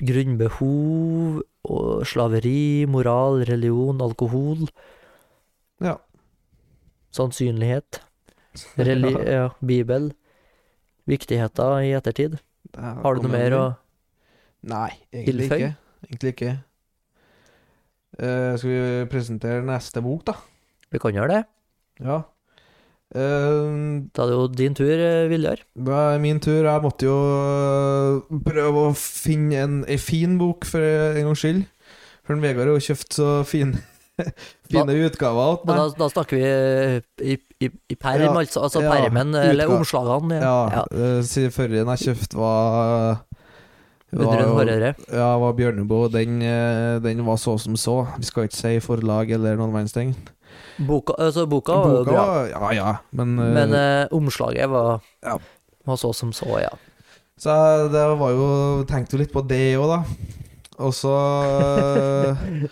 Speaker 2: grunnbehov og slaveri, moral, religion, alkohol,
Speaker 1: Ja.
Speaker 2: sannsynlighet, reli ja, bibel, viktigheter i ettertid. eh, Har du noe mer å
Speaker 1: Nei, egentlig
Speaker 2: tilføye?
Speaker 1: ikke. Egentlig ikke. Eh, skal vi presentere neste bok, da?
Speaker 2: Vi kan gjøre det.
Speaker 1: Ja. Eh,
Speaker 2: Da er det jo din tur, eh, Viljar.
Speaker 1: da er min tur. Jeg måtte jo eh, prøve å finne en, ei fin bok, for en gangs skyld. For den Vegard har jo kjøpt så fine, fine utgaver til
Speaker 2: Men
Speaker 1: meg.
Speaker 2: da, da snakker vi eh, i, i, i perm,
Speaker 1: Ja,
Speaker 2: altså. Altså
Speaker 1: ja,
Speaker 2: permen, eller
Speaker 1: utga-
Speaker 2: omslagene.
Speaker 1: Ja,
Speaker 2: ja.
Speaker 1: eh, siden forrige den jeg kjøpte var Det var
Speaker 2: Under en
Speaker 1: jo-
Speaker 2: hårøre.
Speaker 1: Ja, det var Bjørneboe. Den, eh, den var så som så. Vi skal ikke si forlag eller noen verdens ting.
Speaker 2: Boka, altså, boka var jo
Speaker 1: Boka
Speaker 2: bra,
Speaker 1: var- Ja, ja. Men, eh,
Speaker 2: men eh, omslaget var,
Speaker 1: Ja.
Speaker 2: var så som så, ja.
Speaker 1: Så jeg- det var jo Tenkte jo litt på det òg, da. Og så eh,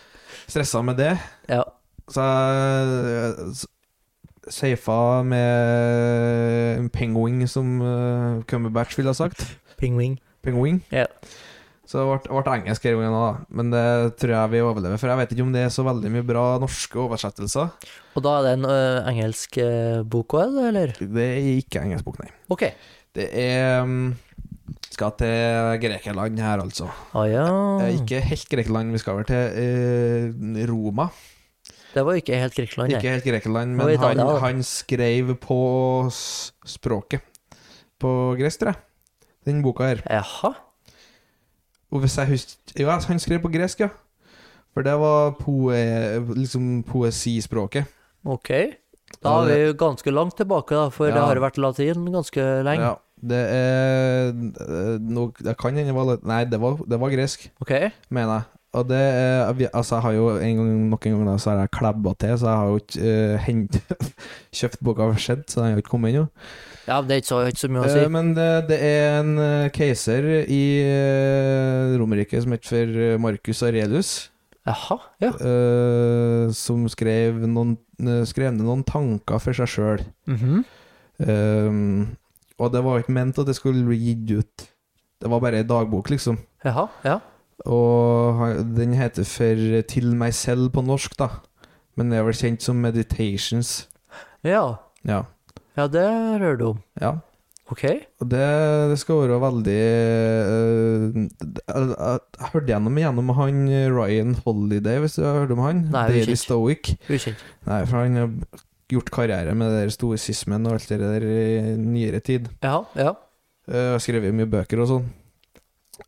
Speaker 1: stressa med det.
Speaker 2: ja.
Speaker 1: Så jeg eh, s- safa med en penguin, som eh, Cumberbatch ville ha sagt.
Speaker 2: Pingving.
Speaker 1: Penguin.
Speaker 2: Ja.
Speaker 1: Så det ble, ble engelsk her gangen òg, men det tror jeg vi overlever. For jeg vet ikke om det er så veldig mye bra norske oversettelser.
Speaker 2: Og da er det en eh, engelsk eh, bok òg, eller?
Speaker 1: Det er ikke engelsk bok, nei.
Speaker 2: OK.
Speaker 1: Det er um, Skal til Grekeland her, altså.
Speaker 2: Å Ah, ja.
Speaker 1: Eh, Ikke helt Grekeland, vi skal vel til eh, Roma.
Speaker 2: Det var ikke helt Griegland, nei.
Speaker 1: Ikke helt Grekeland,
Speaker 2: Og
Speaker 1: men
Speaker 2: Italia,
Speaker 1: han,
Speaker 2: da.
Speaker 1: han skrev på s- språket. På gresk, tror jeg. Den boka her.
Speaker 2: Jaha.
Speaker 1: Og hvis jeg husker Jo, han skrev på gresk, ja. For det var poe, liksom poesispråket.
Speaker 2: OK. Da er vi jo ganske langt tilbake, da, for det
Speaker 1: Ja.
Speaker 2: har jo vært latin ganske lenge.
Speaker 1: Ja, det er eh, nå- Det kan hende det var litt- Nei, det var, det var gresk,
Speaker 2: OK?
Speaker 1: mener jeg. Og det er vi- Altså, jeg har jo en gang nok en gang da, så har jeg klabba til, så jeg har jo ikke eh, hent, kjøpt boka for sent, så den har jo ikke kommet ennå.
Speaker 2: Ja, det er ikke så, ikke så mye å si.
Speaker 1: Eh, men det, det er en eh, keiser i eh, Romerriket som heter for eh, Marcus Aurelius,
Speaker 2: Jaha. Ja.
Speaker 1: eh, som skrev, noen, eh, skrev ned noen tanker for seg sjøl.
Speaker 2: Mhm.
Speaker 1: Ehm, og det var ikke ment at det skulle bli gitt ut. Det var bare ei dagbok, liksom.
Speaker 2: Jaha. Ja.
Speaker 1: Og han- den heter for eh, 'Til meg selv' på norsk, da. Men det er vel kjent som 'Meditations'.
Speaker 2: ja.
Speaker 1: Ja.
Speaker 2: Ja, det hører du om.
Speaker 1: ja.
Speaker 2: OK?
Speaker 1: Og det, det skal være veldig eh, det- Jeg jeg- jeg hørte gjennom gjennom han eh, Ryan Holiday, hvis du har hørt om han?
Speaker 2: Nei, jeg vet
Speaker 1: Daily
Speaker 2: ikke.
Speaker 1: Stoic.
Speaker 2: Ukjent.
Speaker 1: Nei, for han har gjort karriere med det der stoisismen og alt det der i nyere tid.
Speaker 2: Ja. Ja.
Speaker 1: Eh, og skrevet mye bøker og sånn.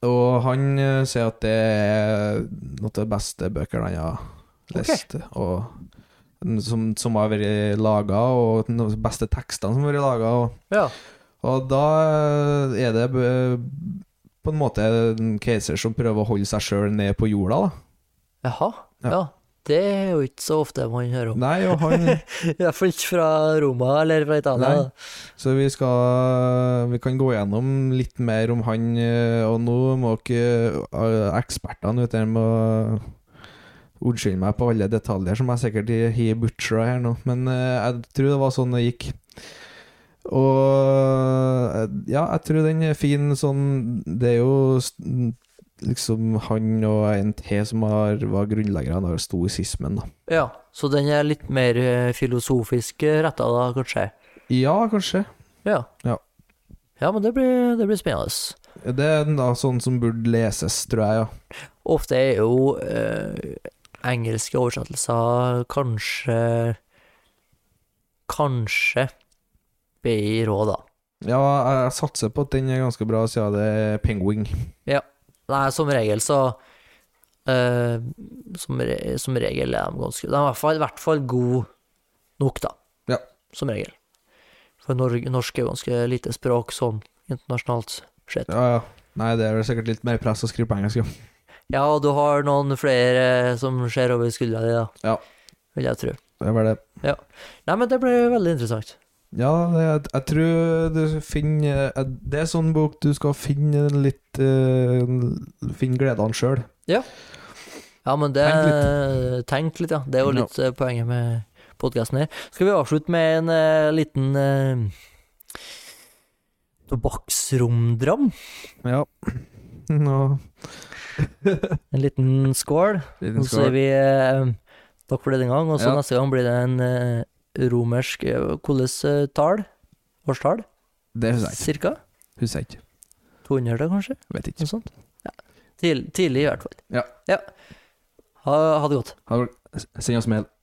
Speaker 1: Og han eh, sier at det er noe av det beste bøkene han har
Speaker 2: Ok.
Speaker 1: lest. Og, som, som har vært laga, og noen av de beste tekstene som har vært laga. Og,
Speaker 2: ja.
Speaker 1: og da er det eh, på en måte en keiser som prøver å holde seg sjøl ned på jorda, da.
Speaker 2: Jaha.
Speaker 1: Ja.
Speaker 2: Ja. Det er jo ikke så ofte man hører om.
Speaker 1: Nei, og han
Speaker 2: Iallfall ikke fra Roma eller fra Italia.
Speaker 1: Nei.
Speaker 2: da.
Speaker 1: Så vi skal Vi kan gå gjennom litt mer om han eh, Og nå må ikke eh, ekspertene ute her må Unnskylde meg på alle detaljer som jeg sikkert har butchera her nå, men eh, jeg tror det var sånn det gikk. Og eh, ja, jeg tror den er fin sånn Det er jo s- liksom han og en til som har, var grunnleggerne av stoisismen, da.
Speaker 2: Ja, så den er litt mer eh, filosofisk eh, retta da, kanskje.
Speaker 1: Ja, kanskje.
Speaker 2: Ja.
Speaker 1: Ja.
Speaker 2: Ja, men det blir, det blir spennende.
Speaker 1: Det er da sånn som burde leses, tror jeg, ja.
Speaker 2: Ofte er jo eh, engelske oversettelser kanskje Kanskje bedre òg, da.
Speaker 1: Ja, jeg- jeg satser på at den er ganske bra, siden det er penguin.
Speaker 2: Nei, som regel så eh, som, re som regel er de ganske De er i hvert fall, i hvert fall gode nok, da.
Speaker 1: Ja.
Speaker 2: Som regel. For Nor norsk er jo ganske lite språk sånn internasjonalt sett.
Speaker 1: Ja, ja. Nei, det er vel sikkert litt mer press å skrive på engelsk, ja.
Speaker 2: Ja, og du har noen flere eh, som ser over skuldra di, da.
Speaker 1: Ja.
Speaker 2: Vil jeg tro.
Speaker 1: Det er vel det.
Speaker 2: Nei, men det ble veldig interessant.
Speaker 1: Ja, det, jeg, jeg tror du finner eh, Det er sånn bok du skal finne litt eh, Finne gledene sjøl.
Speaker 2: Ja, men det
Speaker 1: Tenk
Speaker 2: Tenk litt, ja. Det er jo
Speaker 1: Ja.
Speaker 2: litt eh, poenget med podkasten her. Skal vi avslutte med en eh, liten uh, tobakksrumdram?
Speaker 1: Ja. Nå
Speaker 2: En liten skål.
Speaker 1: liten
Speaker 2: Og så sier
Speaker 1: skål.
Speaker 2: vi eh, takk for denne gang. Og så
Speaker 1: Ja.
Speaker 2: neste gang blir det en eh, romersk eh, Hvordan eh, tall? Årstall?
Speaker 1: Det husker jeg ikke.
Speaker 2: Cirka?
Speaker 1: Husker jeg ikke.
Speaker 2: 200, kanskje?
Speaker 1: Vet ikke.
Speaker 2: Noe sånt. Ja. Tidlig, tidlig, i hvert fall.
Speaker 1: Ja.
Speaker 2: Ha, ha det godt.
Speaker 1: Ha det bra. Send oss mail.